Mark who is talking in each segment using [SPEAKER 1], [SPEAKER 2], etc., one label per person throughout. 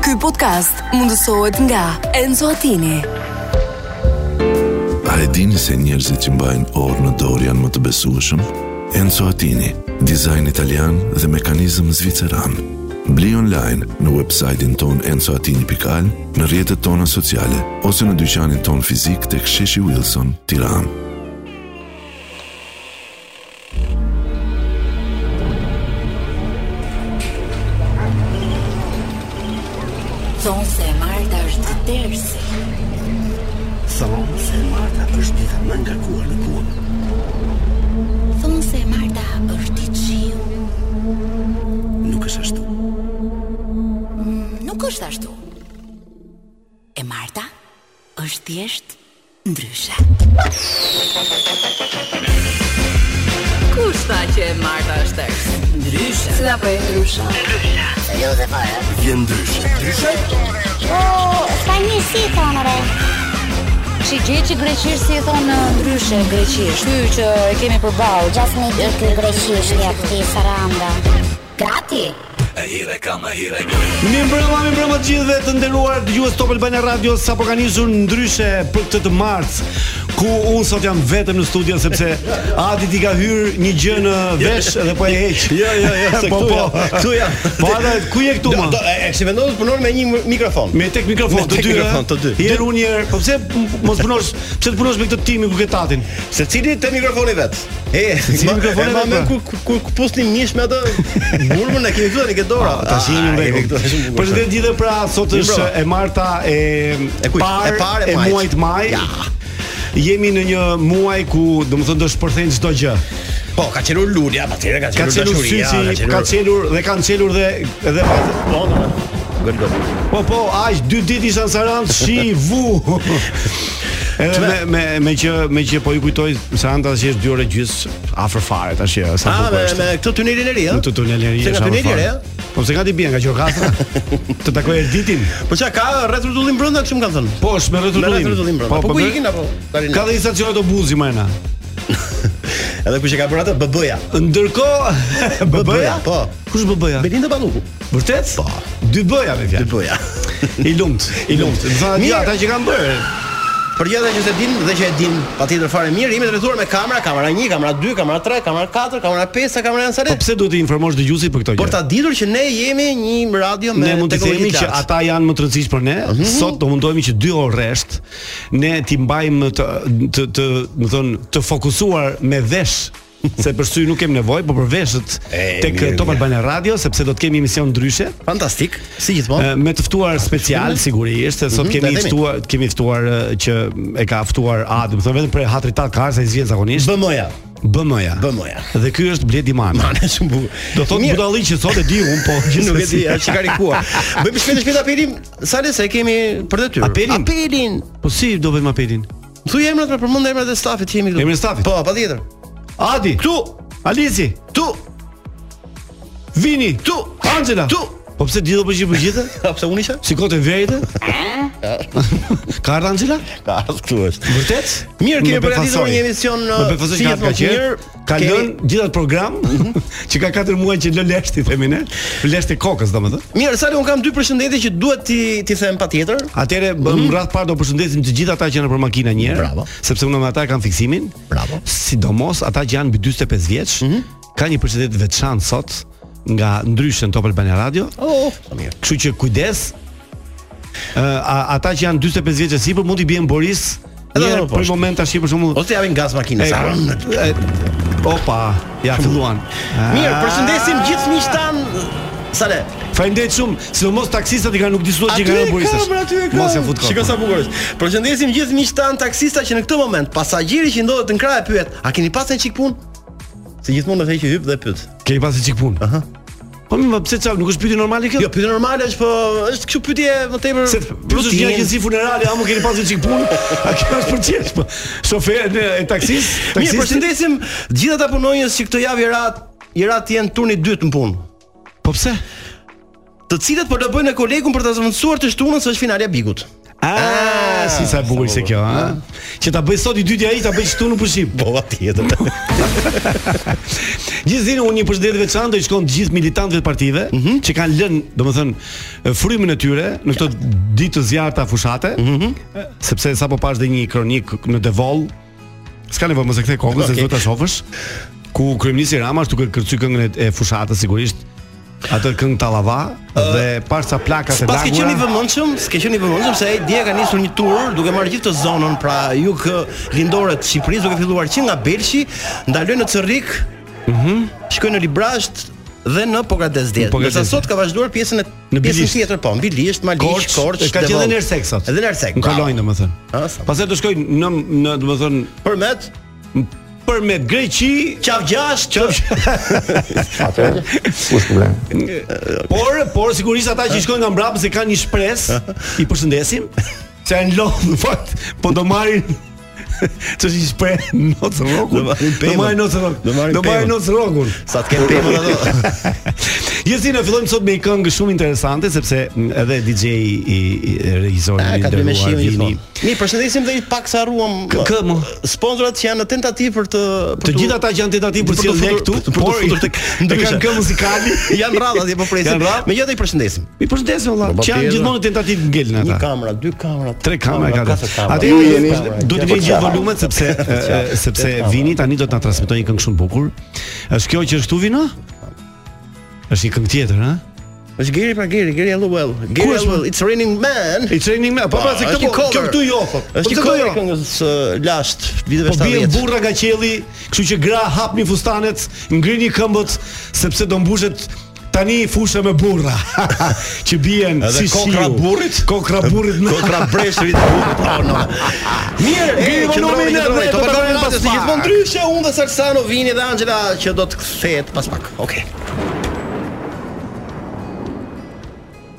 [SPEAKER 1] Ky podcast mundësohet nga Enzo Attini.
[SPEAKER 2] A e dini se njerëzit që mbajnë orë në dorë janë më të besueshëm? Enzo Attini, dizajn italian dhe mekanizëm zviceran. Bli online në website-in ton enzoatini.al, në rrjetet tona sociale, ose në dyqanin ton fizik të ksheshi Wilson, tiran.
[SPEAKER 3] Thonë se e Marta është të tërsi
[SPEAKER 4] Thonë se Marta është dita më nga kuar në kuar
[SPEAKER 3] Thonë se e Marta është i qiu
[SPEAKER 4] Nuk është ashtu
[SPEAKER 3] Nuk është ashtu E Marta është thjesht ndryshe Kush tha që e Marta është tërsi? Ndryshe Cila po e ndryshe?
[SPEAKER 4] Vjen ndryshe Ndryshe?
[SPEAKER 5] Po, S'ka një si thonë re
[SPEAKER 6] Shi gjeçi greqisht si e thonë ndryshe greqisht. Ky që e kemi përballë.
[SPEAKER 5] Gjasmi është i greqisht ja këti saranda Grati
[SPEAKER 7] Mi mbrëma, mi mbrëma të gjithëve të nderuar dëgjues Top Albana Radio sapo ka nisur ndryshe për këtë të martës ku unë sot jam vetëm në studio sepse Adi ti ka hyr një gjë në vesh dhe po e heq.
[SPEAKER 8] Jo, jo, jo, se
[SPEAKER 7] po,
[SPEAKER 8] këtu
[SPEAKER 7] po,
[SPEAKER 8] jam, këtu jam.
[SPEAKER 7] Po Ada, ku je këtu
[SPEAKER 8] Do,
[SPEAKER 7] më?
[SPEAKER 8] do, e e kishë vendosur punon me një mi- mikrofon.
[SPEAKER 7] Me tek mikrofon
[SPEAKER 8] Me
[SPEAKER 7] të
[SPEAKER 8] tek
[SPEAKER 7] dy.
[SPEAKER 8] mikrofon të dy.
[SPEAKER 7] Herë unë herë, po pse m- mos punosh, pse të punosh me këtë timin ku ketatin?
[SPEAKER 8] Secili te mikrofoni vet. E,
[SPEAKER 7] Secili
[SPEAKER 8] ma-
[SPEAKER 7] mikrofoni
[SPEAKER 8] e ma-
[SPEAKER 7] vet, pra.
[SPEAKER 8] ku ku- ku ku pusni mish me atë burmën e keni thënë ne ke dora. Ah,
[SPEAKER 7] Tash jemi në rregull. Për
[SPEAKER 8] Për
[SPEAKER 7] të gjithë pra sot
[SPEAKER 8] Mi
[SPEAKER 7] është
[SPEAKER 8] mbrëma.
[SPEAKER 7] e marta e
[SPEAKER 8] E kujt?
[SPEAKER 7] parë
[SPEAKER 8] E parë e
[SPEAKER 7] e
[SPEAKER 8] majt.
[SPEAKER 7] muajit maj.
[SPEAKER 8] Ja.
[SPEAKER 7] Jemi në një muaj ku domethënë do shpërthejnë çdo gjë.
[SPEAKER 8] po ka qelur lulja, patjetër ka
[SPEAKER 7] Ka
[SPEAKER 8] qelur
[SPEAKER 7] çelur
[SPEAKER 8] dashuria,
[SPEAKER 7] syci, ka çelur dhe kanë çelur dhe edhe vajzat.
[SPEAKER 8] Po, do. Gol gol.
[SPEAKER 7] Po po, aq dy ditë isha në Sarandë, shi vu. Edhe me, me, me që me që po ju kujtoj Saranda tash është 2 orë gjys afër fare tash e, sa
[SPEAKER 8] Ah,
[SPEAKER 7] po
[SPEAKER 8] me
[SPEAKER 7] është.
[SPEAKER 8] me këtë tunelin e ri, ëh.
[SPEAKER 7] Në të tunelin
[SPEAKER 8] Se
[SPEAKER 7] e
[SPEAKER 8] nga tuneli re, ëh.
[SPEAKER 7] Po se gati bien nga Gjorkastra. të takoj Erditin.
[SPEAKER 8] Po çka ka rreth rrotullim brenda, kështu më kanë thënë.
[SPEAKER 7] Po, është me rreth
[SPEAKER 8] Me
[SPEAKER 7] rrotullim.
[SPEAKER 8] rreth rrotullim brenda.
[SPEAKER 7] Po,
[SPEAKER 8] Po
[SPEAKER 7] po,
[SPEAKER 8] ku
[SPEAKER 7] me-
[SPEAKER 8] ikin apo? Tani.
[SPEAKER 7] Ka dhe një stacion autobusi më ana.
[SPEAKER 8] Edhe kush e ka bërë atë BB-ja.
[SPEAKER 7] Ndërkohë BB-ja?
[SPEAKER 8] po.
[SPEAKER 7] Kush BB-ja?
[SPEAKER 8] Belinda Balluku.
[SPEAKER 7] Ah. Vërtet? Po. Dy B-ja me fjalë.
[SPEAKER 8] BB-ja.
[SPEAKER 7] I lumt, i lumt. Dha
[SPEAKER 8] Mirë.
[SPEAKER 7] ata që kanë bërë.
[SPEAKER 8] Për gjithë që se din dhe që e din patjetër fare mirë, jemi të rrethuar me kamera, kamera 1, kamera 2, kamera 3, kamera 4, kamera 5, sa kamera janë sa
[SPEAKER 7] Po
[SPEAKER 8] le.
[SPEAKER 7] pse duhet të informosh dëgjuesit për këto gjë?
[SPEAKER 8] Por ta ditur që ne jemi një radio me
[SPEAKER 7] Po, ne mund të
[SPEAKER 8] teknologji
[SPEAKER 7] themi që
[SPEAKER 8] lartë.
[SPEAKER 7] ata janë më të rëndësishmë për ne. Sot do mundohemi që 2 orë rresht ne ti mbajmë të të të, më thon, të fokusuar me vesh se për sy nuk kemi nevojë, por për veshët
[SPEAKER 8] E,
[SPEAKER 7] tek
[SPEAKER 8] mirë,
[SPEAKER 7] Top
[SPEAKER 8] mirë.
[SPEAKER 7] Albana Radio sepse do të kemi emision ndryshe.
[SPEAKER 8] fantastik, si
[SPEAKER 7] e,
[SPEAKER 8] gjithmonë.
[SPEAKER 7] Eh, Me të ftuar special sigurisht, se
[SPEAKER 8] Oh.
[SPEAKER 7] sot
[SPEAKER 8] Mhm,
[SPEAKER 7] kemi
[SPEAKER 8] ta themi.
[SPEAKER 7] ftuar kemi ftuar e, që e ka ftuar Adi, më thon vetëm për hatri tat ka arsa i zgjen zakonisht.
[SPEAKER 8] BM-ja.
[SPEAKER 7] BM-ja.
[SPEAKER 8] BM-ja.
[SPEAKER 7] Dhe ky është Bledi Mani.
[SPEAKER 8] Mane shumë bukur.
[SPEAKER 7] Do thot
[SPEAKER 8] Mirë,
[SPEAKER 7] budalli që sot e di un, po
[SPEAKER 8] nuk e di,
[SPEAKER 7] gjithsesi.
[SPEAKER 8] është karikuar. Bëjmë shpejt shpejt apelin, sa le se e kemi për detyrë.
[SPEAKER 7] Apelin?
[SPEAKER 8] Apelin.
[SPEAKER 7] Po si do bëjmë apelin?
[SPEAKER 8] Thuaj emrat, pra përmend emrat e stafit që jemi këtu.
[SPEAKER 7] Emrin e stafit?
[SPEAKER 8] Po, patjetër.
[SPEAKER 7] Adi,
[SPEAKER 8] Këtu,
[SPEAKER 7] Alizi,
[SPEAKER 8] këtu,
[SPEAKER 7] Vini,
[SPEAKER 8] këtu.
[SPEAKER 7] Angela.
[SPEAKER 8] Tu!
[SPEAKER 7] Po pse di do përgjigj për gjithë?
[SPEAKER 8] A pse unë isha?
[SPEAKER 7] Si kote vjetë? Ka ardhur Angela?
[SPEAKER 8] Ka, këtu është.
[SPEAKER 7] Vërtet?
[SPEAKER 8] Mirë, kemi
[SPEAKER 7] Më befasoj.
[SPEAKER 8] përgatitur një emision, uh,
[SPEAKER 7] Më befasoj
[SPEAKER 8] si
[SPEAKER 7] që
[SPEAKER 8] jetë
[SPEAKER 7] ka
[SPEAKER 8] më të mirë,
[SPEAKER 7] qenë. Ka
[SPEAKER 8] kemi- Mhm.
[SPEAKER 7] lënë gjithat program që ka 4 muaj që lë leshti themi ne, leshti kokës domethënë.
[SPEAKER 8] Mirë, Sali, un kam dy përshëndetje që duhet ti ti them patjetër.
[SPEAKER 7] Atëre bëm rradh parë do përshëndesim të gjithë ata që janë nëpër makina një herë,
[SPEAKER 8] Mhm. Bravo.
[SPEAKER 7] sepse unë me ata kam fiksimin.
[SPEAKER 8] Bravo. Mhm.
[SPEAKER 7] Sidomos ata që janë mbi 45 vjeç, ka një përshëndetje të veçantë sot nga ndryshe në Top Albania Radio.
[SPEAKER 8] Oh, sa mirë.
[SPEAKER 7] Kështu që kujdes. Ë a- ata që janë 45 vjeç e sipër mund i bien Boris
[SPEAKER 8] Edhe po
[SPEAKER 7] një
[SPEAKER 8] edhe
[SPEAKER 7] për
[SPEAKER 8] poshtë.
[SPEAKER 7] moment tash për shembull.
[SPEAKER 8] Ose javin gaz makinës.
[SPEAKER 7] E, e, Opa, ja filluan. Ah.
[SPEAKER 8] Mirë, përshëndesim gjithë miqtë tan. Sale.
[SPEAKER 7] Faleminderit shumë, sidomos taksistat i kanë nuk disuar që i
[SPEAKER 8] Aty
[SPEAKER 7] kanë
[SPEAKER 8] e
[SPEAKER 7] rënë Borisës.
[SPEAKER 8] kam, aty e kam.
[SPEAKER 7] Mos po. ja fut kokën.
[SPEAKER 8] Shikoj sa bukur është. Përshëndesim gjithë miqtë tan taksista që në këtë moment pasagjeri që ndodhet në krah e pyet, "A keni pasur një çik punë?" Se gjithmonë do të që hyp dhe pyet.
[SPEAKER 7] Ke i pasi çik punë. Aha. Po më pse çau, nuk është pyetje normale kjo?
[SPEAKER 8] Jo, pyetje normale është, po është kështu pyetje më tepër.
[SPEAKER 7] Se plus është një
[SPEAKER 8] rutinë.
[SPEAKER 7] agjenci funerale, a mu keni pasur çik punë? A kjo është për çesh po. Shoferin e e taksis,
[SPEAKER 8] Mirë,
[SPEAKER 7] taksisti.
[SPEAKER 8] përshëndesim gjithë ata punonjës që këtë javë i rat, i rat janë turni dytë në punë.
[SPEAKER 7] Po pse?
[SPEAKER 8] të cilët po do bëjnë e kolegun për ta zvendësuar të shtunën se është finalja e Bigut.
[SPEAKER 7] Ah, si sa e bukur se kjo,
[SPEAKER 8] Ah.
[SPEAKER 7] ha. Që ta bëj sot i dytë ai, ta bëj këtu në pushim.
[SPEAKER 8] Bova tjetër.
[SPEAKER 7] Gjithsesi unë një përshëndetje veçantë i shkon të gjithë militantëve të partive
[SPEAKER 8] Mhm.
[SPEAKER 7] që kanë lënë, domethënë, frymën e tyre në këtë ditë të zjarta fushate,
[SPEAKER 8] Mhm.
[SPEAKER 7] sepse sapo pash dhe një kronik në Devoll. S'ka nevojë mos e kthej kokën, se
[SPEAKER 8] Okej.
[SPEAKER 7] duhet ta shohësh. Ku kryeministi Rama është duke kërcy këngën e- e fushatës sigurisht atë këngë Tallava dhe pas sa plaka të
[SPEAKER 8] Pas ke qenë i
[SPEAKER 7] lagura.
[SPEAKER 8] vëmendshëm, s'ke qenë i vëmendshëm se ai dje ka nisur një tur duke marrë gjithë të zonën pra jug eh, lindore të Shqipërisë duke filluar që nga Belshi, ndaloi në Cerrik, mhm, shkoi në Librazht dhe në Pogradez 10.
[SPEAKER 7] Pogradez
[SPEAKER 8] Ndërsa
[SPEAKER 7] 10.
[SPEAKER 8] sot ka vazhduar pjesën e
[SPEAKER 7] Në
[SPEAKER 8] pjesën
[SPEAKER 7] Bilisht.
[SPEAKER 8] tjetër po, mbi Lisht,
[SPEAKER 7] Korç,
[SPEAKER 8] Malish, Korç,
[SPEAKER 7] ka qenë
[SPEAKER 8] Devon.
[SPEAKER 7] edhe në Ersek sot.
[SPEAKER 8] Edhe në Ersek.
[SPEAKER 7] Në Kolonjë domethënë.
[SPEAKER 8] Ha, Ah, sa-
[SPEAKER 7] Pastaj do shkoj në në domethënë
[SPEAKER 8] Përmet
[SPEAKER 7] për me Greqi,
[SPEAKER 8] Qav 6, që
[SPEAKER 7] por por sigurisht ata që shkojnë nga mbrapa se kanë një shpresë, i përshëndesim. Se janë lodh në fakt, po do marrin Ç'është një shpresë nocë rrokun.
[SPEAKER 8] Do marrin
[SPEAKER 7] Do
[SPEAKER 8] pemën.
[SPEAKER 7] marrin nocë rrokun.
[SPEAKER 8] Do marrin
[SPEAKER 7] Do marrin
[SPEAKER 8] pemën.
[SPEAKER 7] nocë rrokun.
[SPEAKER 8] sa të kem pemën ato.
[SPEAKER 7] Gjithsesi ne fillojmë sot me një këngë shumë interesante sepse m, edhe DJ i, i, i regjisori
[SPEAKER 8] Ah,
[SPEAKER 7] i
[SPEAKER 8] ka të bëjë me
[SPEAKER 7] nderuar
[SPEAKER 8] shiun
[SPEAKER 7] vini.
[SPEAKER 8] gjithmonë. Mi përshëndesim dhe i pak sa ruam
[SPEAKER 7] Kë- kë, mo?
[SPEAKER 8] sponsorat që janë në tentativë për të për
[SPEAKER 7] Të
[SPEAKER 8] tu-
[SPEAKER 7] gjithë ata që janë tentativë për
[SPEAKER 8] Për të
[SPEAKER 7] cilë ne
[SPEAKER 8] futur-
[SPEAKER 7] këtu,
[SPEAKER 8] për të
[SPEAKER 7] por
[SPEAKER 8] futur tek
[SPEAKER 7] e
[SPEAKER 8] ndryshe.
[SPEAKER 7] kanë kë muzikali.
[SPEAKER 8] janë rradh atje po presin.
[SPEAKER 7] Janë rradh?
[SPEAKER 8] Megjithatë i përshëndesim.
[SPEAKER 7] I përshëndesim valla.
[SPEAKER 8] Baba
[SPEAKER 7] Që janë
[SPEAKER 8] Pierre.
[SPEAKER 7] gjithmonë në tentativë ngelin
[SPEAKER 8] Një
[SPEAKER 7] ata.
[SPEAKER 8] kamera, dy kamera,
[SPEAKER 7] Tre kamera ka.
[SPEAKER 8] katër kamera. po
[SPEAKER 7] Atë
[SPEAKER 8] Ju
[SPEAKER 7] jemi
[SPEAKER 8] jeni-
[SPEAKER 7] do të vjen gjithë volumet sepse e, e, sepse vini tani do të na transmetojë një këngë shumë bukur. Është kjo që është këtu vino? Është një këngë tjetër, ha?
[SPEAKER 8] Është Geri pra Geri, Geri LOL. Geri
[SPEAKER 7] është,
[SPEAKER 8] LOL, it's raining man.
[SPEAKER 7] I training me, po pra se
[SPEAKER 8] është
[SPEAKER 7] këtu
[SPEAKER 8] një cover.
[SPEAKER 7] kjo këtu jo. po.
[SPEAKER 8] Është
[SPEAKER 7] Po
[SPEAKER 8] një
[SPEAKER 7] këtu
[SPEAKER 8] këngë
[SPEAKER 7] jo.
[SPEAKER 8] e këngës uh, ë, last viteve
[SPEAKER 7] Po bien
[SPEAKER 8] 70.
[SPEAKER 7] burra nga qielli, kështu që gra hapni fustanet, ngrini këmbët sepse do mbushet tani fusha me burra që bien
[SPEAKER 8] Edhe
[SPEAKER 7] si shiu.
[SPEAKER 8] kokra burrit?
[SPEAKER 7] kokra burrit në
[SPEAKER 9] pra
[SPEAKER 8] Kontra breshërit të burrit apo no. Mirë,
[SPEAKER 7] Ngri volumin e drejtë,
[SPEAKER 8] të
[SPEAKER 7] të
[SPEAKER 8] bëjmë
[SPEAKER 7] pas
[SPEAKER 8] po pas
[SPEAKER 7] pak.
[SPEAKER 8] gjithmonë ndryshe unë dhe Salsano vini dhe Angela që do të kthehet pas pak. Okej.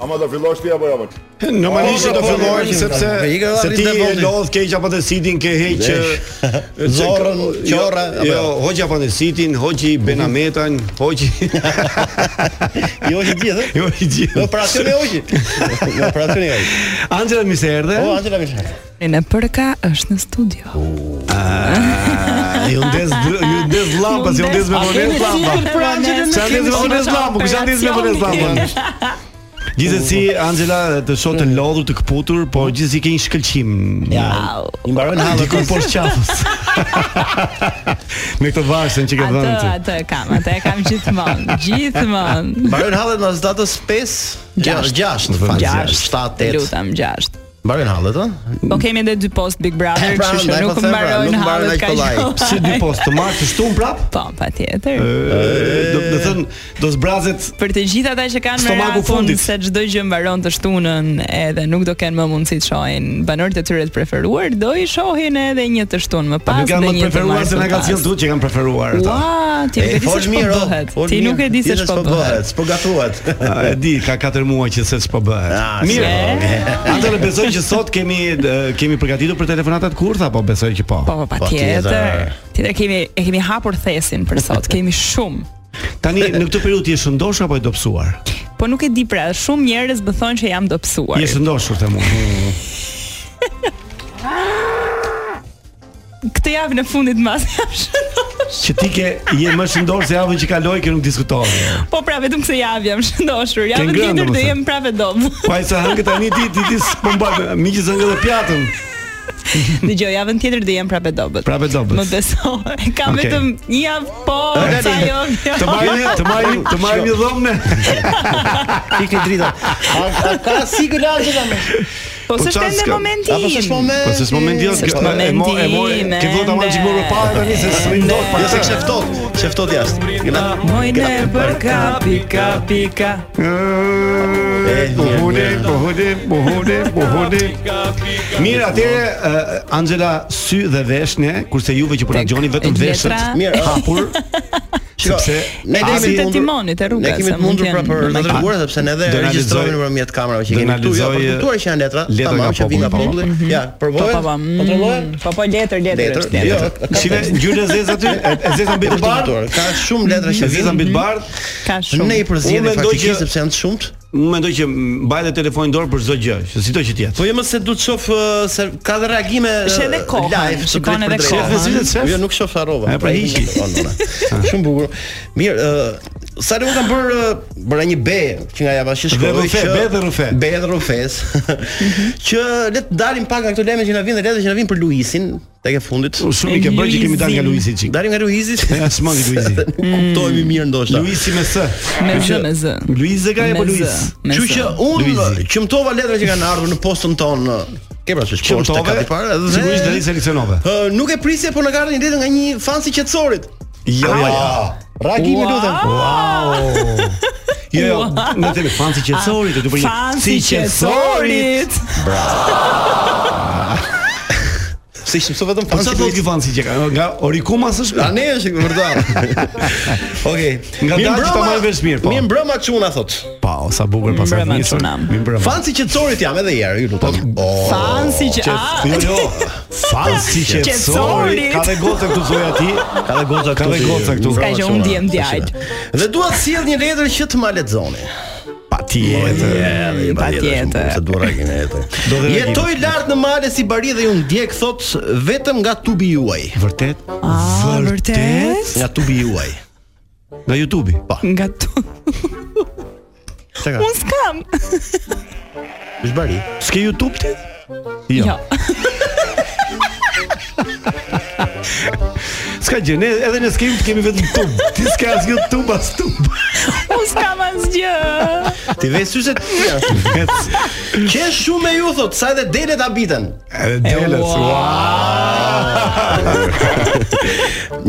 [SPEAKER 10] Ama do fillosh ti apo jo? më?
[SPEAKER 7] Normalisht
[SPEAKER 8] Po,
[SPEAKER 7] do
[SPEAKER 8] po,
[SPEAKER 7] fillojnë
[SPEAKER 8] po,
[SPEAKER 7] sepse
[SPEAKER 8] po, i ka
[SPEAKER 7] se
[SPEAKER 8] dhënë
[SPEAKER 7] ti
[SPEAKER 8] dhe
[SPEAKER 7] e
[SPEAKER 8] vonin.
[SPEAKER 7] lodh keq apo të sidin ke heq që-
[SPEAKER 8] Zorrën,
[SPEAKER 7] që-
[SPEAKER 8] qorra, apo-
[SPEAKER 7] Jo, hoqja apo të sidin, hoqi Benametan, hoqi
[SPEAKER 8] Jo i gjithë. pra
[SPEAKER 7] jo i
[SPEAKER 8] Në
[SPEAKER 7] gjithë.
[SPEAKER 8] operacion e hoqi. Në operacion e hoqi.
[SPEAKER 7] Angela mi se erdhe.
[SPEAKER 8] O Angela Milhan.
[SPEAKER 9] Në përka është në studio.
[SPEAKER 7] Ah, Ju ndes dr- ju ndes llampës, ju ndes me vonesë llampë. Sa ndez me vonesë llampë, kush ndez me vonesë llampë. Gjithsesi Angela të shoh të lodhur, të kputur, por gjithsesi ke një shkëlqim.
[SPEAKER 8] Ja. I mbarojnë
[SPEAKER 7] Diku
[SPEAKER 8] hallat.
[SPEAKER 7] poshtë qafës. Me këtë varsën që ke
[SPEAKER 9] Atë,
[SPEAKER 7] dhënë ti.
[SPEAKER 9] atë e kam, atë e kam gjithmonë, gjithmonë.
[SPEAKER 8] Mbarojnë hallat në datës 5, 6, 6, 7, 8.
[SPEAKER 9] Lutam 6.
[SPEAKER 8] Mbarojnë hallat, ëh?
[SPEAKER 9] Po kemi edhe dy post Big
[SPEAKER 7] Eh,
[SPEAKER 9] Brother,
[SPEAKER 8] Pra,
[SPEAKER 9] kështu që
[SPEAKER 8] ndaj po
[SPEAKER 9] nuk
[SPEAKER 8] them, pra, nuk mbarojnë
[SPEAKER 9] mbarojnë hallet
[SPEAKER 8] aq
[SPEAKER 9] ka
[SPEAKER 8] kollaj.
[SPEAKER 9] gjuhë.
[SPEAKER 7] Si dy Eh. postë të marrë të shtum prap?
[SPEAKER 9] Po, patjetër.
[SPEAKER 7] Do të thënë, do zbrazet
[SPEAKER 9] Për të gjithë ata që kanë me
[SPEAKER 7] Stomaku
[SPEAKER 9] rafun
[SPEAKER 7] fundit.
[SPEAKER 9] se çdo gjë mbaron të shtunën edhe nuk do kenë më mundësi të shohin banorët e tyre të preferuar, do i shohin edhe një të shtunë më
[SPEAKER 7] Apo kanë
[SPEAKER 9] pas dhe
[SPEAKER 7] më të
[SPEAKER 9] një të
[SPEAKER 7] preferuar se
[SPEAKER 9] martën
[SPEAKER 7] na kanë sjellë
[SPEAKER 9] pas.
[SPEAKER 7] duhet që kanë preferuar ata.
[SPEAKER 9] Ua, ti nuk e di se
[SPEAKER 7] oh,
[SPEAKER 9] ç'po bëhet. Ti nuk e di se ç'po bëhet.
[SPEAKER 8] s'po gatuhet.
[SPEAKER 7] A, E di, ka 4 muaj që se s'po
[SPEAKER 8] Ah,
[SPEAKER 7] bëhet. Mirë. Atëherë besoj që sot kemi e, kemi përgatitur për telefonatat kurtha, po besoj që po.
[SPEAKER 9] Po, po, patjetër. Tjetër kemi e kemi hapur thesin për sot. Kemi shumë.
[SPEAKER 7] Tani në këtë periudhë ti je shëndosh apo je dobësuar?
[SPEAKER 9] Po nuk e di pra, shumë njerëz më thonë që jam dobësuar.
[SPEAKER 7] Je shëndoshur te mua.
[SPEAKER 9] Këtë javë në fundit mas jam shëndosh.
[SPEAKER 7] Që ti ke je më shëndosh se javën që kaloi që nuk diskutohet.
[SPEAKER 9] Po pra vetëm këtë javë jam shëndoshur. Javën
[SPEAKER 7] ngrënë,
[SPEAKER 9] tjetër do
[SPEAKER 7] domethënë.
[SPEAKER 9] jem prapë dob.
[SPEAKER 7] Po ai sa hëngë tani ti ti ti s'po mban miqë zëngë dhe pjatën.
[SPEAKER 9] Dëgjoj, javën tjetër do jem prapë dobët.
[SPEAKER 7] Prapë dobët.
[SPEAKER 9] Më beso. E kam
[SPEAKER 7] Okej.
[SPEAKER 9] vetëm një javë po, sa jo.
[SPEAKER 7] Të marrim, të marrim, të marrim një dhomë ne.
[SPEAKER 8] Ikni drita. A, a ka si gëlazë ta më?
[SPEAKER 9] Po
[SPEAKER 7] Po
[SPEAKER 9] s'është
[SPEAKER 7] qa
[SPEAKER 9] ende
[SPEAKER 7] s'ka-
[SPEAKER 9] momenti.
[SPEAKER 8] Apo s'është moment?
[SPEAKER 7] Po se s'mo mendio,
[SPEAKER 9] s'është
[SPEAKER 7] e mo e mo
[SPEAKER 9] momenti,
[SPEAKER 7] ke vota më
[SPEAKER 9] mende.
[SPEAKER 7] çikur më parë tani se s'rim dot pa.
[SPEAKER 8] Jo se kishe ftot, kishe ftot jashtë. Gëna.
[SPEAKER 9] Mojne për kapi, kapi, ka.
[SPEAKER 7] Buhuni, buhuni, buhuni, buhuni. Mirë, atëre eh, Angela sy dhe vesh ne, kurse juve që po na
[SPEAKER 9] Tek
[SPEAKER 7] dëgjoni vetëm veshët.
[SPEAKER 9] letra.
[SPEAKER 8] Mirë, a?
[SPEAKER 7] hapur.
[SPEAKER 8] Shiko,
[SPEAKER 7] Sepse
[SPEAKER 8] ne
[SPEAKER 9] Asi-
[SPEAKER 8] kemi të
[SPEAKER 9] të timonit e rrugës,
[SPEAKER 8] Ne kemi
[SPEAKER 9] sa
[SPEAKER 8] të
[SPEAKER 9] mund
[SPEAKER 8] mundur
[SPEAKER 9] t'jenë
[SPEAKER 8] pra për
[SPEAKER 9] në
[SPEAKER 8] të
[SPEAKER 9] makinë.
[SPEAKER 8] treguar sepse ne edhe
[SPEAKER 7] Do na
[SPEAKER 8] regjistrohemi
[SPEAKER 7] lexoj-
[SPEAKER 8] nëpërmjet kamerave që
[SPEAKER 7] do
[SPEAKER 8] kemi
[SPEAKER 7] na
[SPEAKER 8] këtu, ja,
[SPEAKER 7] lexoj-
[SPEAKER 8] për kuptuar që janë letra,
[SPEAKER 7] letra nga
[SPEAKER 8] tamam që vinë nga
[SPEAKER 7] populli,
[SPEAKER 8] populli. Ja,
[SPEAKER 9] Po po
[SPEAKER 8] provohet.
[SPEAKER 9] po. mm,
[SPEAKER 8] Kontrollohet.
[SPEAKER 9] Po po letër letër
[SPEAKER 8] Letër.
[SPEAKER 9] është letër.
[SPEAKER 8] Jo, ka- ka-
[SPEAKER 7] Shive ngjyrën e zezë aty, e- e zeza mbi
[SPEAKER 8] e
[SPEAKER 7] të bardhë.
[SPEAKER 8] vërtetuar. Ka shumë letra që
[SPEAKER 7] E zeza
[SPEAKER 8] vinë.
[SPEAKER 7] mbi të bardhë.
[SPEAKER 9] Ka shumë.
[SPEAKER 8] Ne i
[SPEAKER 7] Unë
[SPEAKER 8] përzjedhim
[SPEAKER 7] mendoj
[SPEAKER 8] faktikisht
[SPEAKER 7] që-
[SPEAKER 8] sepse janë të shumtë.
[SPEAKER 7] unë mendoj që mbajtë telefonin dorë për çdo gjë, që sido që të jetë.
[SPEAKER 8] Po jo më se du të shoh ë, se ka dhe reagime ë,
[SPEAKER 9] Është edhe koha,
[SPEAKER 8] live, të
[SPEAKER 9] shikon
[SPEAKER 8] drejtë
[SPEAKER 9] edhe
[SPEAKER 8] për drejtë.
[SPEAKER 9] kohën. Shef,
[SPEAKER 7] me sytë të shef?
[SPEAKER 8] Jo nuk shoh harrova.
[SPEAKER 7] E, pra hiqi.
[SPEAKER 8] Po, po, po. Shumë bukur. Mirë, ë sa ne kam bër ë, bëra një be që nga java që shkoi.
[SPEAKER 7] Be rrufe,
[SPEAKER 8] që-
[SPEAKER 7] be dhe Mhm. rrufe.
[SPEAKER 8] Be dhe rufes. që le të dalim pak nga këto lajme që na vinë dhe lajme që na vinë për Luisin tek e fundit.
[SPEAKER 7] Shumë i ke bërë që kemi dalë nga Luizi çik.
[SPEAKER 8] Dalim nga Luizi.
[SPEAKER 7] Ja, s'mangi Luizi.
[SPEAKER 8] Nuk kuptohemi mirë ndoshta.
[SPEAKER 7] Luizi me s.
[SPEAKER 9] Me zë, me zë.
[SPEAKER 7] Luizi e ka apo
[SPEAKER 9] Me
[SPEAKER 7] Luiz?
[SPEAKER 9] zë, me
[SPEAKER 8] Kështu
[SPEAKER 9] zë.
[SPEAKER 8] që unë
[SPEAKER 7] Luizi.
[SPEAKER 8] qëmtova letrat që kanë ardhur në postën tonë. Ke pra që shkosh tek
[SPEAKER 7] Qëmtove,
[SPEAKER 8] aty para dhe
[SPEAKER 7] sigurisht deri seleksionove.
[SPEAKER 8] Ë, nuk e prisje, por në kartë një letër nga një fan si qetësorit.
[SPEAKER 7] Jo, jo.
[SPEAKER 8] Reagimi
[SPEAKER 9] Wow.
[SPEAKER 8] lutem.
[SPEAKER 7] Wow. Jo, jo, në telefon si qetësorit, do të bëj.
[SPEAKER 9] Fansi qetësorit.
[SPEAKER 8] Se ishim so vetëm
[SPEAKER 7] Po
[SPEAKER 8] fan
[SPEAKER 7] sa
[SPEAKER 8] si
[SPEAKER 7] do të
[SPEAKER 8] qetësorit.
[SPEAKER 7] fansi që ka? Nga Orikuma s'është?
[SPEAKER 8] A ne është vërtet. Okej.
[SPEAKER 7] Nga
[SPEAKER 8] Mirë
[SPEAKER 7] dalë që ta
[SPEAKER 8] mbrëma-
[SPEAKER 7] marrë vesh mirë, po.
[SPEAKER 8] Mirë mbrëma çuna thot.
[SPEAKER 7] Pa, o, sa bukur pas
[SPEAKER 9] Mbrëma,
[SPEAKER 7] nisur.
[SPEAKER 9] çunam.
[SPEAKER 7] Mi mbrëma.
[SPEAKER 8] Fan si qetësorit jam edhe herë, ju lutem. Oh.
[SPEAKER 9] Fansi që Ah!
[SPEAKER 7] Qe- Jo, jo. Fansi qetësorit.
[SPEAKER 9] Qetësorit.
[SPEAKER 7] Ka dhe goca këtu zoj aty.
[SPEAKER 8] Ka dhe goca këtu.
[SPEAKER 7] Ka dhe
[SPEAKER 8] si-
[SPEAKER 7] goca këtu.
[SPEAKER 9] Ska që unë ndjem djalë.
[SPEAKER 8] Dhe dua të sjell një letër që të ma lexoni.
[SPEAKER 7] Patjetër.
[SPEAKER 8] Patjetër.
[SPEAKER 9] patjetër.
[SPEAKER 8] Se dua reagim jetër.
[SPEAKER 7] Do dhe reagim.
[SPEAKER 8] Jetoj lart në male si bari dhe ju ndjek thot vetëm nga tubi juaj.
[SPEAKER 7] Vërtet?
[SPEAKER 9] A, vërtet?
[SPEAKER 8] Nga tubi juaj.
[SPEAKER 7] Nga YouTube-i. Po.
[SPEAKER 9] Nga tu.
[SPEAKER 8] Çka?
[SPEAKER 9] Unë s'kam.
[SPEAKER 8] Është bari.
[SPEAKER 7] S'ke YouTube ti?
[SPEAKER 9] Jo.
[SPEAKER 7] S'ka gjë, ne edhe ne s'kemi kemi vetëm tub. Ti s'ke as YouTube as tub.
[SPEAKER 9] Unë s'kam asgjë.
[SPEAKER 8] Ti ve syset tira. Qe shumë me ju thot, sa edhe delet habiten.
[SPEAKER 7] Edhe delet. Wow.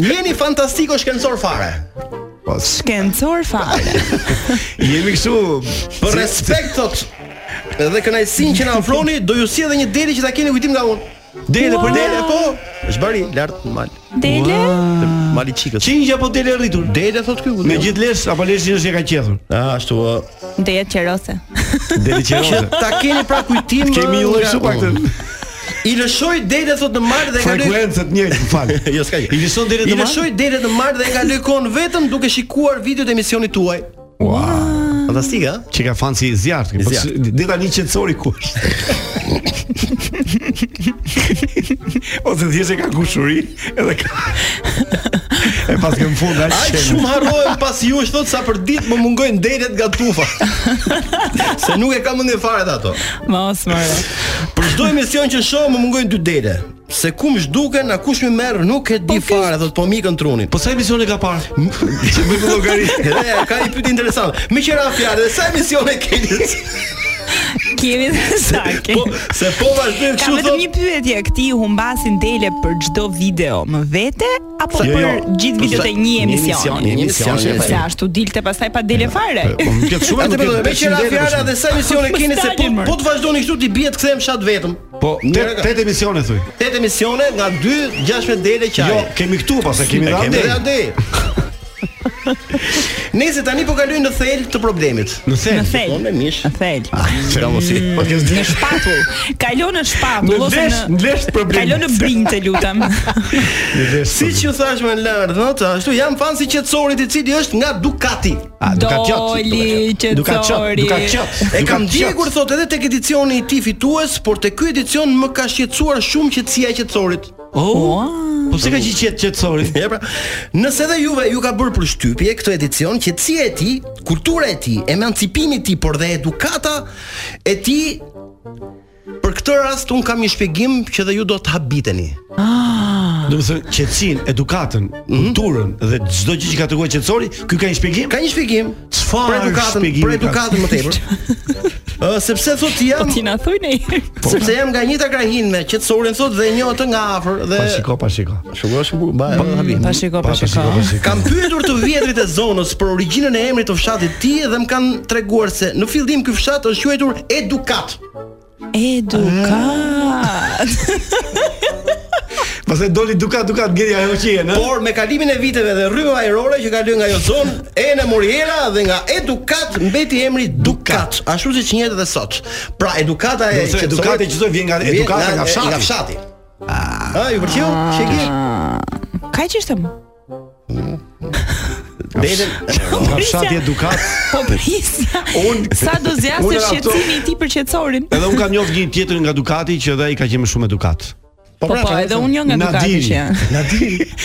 [SPEAKER 8] Jeni fantastiko shkencor fare.
[SPEAKER 9] Shkencor
[SPEAKER 7] Po,
[SPEAKER 9] fare.
[SPEAKER 7] Jemi kështu
[SPEAKER 8] Për respekt thot dhe kënaqësinë që na ofroni, do ju sjellë një dele që ta keni kujtim nga unë.
[SPEAKER 7] dele për
[SPEAKER 8] Për
[SPEAKER 7] dele.
[SPEAKER 8] dele po, është bari lart në mal.
[SPEAKER 9] Dele?
[SPEAKER 8] Mali çikës.
[SPEAKER 7] Qingj apo dele rritur?
[SPEAKER 8] Dele thot ky.
[SPEAKER 7] Me gjithë lesh apo leshin është që e ka qethur.
[SPEAKER 8] Ah, ashtu. ë.
[SPEAKER 9] Dejet qerose.
[SPEAKER 7] Dele qerose.
[SPEAKER 8] Ta keni pra kujtim.
[SPEAKER 7] Kemi një lloj
[SPEAKER 8] nga-
[SPEAKER 7] kështu pak të
[SPEAKER 8] I lëshoj delet thot në mal dhe e kaloj.
[SPEAKER 7] frekuencë të njëjtë, më fal.
[SPEAKER 8] Jo, s'ka gjë.
[SPEAKER 7] I lëshon dele
[SPEAKER 8] I
[SPEAKER 7] të marrë.
[SPEAKER 8] lëshoj delet në mal dhe e kaloj kon vetëm duke shikuar videot e emisionit tuaj.
[SPEAKER 7] Wow.
[SPEAKER 8] Fantastike, ha?
[SPEAKER 7] Që ka fanë si i zjartë Po
[SPEAKER 8] zjarrt.
[SPEAKER 7] s- dhe tani qetësori ku është Ose thjesht e ka kushuri Edhe ka E pas kemë fund aq
[SPEAKER 8] Aq
[SPEAKER 7] shenjë.
[SPEAKER 8] shumë harrohem pas jush thot sa për ditë më mungojnë delet nga tufa. Se nuk e kam mendje fare të ato.
[SPEAKER 9] Mos mëre.
[SPEAKER 8] Për çdo emision që shoh më mungojnë dy dele. Se ku më zhduken, na kush më merr, nuk e di fare, thot po mikën trunin.
[SPEAKER 7] Po sa emisione ka parë? Që bëj me llogari.
[SPEAKER 8] Edhe ka një pyetje interesante. Me qira fjalë, dhe sa emisione keni?
[SPEAKER 9] Kemi dhe saki.
[SPEAKER 8] Po, se po vazhdoj
[SPEAKER 9] Ka
[SPEAKER 8] kështu
[SPEAKER 9] vetëm
[SPEAKER 8] thot.
[SPEAKER 9] një pyetje, këti humbasin dele për çdo video më vete apo
[SPEAKER 7] Jo,
[SPEAKER 9] për
[SPEAKER 7] jo.
[SPEAKER 9] gjithë videot e një
[SPEAKER 8] Një emisioni,
[SPEAKER 9] emisioni?
[SPEAKER 8] një emisioni, shef.
[SPEAKER 9] Se ashtu dilte pastaj pa dele fare.
[SPEAKER 7] Po më ket shumë
[SPEAKER 8] Atë
[SPEAKER 7] nuk
[SPEAKER 8] po
[SPEAKER 7] ket
[SPEAKER 8] me qira
[SPEAKER 7] 800 dele,
[SPEAKER 8] fjala dhe
[SPEAKER 7] për
[SPEAKER 8] sa emisione
[SPEAKER 9] Po,
[SPEAKER 8] keni se po
[SPEAKER 9] s'kalin, mërë.
[SPEAKER 8] po të vazhdoni kështu ti bihet kthehem shat vetëm.
[SPEAKER 7] shemb. Po tet- tet emisione thuj.
[SPEAKER 8] 8 emisione nga 2 16 dele qaj.
[SPEAKER 7] Jo, kemi këtu pas e kemi
[SPEAKER 8] E
[SPEAKER 7] dhënë.
[SPEAKER 8] kemi dhe ande. Nëse tani po kaloj në thel të problemit.
[SPEAKER 7] Në
[SPEAKER 9] Në
[SPEAKER 7] the.
[SPEAKER 9] thel.
[SPEAKER 8] Unë me mish.
[SPEAKER 9] Në thel.
[SPEAKER 8] Ka mos i. Po ke
[SPEAKER 9] Në shpatull. Kalo në
[SPEAKER 7] Në
[SPEAKER 9] shpatull ose
[SPEAKER 7] lesh, në
[SPEAKER 9] në
[SPEAKER 7] lesh problem.
[SPEAKER 9] Kalo në brinjë të lutem.
[SPEAKER 8] Si që thash më lart, thot, ashtu jam fan si qetësorit i cili është nga Ducati.
[SPEAKER 7] A, duka qëtë,
[SPEAKER 9] Doli
[SPEAKER 7] duka qëtë, duka qëtë, duka
[SPEAKER 9] qetësori.
[SPEAKER 7] qëtë,
[SPEAKER 8] E
[SPEAKER 7] duka
[SPEAKER 8] kam
[SPEAKER 7] qëtë.
[SPEAKER 8] djegur thot edhe tek edicioni i tij fitues, por te ky edicion më ka shqetësuar shumë qetësia e qetësorit.
[SPEAKER 7] Oh, po pse ka qi qetë qetësori?
[SPEAKER 8] Ja pra. Nëse edhe juve ju ka bërë përshtypje këtë edicion, qetësia e tij, kultura e tij, emancipimi i tij, por dhe edukata e tij Për këtë rast un kam një shpjegim që dhe ju do të habiteni.
[SPEAKER 7] Do të thënë qetësinë, edukatën, kulturën dhe çdo gjë që kategoroj qetësori, ky ka një shpjegim?
[SPEAKER 8] Ka një shpjegim.
[SPEAKER 7] Çfarë
[SPEAKER 8] për edukatën,
[SPEAKER 7] shpjegimi
[SPEAKER 8] për
[SPEAKER 7] ka?
[SPEAKER 8] edukatën më tepër. Ë sepse thotë
[SPEAKER 9] Po
[SPEAKER 8] jam
[SPEAKER 9] ti na thuj ne.
[SPEAKER 7] po.
[SPEAKER 8] Sepse jam nga njëta krahin me qetësorin sot dhe njoh atë nga afër dhe
[SPEAKER 7] Pa shiko, pa shiko.
[SPEAKER 8] shkosh bu, ba, habi.
[SPEAKER 9] Pa shiko, pa shiko.
[SPEAKER 8] Kam pyetur të vjetrit e zonës për origjinën e emrit të fshatit ti dhe më kanë treguar se në fillim ky fshat është quajtur Edukat.
[SPEAKER 9] Edukat.
[SPEAKER 7] Pastaj doli duka duka gjeri ajo që jeni, ëh.
[SPEAKER 8] Por me kalimin e viteve dhe rrymë ajrore që kaloi nga ajo zonë, e në Moriera dhe nga Edukat mbeti emri Dukat, ashtu siç njihet edhe sot. Pra edukata e
[SPEAKER 7] Do të thotë
[SPEAKER 8] qetësorit-
[SPEAKER 7] edukata e qetësorit vjen nga edukata nga fshati.
[SPEAKER 8] Nga fshati. Ah, ju pëlqeu? Çe ke?
[SPEAKER 9] Ka që ishte më?
[SPEAKER 7] A
[SPEAKER 8] Delen
[SPEAKER 7] Nga fshati edukat.
[SPEAKER 9] Po prisja.
[SPEAKER 10] Unë-
[SPEAKER 9] sa do
[SPEAKER 10] Unë
[SPEAKER 9] zjasë
[SPEAKER 10] ato-
[SPEAKER 9] shqetësimi i tij për qetësorin.
[SPEAKER 7] Edhe un kam njohur një tjetër nga Ducati që dhe ai ka qenë më shumë edukat.
[SPEAKER 9] Po po, edhe unë jo nga Dukati
[SPEAKER 7] Nadiri.
[SPEAKER 9] që jam.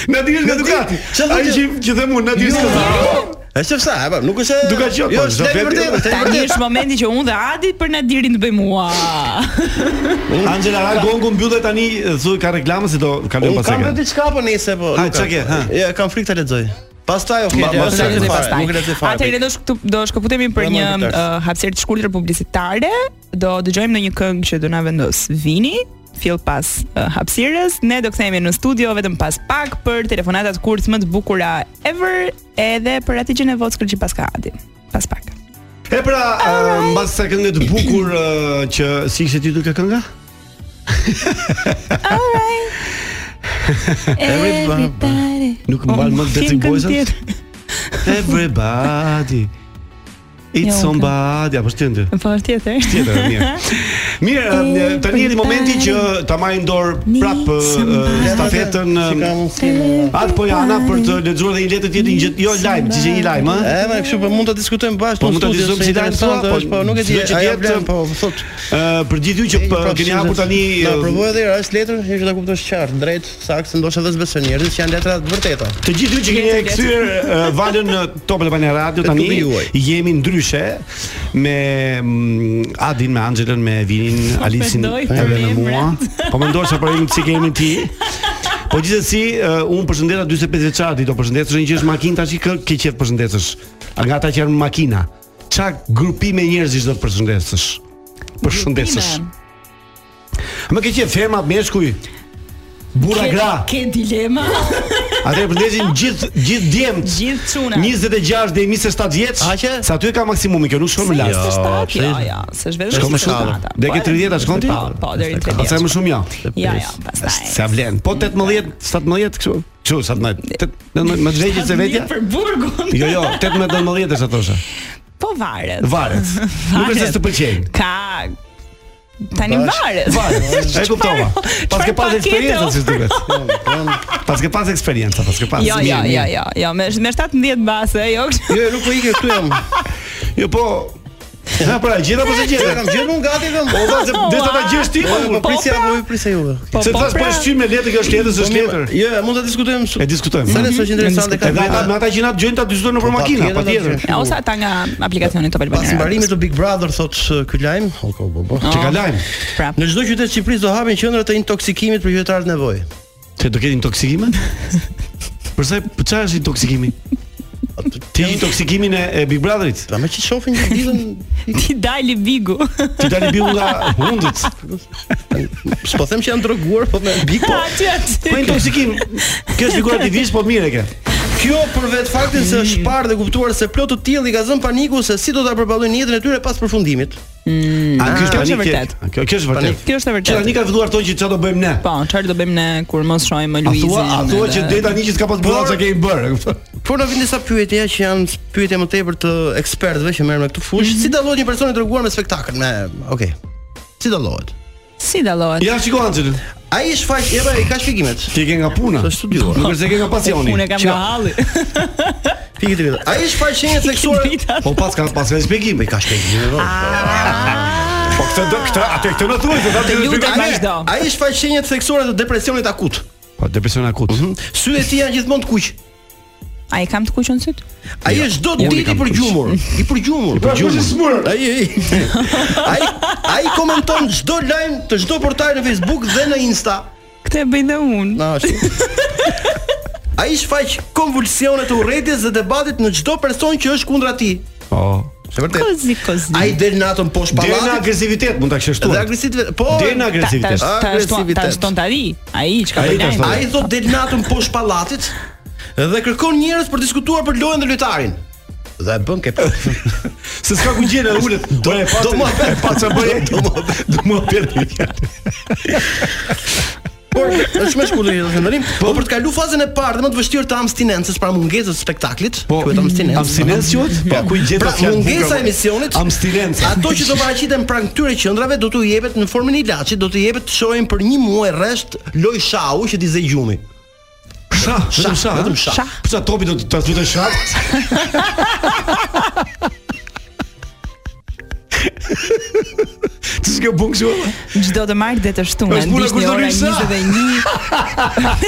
[SPEAKER 7] Nadiri është nga Ducati.
[SPEAKER 8] Çfarë
[SPEAKER 7] Ai
[SPEAKER 8] thotë?
[SPEAKER 7] që që them unë Nadiri është nga Ducati.
[SPEAKER 8] E se fsa, e pa, nuk është se-
[SPEAKER 7] Duka qenë,
[SPEAKER 8] Jo,
[SPEAKER 7] po,
[SPEAKER 8] është
[SPEAKER 7] çdo
[SPEAKER 8] lejtë
[SPEAKER 7] vetë-
[SPEAKER 8] vërtetë, është lejtë
[SPEAKER 9] Tani
[SPEAKER 8] vërtetë.
[SPEAKER 9] është momenti që unë dhe Adi për Nadirin të bëjmë ua.
[SPEAKER 7] Angela Ragongu mbyllet tani thuaj ka reklamë se do kalojmë
[SPEAKER 8] Unë
[SPEAKER 7] pas
[SPEAKER 8] kam
[SPEAKER 7] saj.
[SPEAKER 8] vetë diçka po nice po.
[SPEAKER 7] Ha,
[SPEAKER 8] nuk kam.
[SPEAKER 7] çka ke, ha?
[SPEAKER 8] Ja, kam frikë ta lexoj. Pastaj okay,
[SPEAKER 9] Okej,
[SPEAKER 8] ja,
[SPEAKER 7] Po,
[SPEAKER 9] do
[SPEAKER 8] mos e
[SPEAKER 9] të lexoj
[SPEAKER 8] lexoj fare,
[SPEAKER 9] pastaj.
[SPEAKER 8] Nuk e lexoj fare.
[SPEAKER 9] Atëherë do shkëtu do shkëputemi për
[SPEAKER 8] Bravo,
[SPEAKER 9] një
[SPEAKER 8] Lutars.
[SPEAKER 9] uh, hapësirë të shkurtër publicitare, do dëgjojmë në një këngë që do na vendos Vini fill pas uh, hapësirës. Ne do kthehemi në studio vetëm pas pak për telefonatat kurth më të bukura ever edhe për atë gjën e vockël që paska Adi. Pas pak.
[SPEAKER 7] E pra, uh, mbas sa këngë të bukur uh, që si ishte titull kjo kënga?
[SPEAKER 9] Everybody. Oh,
[SPEAKER 7] Nuk mbal më Dancing Boys. Everybody.
[SPEAKER 9] Jo,
[SPEAKER 7] It's
[SPEAKER 9] ok.
[SPEAKER 7] somebody, apo shtjende.
[SPEAKER 9] Po tjetër.
[SPEAKER 7] Tjetër, mirë. Mirë, um, tani është momenti që ta marrim dorë prap uh, uh, stafetën
[SPEAKER 8] Si ka
[SPEAKER 7] um,
[SPEAKER 8] mundsi.
[SPEAKER 7] Atë po Jana për të lexuar dhe një letër tjetër një gjë jo lajm, që një lajm, ë?
[SPEAKER 8] E, më kështu po mund ta diskutojmë bashkë.
[SPEAKER 7] Po,
[SPEAKER 8] në
[SPEAKER 7] mund ta
[SPEAKER 8] studio,
[SPEAKER 7] diskutojmë
[SPEAKER 8] se
[SPEAKER 7] si lajmë
[SPEAKER 8] interesante
[SPEAKER 7] thua, po,
[SPEAKER 8] është, po nuk e di.
[SPEAKER 7] çdo që
[SPEAKER 8] Ajo
[SPEAKER 7] tjetë-
[SPEAKER 8] vlen, po thot.
[SPEAKER 7] Ë, Uh, Për gjithë ju që
[SPEAKER 8] Ej,
[SPEAKER 7] pë-
[SPEAKER 8] prapë
[SPEAKER 7] keni
[SPEAKER 8] si
[SPEAKER 7] hapur
[SPEAKER 8] zë-
[SPEAKER 7] tani uh,
[SPEAKER 8] Na
[SPEAKER 7] ë,
[SPEAKER 8] provoj edhe as letrën, hiç ta kuptosh qartë, drejt, saktë, ndoshta vetë besën njerëzit që janë letra të vërteta.
[SPEAKER 7] Të gjithë ju që keni kthyer eh, valën në Top e Albania Radio tani
[SPEAKER 8] klubi juaj.
[SPEAKER 7] jemi ndryshe me mm, Adin, me Anxhelën, me Vinin, Alisin
[SPEAKER 9] Po mendoj për
[SPEAKER 7] edhe me mua. Po mendoj se po jemi si kemi ti. Po gjithsesi eh, unë përshëndeta 45 vjeçar, ti do përshëndetësh një gjë është makinë tash i kë ke qef përshëndetësh. A Nga ata që janë makina. Ça grupime njerëzish do të përshëndetësh? Përshëndetësh. Më ke qef fermat, meshkuj. Burra gra.
[SPEAKER 9] Ke dilema
[SPEAKER 7] Atëherë përndesin gjithë gjithë djemt.
[SPEAKER 9] gjithë çuna.
[SPEAKER 7] 26 deri 27 vjeç.
[SPEAKER 8] Aqe?
[SPEAKER 7] Sa aty e ka maksimumi kjo, nuk shkon më lart.
[SPEAKER 9] 27,
[SPEAKER 8] Jo,
[SPEAKER 9] jo,
[SPEAKER 8] pse-
[SPEAKER 9] jo, s'është vetëm
[SPEAKER 7] Shkon më
[SPEAKER 9] 27.
[SPEAKER 7] shumë. Dhe ke
[SPEAKER 9] Po,
[SPEAKER 7] 30 a shkon ti?
[SPEAKER 9] Po, po, deri 30.
[SPEAKER 7] Pastaj më shumë ja.
[SPEAKER 9] Ja, ja, Jo, pastaj.
[SPEAKER 7] Sa vlen? Po 18, 17 kështu. Kështu 17. Tet- 19 më vjeçi se vetja?
[SPEAKER 9] Po, Për burgun.
[SPEAKER 7] Jo, jo, 18 19 është ato.
[SPEAKER 9] Po varet.
[SPEAKER 7] Varet. Nuk është se të pëlqejnë.
[SPEAKER 9] Ka Tani varet.
[SPEAKER 7] Varet. E kuptova. Pas ke
[SPEAKER 9] çfarë
[SPEAKER 7] pas
[SPEAKER 9] pakete
[SPEAKER 7] eksperiencën si duket. Pas ke pas eksperiencë, pas ke pas.
[SPEAKER 9] Jo, jo,
[SPEAKER 7] Mirë,
[SPEAKER 9] jo,
[SPEAKER 7] mirë.
[SPEAKER 9] jo, jo, me me 17 base, jo. kështu.
[SPEAKER 8] Jo, nuk po ikë këtu jam.
[SPEAKER 7] Jo, po. Na pra, gjeta apo se
[SPEAKER 8] Ja
[SPEAKER 7] gjeta?
[SPEAKER 8] kam gjetur unë gati vëm.
[SPEAKER 7] Po, vazhdo, desa ta gjesh ti.
[SPEAKER 8] Po,
[SPEAKER 7] po,
[SPEAKER 8] po prisja
[SPEAKER 9] pra.
[SPEAKER 8] apo ju prisja juve.
[SPEAKER 9] Po,
[SPEAKER 7] Se
[SPEAKER 9] po,
[SPEAKER 7] thash po
[SPEAKER 9] pra.
[SPEAKER 7] shtyme letër, kjo është letër, s'është letër.
[SPEAKER 8] Jo, mund ta diskutojmë. su-
[SPEAKER 7] E diskutojmë.
[SPEAKER 8] Sa nesër është interesante ka
[SPEAKER 7] Edhe ata,
[SPEAKER 8] veta-
[SPEAKER 7] me ata që na dëgjojnë ta diskutojnë nëpër makina,
[SPEAKER 8] tjetër,
[SPEAKER 7] patjetër.
[SPEAKER 8] tjetër.
[SPEAKER 9] Ja, ose ata nga aplikacioni Top Albania.
[SPEAKER 8] Pas mbarimit të Big Brother thot sh, ky lajm, o, ko, bo, bo.
[SPEAKER 7] Që ka lajm,
[SPEAKER 9] Pra,
[SPEAKER 8] Në çdo qytet të Shqipërisë do hapen qendra të intoksikimit për qytetarët në nevojë.
[SPEAKER 7] se do ketë intoksikime? Përsa për çfarë është intoksikimi? Ti intoksikimin e, e Big Brotherit.
[SPEAKER 8] Ta më Pra që shohin një ditën
[SPEAKER 9] ti dali Bigu.
[SPEAKER 7] Ti tani biu nga hundët.
[SPEAKER 8] s'po them që janë droguar, po me Big po.
[SPEAKER 9] Aty aty.
[SPEAKER 7] Po intoksikim. Kjo është figurativisht, po mirë e ke.
[SPEAKER 8] Kjo për vetë faktin se është parë dhe kuptuar se plot të tillë i ka zënë paniku se si do ta përballojnë jetën e tyre pas përfundimit.
[SPEAKER 7] A kjo
[SPEAKER 9] kjo
[SPEAKER 7] panik
[SPEAKER 9] është e
[SPEAKER 7] e-
[SPEAKER 9] vërtet.
[SPEAKER 7] Kjo kjo është vërtet.
[SPEAKER 9] Kjo është
[SPEAKER 7] Që
[SPEAKER 9] e
[SPEAKER 7] tani
[SPEAKER 9] vërtetë.
[SPEAKER 7] ka filluar thonë që çfarë do bëjmë ne.
[SPEAKER 9] Po, çfarë do bëjmë ne kur mos shohim më
[SPEAKER 7] A
[SPEAKER 9] Luizin?
[SPEAKER 7] thua, a thua që
[SPEAKER 9] edhe-
[SPEAKER 7] deri tani që s'ka pas bërë çka kemi bërë. e kupton?
[SPEAKER 8] Por në vinë disa pyetje që janë pyetje më tepër të ekspertëve që merren me këtë fushë, si dallohet një person i droguar me spektakël me, okay. Si dallohet?
[SPEAKER 9] Si dallohet?
[SPEAKER 7] Ja shikoj Anxhelin.
[SPEAKER 8] Ai shfaq, e pra, i ka shpjegimet.
[SPEAKER 7] Ti ke nga puna.
[SPEAKER 8] Është studiuar.
[SPEAKER 7] Nuk është se ke nga pasioni.
[SPEAKER 9] Unë e kam
[SPEAKER 7] Që-
[SPEAKER 9] nga halli.
[SPEAKER 8] Pikë të vetë. Ai shfaq shenjat seksuale.
[SPEAKER 9] Drita.
[SPEAKER 7] Po pas ka pas ka shpjegim.
[SPEAKER 8] Ka shpjegime vëllai.
[SPEAKER 7] Po këtë do këtë atë këtë në thuaj se ta
[SPEAKER 9] Të lutem vazhdo.
[SPEAKER 8] Ai shfaq shenjat seksuale të depresionit akut.
[SPEAKER 7] Po depresion akut.
[SPEAKER 8] Sytë e tij janë gjithmonë të kuq.
[SPEAKER 9] Ai kam të kuqën syt?
[SPEAKER 8] Ai është çdo ditë Jo. i
[SPEAKER 7] kam
[SPEAKER 8] përgjumur, i përgjumur. I përgjumur. Ai ai. Ai ai komenton çdo lajm të çdo portali në Facebook dhe në Insta.
[SPEAKER 9] Këtë e bëj dhe unë.
[SPEAKER 8] Na është. Ai shfaq konvulsione të urrëties dhe debatit në çdo person që është kundra tij.
[SPEAKER 7] Po.
[SPEAKER 8] Është vërtet.
[SPEAKER 9] Kozi, kozi.
[SPEAKER 8] Ai del natën poshtë
[SPEAKER 7] Deri në
[SPEAKER 8] pallatit
[SPEAKER 7] agresivitet mund ta kishë
[SPEAKER 8] dhe
[SPEAKER 7] shtuar.
[SPEAKER 8] agresivitet. Po.
[SPEAKER 7] Deri në
[SPEAKER 9] Ta- ta-
[SPEAKER 7] agresivitet.
[SPEAKER 9] ta- ta- shton- Ta
[SPEAKER 8] Agresivitet.
[SPEAKER 9] shton tani. Ai çka
[SPEAKER 7] Ai
[SPEAKER 9] po
[SPEAKER 7] ta
[SPEAKER 9] lajm.
[SPEAKER 7] shton.
[SPEAKER 8] Ai thot del natën poshtë pallatit dhe kërkon njerëz për diskutuar për lojën dhe lojtarin. Dhe e bën ke
[SPEAKER 7] Se s'ka ku gjen e ulet. Do e pa.
[SPEAKER 8] do mua
[SPEAKER 7] e pa ç'a bëj. Do mua. Do mua bëj.
[SPEAKER 8] Por është më shkurtër jetë thëndrim, po për të kalu fazën e parë dhe më të vështirë të abstinencës para mungesës së spektaklit,
[SPEAKER 7] Po,
[SPEAKER 8] quhet abstinencë.
[SPEAKER 7] abstinencë quhet? Po, ku i gjet
[SPEAKER 8] pra,
[SPEAKER 7] atë fjalë bukur,
[SPEAKER 8] mungesa
[SPEAKER 7] po?
[SPEAKER 8] e emisionit.
[SPEAKER 7] Abstinencë.
[SPEAKER 8] Ato që do paraqiten pranë këtyre qendrave do t'u jepet në formën e ilaçit, do t'u jepet të shohin për një muaj rresht loj shau që t'i zë gjumi.
[SPEAKER 7] shah, vetëm shah, vetëm shah.
[SPEAKER 9] Shah.
[SPEAKER 7] Pse topi do të transmitojë shah? Ti s'ke bën kështu? valla?
[SPEAKER 9] Çdo të martë dhe të shtunën,
[SPEAKER 7] Është puna kur
[SPEAKER 9] dishte
[SPEAKER 7] do
[SPEAKER 9] ora
[SPEAKER 7] lyp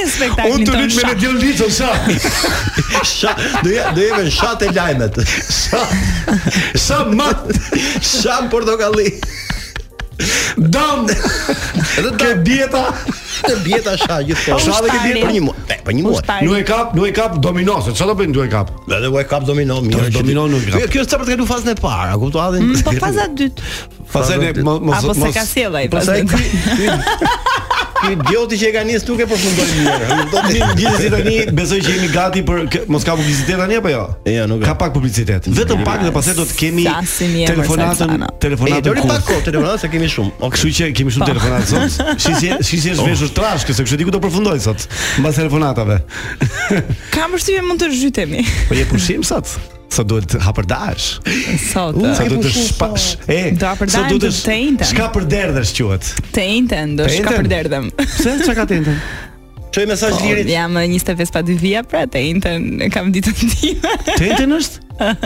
[SPEAKER 7] shah.
[SPEAKER 9] 21 në
[SPEAKER 7] Unë
[SPEAKER 9] spektaklin
[SPEAKER 7] të
[SPEAKER 9] tonë
[SPEAKER 7] lyt me
[SPEAKER 9] shah.
[SPEAKER 7] ne diel liço shah.
[SPEAKER 8] Sha, do ja do jemi në shatë e lajmet. Sha,
[SPEAKER 7] Shah mat,
[SPEAKER 8] sha në portokalli.
[SPEAKER 7] dam.
[SPEAKER 8] Edhe
[SPEAKER 7] Ke dieta.
[SPEAKER 8] të bjeta sha gjithkohë.
[SPEAKER 9] Ushtari.
[SPEAKER 8] Sha dhe ke ditë për një muaj. E, Për një muaj.
[SPEAKER 9] Ushtari.
[SPEAKER 7] Nu e kap, nu e kap domino, se çfarë do bëjnë du e kap?
[SPEAKER 8] Edhe u e kap domino, mirë.
[SPEAKER 7] Po,
[SPEAKER 8] që
[SPEAKER 7] domino
[SPEAKER 8] ti-
[SPEAKER 7] nuk e kap.
[SPEAKER 8] Jo, Kjo është sa për të kalu fazën e parë, a kuptohet?
[SPEAKER 9] Mm, Po faza e dytë.
[SPEAKER 7] Pastaj ne mos mos
[SPEAKER 9] Apo se ka sjell ai.
[SPEAKER 8] Po sa
[SPEAKER 9] pastaj.
[SPEAKER 8] ky ky ky idioti që e ka nis nuk e përfundoi mirë. Do të
[SPEAKER 7] Gjithsesi Po, tani besoj që jemi gati për kë- mos ka publicitet tani apo jo?
[SPEAKER 8] Jo, nuk ka.
[SPEAKER 7] Ka pak publicitet. Vetëm pak dhe pastaj do të kemi
[SPEAKER 9] Sa si mirë,
[SPEAKER 7] telefonatën,
[SPEAKER 9] Marsana.
[SPEAKER 8] E
[SPEAKER 7] telefonatën.
[SPEAKER 8] doli
[SPEAKER 7] kurth.
[SPEAKER 8] pak kohë telefonat se kemi shumë.
[SPEAKER 7] Kështu që kemi shumë telefonat sot. Shisje, shisje është veshur trash, kësaj kështu diku do përfundoj sot mbas telefonatave.
[SPEAKER 9] Kam përshtypjen mund të zhytemi
[SPEAKER 7] Po je pushim sot. Sa duhet të hapër dash.
[SPEAKER 9] sot. eh,
[SPEAKER 7] Sa duhet të
[SPEAKER 8] pushim
[SPEAKER 7] shpash. E,
[SPEAKER 9] po. Do hapër
[SPEAKER 7] sa
[SPEAKER 9] dash,
[SPEAKER 7] duhet
[SPEAKER 9] do të ejnten.
[SPEAKER 7] Çka për derdhësh quhet?
[SPEAKER 9] Të ejten do shka
[SPEAKER 7] Ejten?
[SPEAKER 9] për derdhem.
[SPEAKER 7] Pse çka ka tenten?
[SPEAKER 8] Çoj mesazh
[SPEAKER 9] Oh,
[SPEAKER 8] lirit.
[SPEAKER 9] Jam eh, 25 pa dy vija pra të ejten e kam ditën time.
[SPEAKER 7] Tenten është?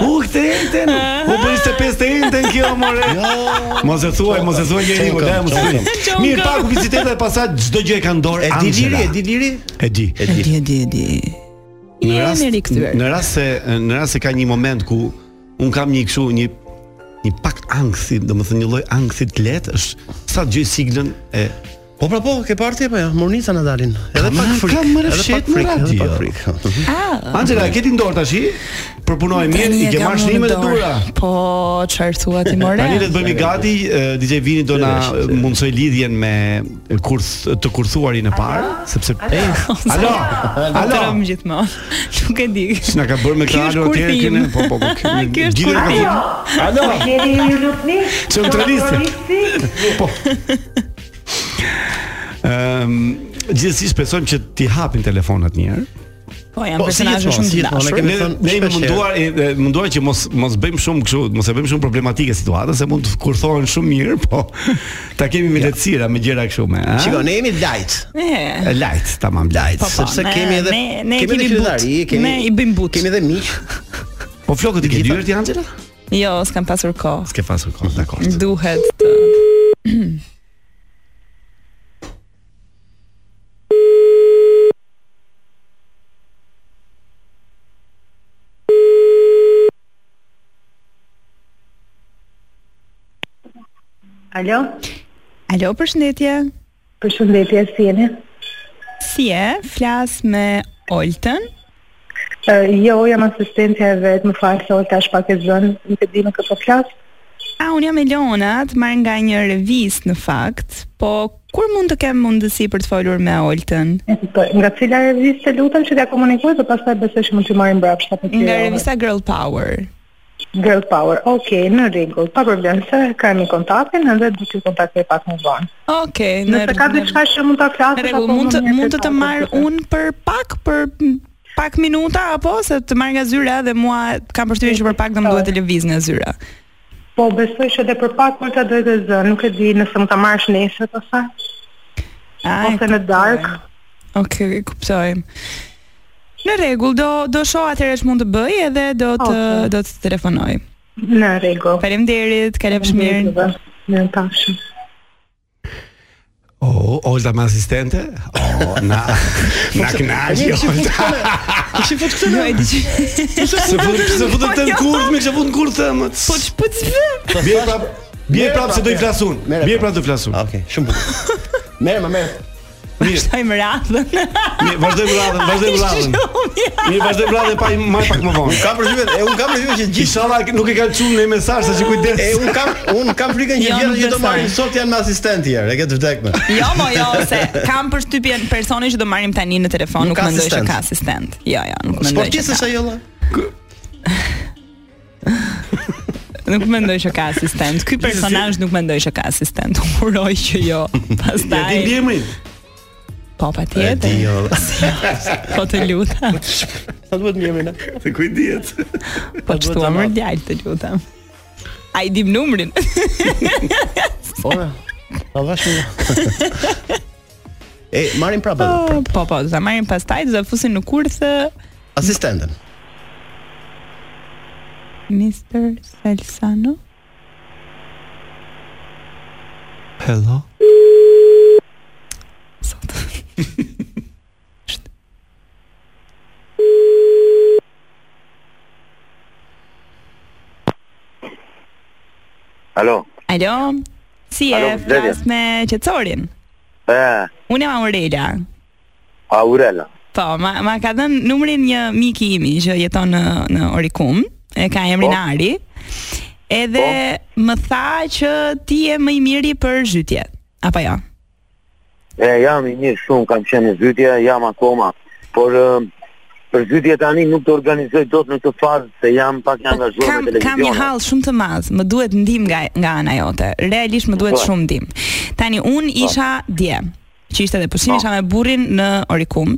[SPEAKER 7] U këtë enten. U bëri 25 tenten kjo more.
[SPEAKER 8] Jo, Oh,
[SPEAKER 7] Mos e thuaj, mos e thuaj njeriu,
[SPEAKER 8] Çokëm,
[SPEAKER 7] lajë mos e thuaj.
[SPEAKER 9] çokëm.
[SPEAKER 7] Mirë, pak publicitet dhe pasaj çdo gjë e ka në dorë.
[SPEAKER 8] E di liri,
[SPEAKER 7] Angela.
[SPEAKER 8] e di liri.
[SPEAKER 7] E di.
[SPEAKER 8] E di.
[SPEAKER 9] e di, e di. Jemi rikthyer.
[SPEAKER 7] në rast se në rast se ka një moment ku un kam një kështu një një pak ankthi, domethënë një lloj ankthi të lehtë është sa gjej siglën e
[SPEAKER 8] Po pra po, ke parti apo jo? Mornica na dalin. Edhe
[SPEAKER 7] Ka
[SPEAKER 8] pak
[SPEAKER 7] marrë-
[SPEAKER 8] frikë.
[SPEAKER 7] ka marrë
[SPEAKER 8] edhe
[SPEAKER 7] fshet
[SPEAKER 8] pak
[SPEAKER 7] në
[SPEAKER 8] frikë, edhe
[SPEAKER 7] radio.
[SPEAKER 8] pak frikë.
[SPEAKER 7] Angela, e ke ti ndor tash? Përpunoj mirë, i ke marrë shtrimet e dura.
[SPEAKER 9] Po, çfarë thua ti more?
[SPEAKER 7] Tani le të bëhemi gati, eh, DJ Vini do na eh, mundsoj lidhjen me kurth të kurthuarin e parë, sepse Alo. Alo.
[SPEAKER 9] Alo. gjithmonë. Nuk e di.
[SPEAKER 7] S'na ka bërë me
[SPEAKER 9] Ky
[SPEAKER 7] këtë
[SPEAKER 9] është
[SPEAKER 7] alo atje
[SPEAKER 9] kurthim.
[SPEAKER 7] këne, po po po.
[SPEAKER 9] Ky është
[SPEAKER 7] gjithë e ka
[SPEAKER 9] kurthim.
[SPEAKER 7] thënë. Alo. Çem treliste. Po. Ëm, gjithsesi shpresojmë që ti hapin telefonat një herë.
[SPEAKER 9] Po jam
[SPEAKER 8] Po, si
[SPEAKER 9] personazhe
[SPEAKER 8] gjithmonë,
[SPEAKER 9] shumë
[SPEAKER 8] si
[SPEAKER 9] të
[SPEAKER 8] gjithmonë,
[SPEAKER 9] dashur.
[SPEAKER 8] kemi
[SPEAKER 7] Ne
[SPEAKER 8] thënë
[SPEAKER 7] ne jemi
[SPEAKER 8] shpesh
[SPEAKER 7] munduar e, e, munduar që mos mos bëjmë shumë kështu, mos e bëjmë shumë problematike situatën, se mund të kurthohen shumë mirë, po ta kemi me lehtësira me gjëra kështu me, ha?
[SPEAKER 8] Shiko, ne jemi light.
[SPEAKER 9] Ne.
[SPEAKER 7] E, lajt, tamam lajt.
[SPEAKER 9] Po, po,
[SPEAKER 8] sepse
[SPEAKER 9] ne-
[SPEAKER 8] kemi edhe
[SPEAKER 9] ne- ne
[SPEAKER 8] kemi
[SPEAKER 9] kemi
[SPEAKER 8] edhe
[SPEAKER 9] but.
[SPEAKER 8] qytetari, kemi
[SPEAKER 9] Ne i bëjmë but.
[SPEAKER 8] Kemi edhe miq.
[SPEAKER 7] Po flokët i ke dyer ti Angela?
[SPEAKER 9] Jo, s'kam pasur kohë.
[SPEAKER 7] S'ke pasur kohë, dakor.
[SPEAKER 9] Duhet të
[SPEAKER 11] Alo,
[SPEAKER 9] Alo, përshëndetje.
[SPEAKER 11] përshëndetje si jeni?
[SPEAKER 9] Si e? Flas me Oltën?
[SPEAKER 11] Uh, jo, jam asistentja e vetë, më falë se olë pak e zënë, nuk e di me këtë po flasë.
[SPEAKER 9] A, unë jam Elona, të marrë nga një revist në fakt, po kur mund të kem mundësi për të folur me Oltën?
[SPEAKER 11] Po, Nga cila revistë të lutëm që t'ja komunikoj, dhe pastaj besoj që mund të marim brapshta për
[SPEAKER 8] Jo.
[SPEAKER 9] Nga revista Girl Power.
[SPEAKER 11] Girl Power, okej, në rregull, pa problem, se kam i kontaktin, edhe do t'ju kontaktoj pak më vonë.
[SPEAKER 9] Okej, në
[SPEAKER 11] Nëse ka
[SPEAKER 9] rregull.
[SPEAKER 11] diçka që mund ta flasësh,
[SPEAKER 9] Në rregull, mund të mund të të marr unë për pak për m, pak minuta apo se të marr nga zyra dhe mua kam përshtypjen që për pak do më duhet të lëviz nga zyra.
[SPEAKER 11] Po, besoj që edhe për pak kur ta doj të zënë, nuk e di nëse mund ta marrësh nesër ose
[SPEAKER 9] A, e
[SPEAKER 11] ose në
[SPEAKER 9] kuptoj.
[SPEAKER 11] dark.
[SPEAKER 9] Okej, okay, kuptoj. Në rregull, do do shoh atëherë që mund të bëj edhe do të
[SPEAKER 11] Okej.
[SPEAKER 9] do të telefonoj.
[SPEAKER 11] Në rregull.
[SPEAKER 9] Faleminderit, kalofsh mirë.
[SPEAKER 11] Në pafshim.
[SPEAKER 7] Oh, Olta me asistente? Oh, na na knaqi Olta.
[SPEAKER 8] Ah, Kishin fut këtë.
[SPEAKER 9] Jo, e di që jo,
[SPEAKER 7] Se fut se futën të në kurth, më kisha futën kurth më.
[SPEAKER 9] po ç'po të vë.
[SPEAKER 7] Bie prap, bie prap se do i flasun.
[SPEAKER 8] Mere
[SPEAKER 7] Bie
[SPEAKER 8] prap.
[SPEAKER 7] prap do i flasun.
[SPEAKER 8] Ah, Okej, shumë bukur. Merë, më merë. Po
[SPEAKER 9] Ai më radhën.
[SPEAKER 7] Mirë, vazhdojmë radhën, vazhdojmë radhën. Mirë, vazhdojmë radhën pa më pak më vonë.
[SPEAKER 8] Ka përshtypjen, e un kam përshtypjen që gjithë
[SPEAKER 7] Inshallah nuk e kanë çuar në mesazh sa që kujdes.
[SPEAKER 8] E un kam un kam frikën që
[SPEAKER 9] Jo,
[SPEAKER 8] vjetë
[SPEAKER 9] nuk
[SPEAKER 8] që do
[SPEAKER 9] besoj.
[SPEAKER 8] marrin sot janë me asistent herë, e ke të vdekme.
[SPEAKER 9] Jo, mo, jo, se kam përshtypjen personi që do marrim tani në telefon,
[SPEAKER 8] Nuk
[SPEAKER 9] nuk,
[SPEAKER 8] ka
[SPEAKER 9] mendoj se
[SPEAKER 8] asistent. Po,
[SPEAKER 9] ka asistent. Jo, jo, nuk mendoj. që
[SPEAKER 8] Sportist
[SPEAKER 9] ka.
[SPEAKER 8] është ajo valla.
[SPEAKER 9] Nuk mendoj që ka asistent. Ky personazh nuk mendoj që ka asistent. Uroj që jo.
[SPEAKER 7] Ja ti
[SPEAKER 9] Pastaj.
[SPEAKER 7] ndjemrin.
[SPEAKER 9] Po
[SPEAKER 8] Di
[SPEAKER 9] patjetër.
[SPEAKER 8] jo.
[SPEAKER 9] Po të lutem.
[SPEAKER 8] Sa duhet më emrin?
[SPEAKER 7] Se ku i dihet?
[SPEAKER 9] Po
[SPEAKER 8] duhet
[SPEAKER 9] çtu
[SPEAKER 8] ta
[SPEAKER 9] emër
[SPEAKER 8] marr.
[SPEAKER 9] djalë të lutem. Ai dim numrin.
[SPEAKER 8] Po. Ta vash një. E marrin prapë.
[SPEAKER 9] Po, po, po, do ta marrin pastaj, do ta fusin në kurth ë,
[SPEAKER 8] Asistenten.
[SPEAKER 9] Mr. Salsano.
[SPEAKER 7] Hello.
[SPEAKER 12] Alo.
[SPEAKER 9] Alo. Si
[SPEAKER 12] Alo,
[SPEAKER 9] e
[SPEAKER 12] Bledia.
[SPEAKER 9] flas me qetësorin?
[SPEAKER 12] E,
[SPEAKER 9] Unë jam Aurela.
[SPEAKER 12] Aurela.
[SPEAKER 9] Po, ma, ma ka dhënë numrin një miki imi që jeton në në Orikum. E ka emrin
[SPEAKER 12] Po.
[SPEAKER 9] Ari. Edhe më tha që ti je më i miri për zhytje. Apo jo?
[SPEAKER 12] E, jam i mirë shumë, kam qenë në zhytje, jam akoma. Por, ë, për zhytje tani nuk të organizoj dot në këtë fazë, se jam pak i angazhuar
[SPEAKER 9] Po, Kam
[SPEAKER 12] me televizion.
[SPEAKER 9] kam një hall shumë të madh, më duhet ndim nga nga ana jote. Realisht më duhet
[SPEAKER 12] Po.
[SPEAKER 9] shumë ndim. Tani un isha dje, që ishte edhe
[SPEAKER 12] Po.
[SPEAKER 9] pushim, isha me burrin në Orikum.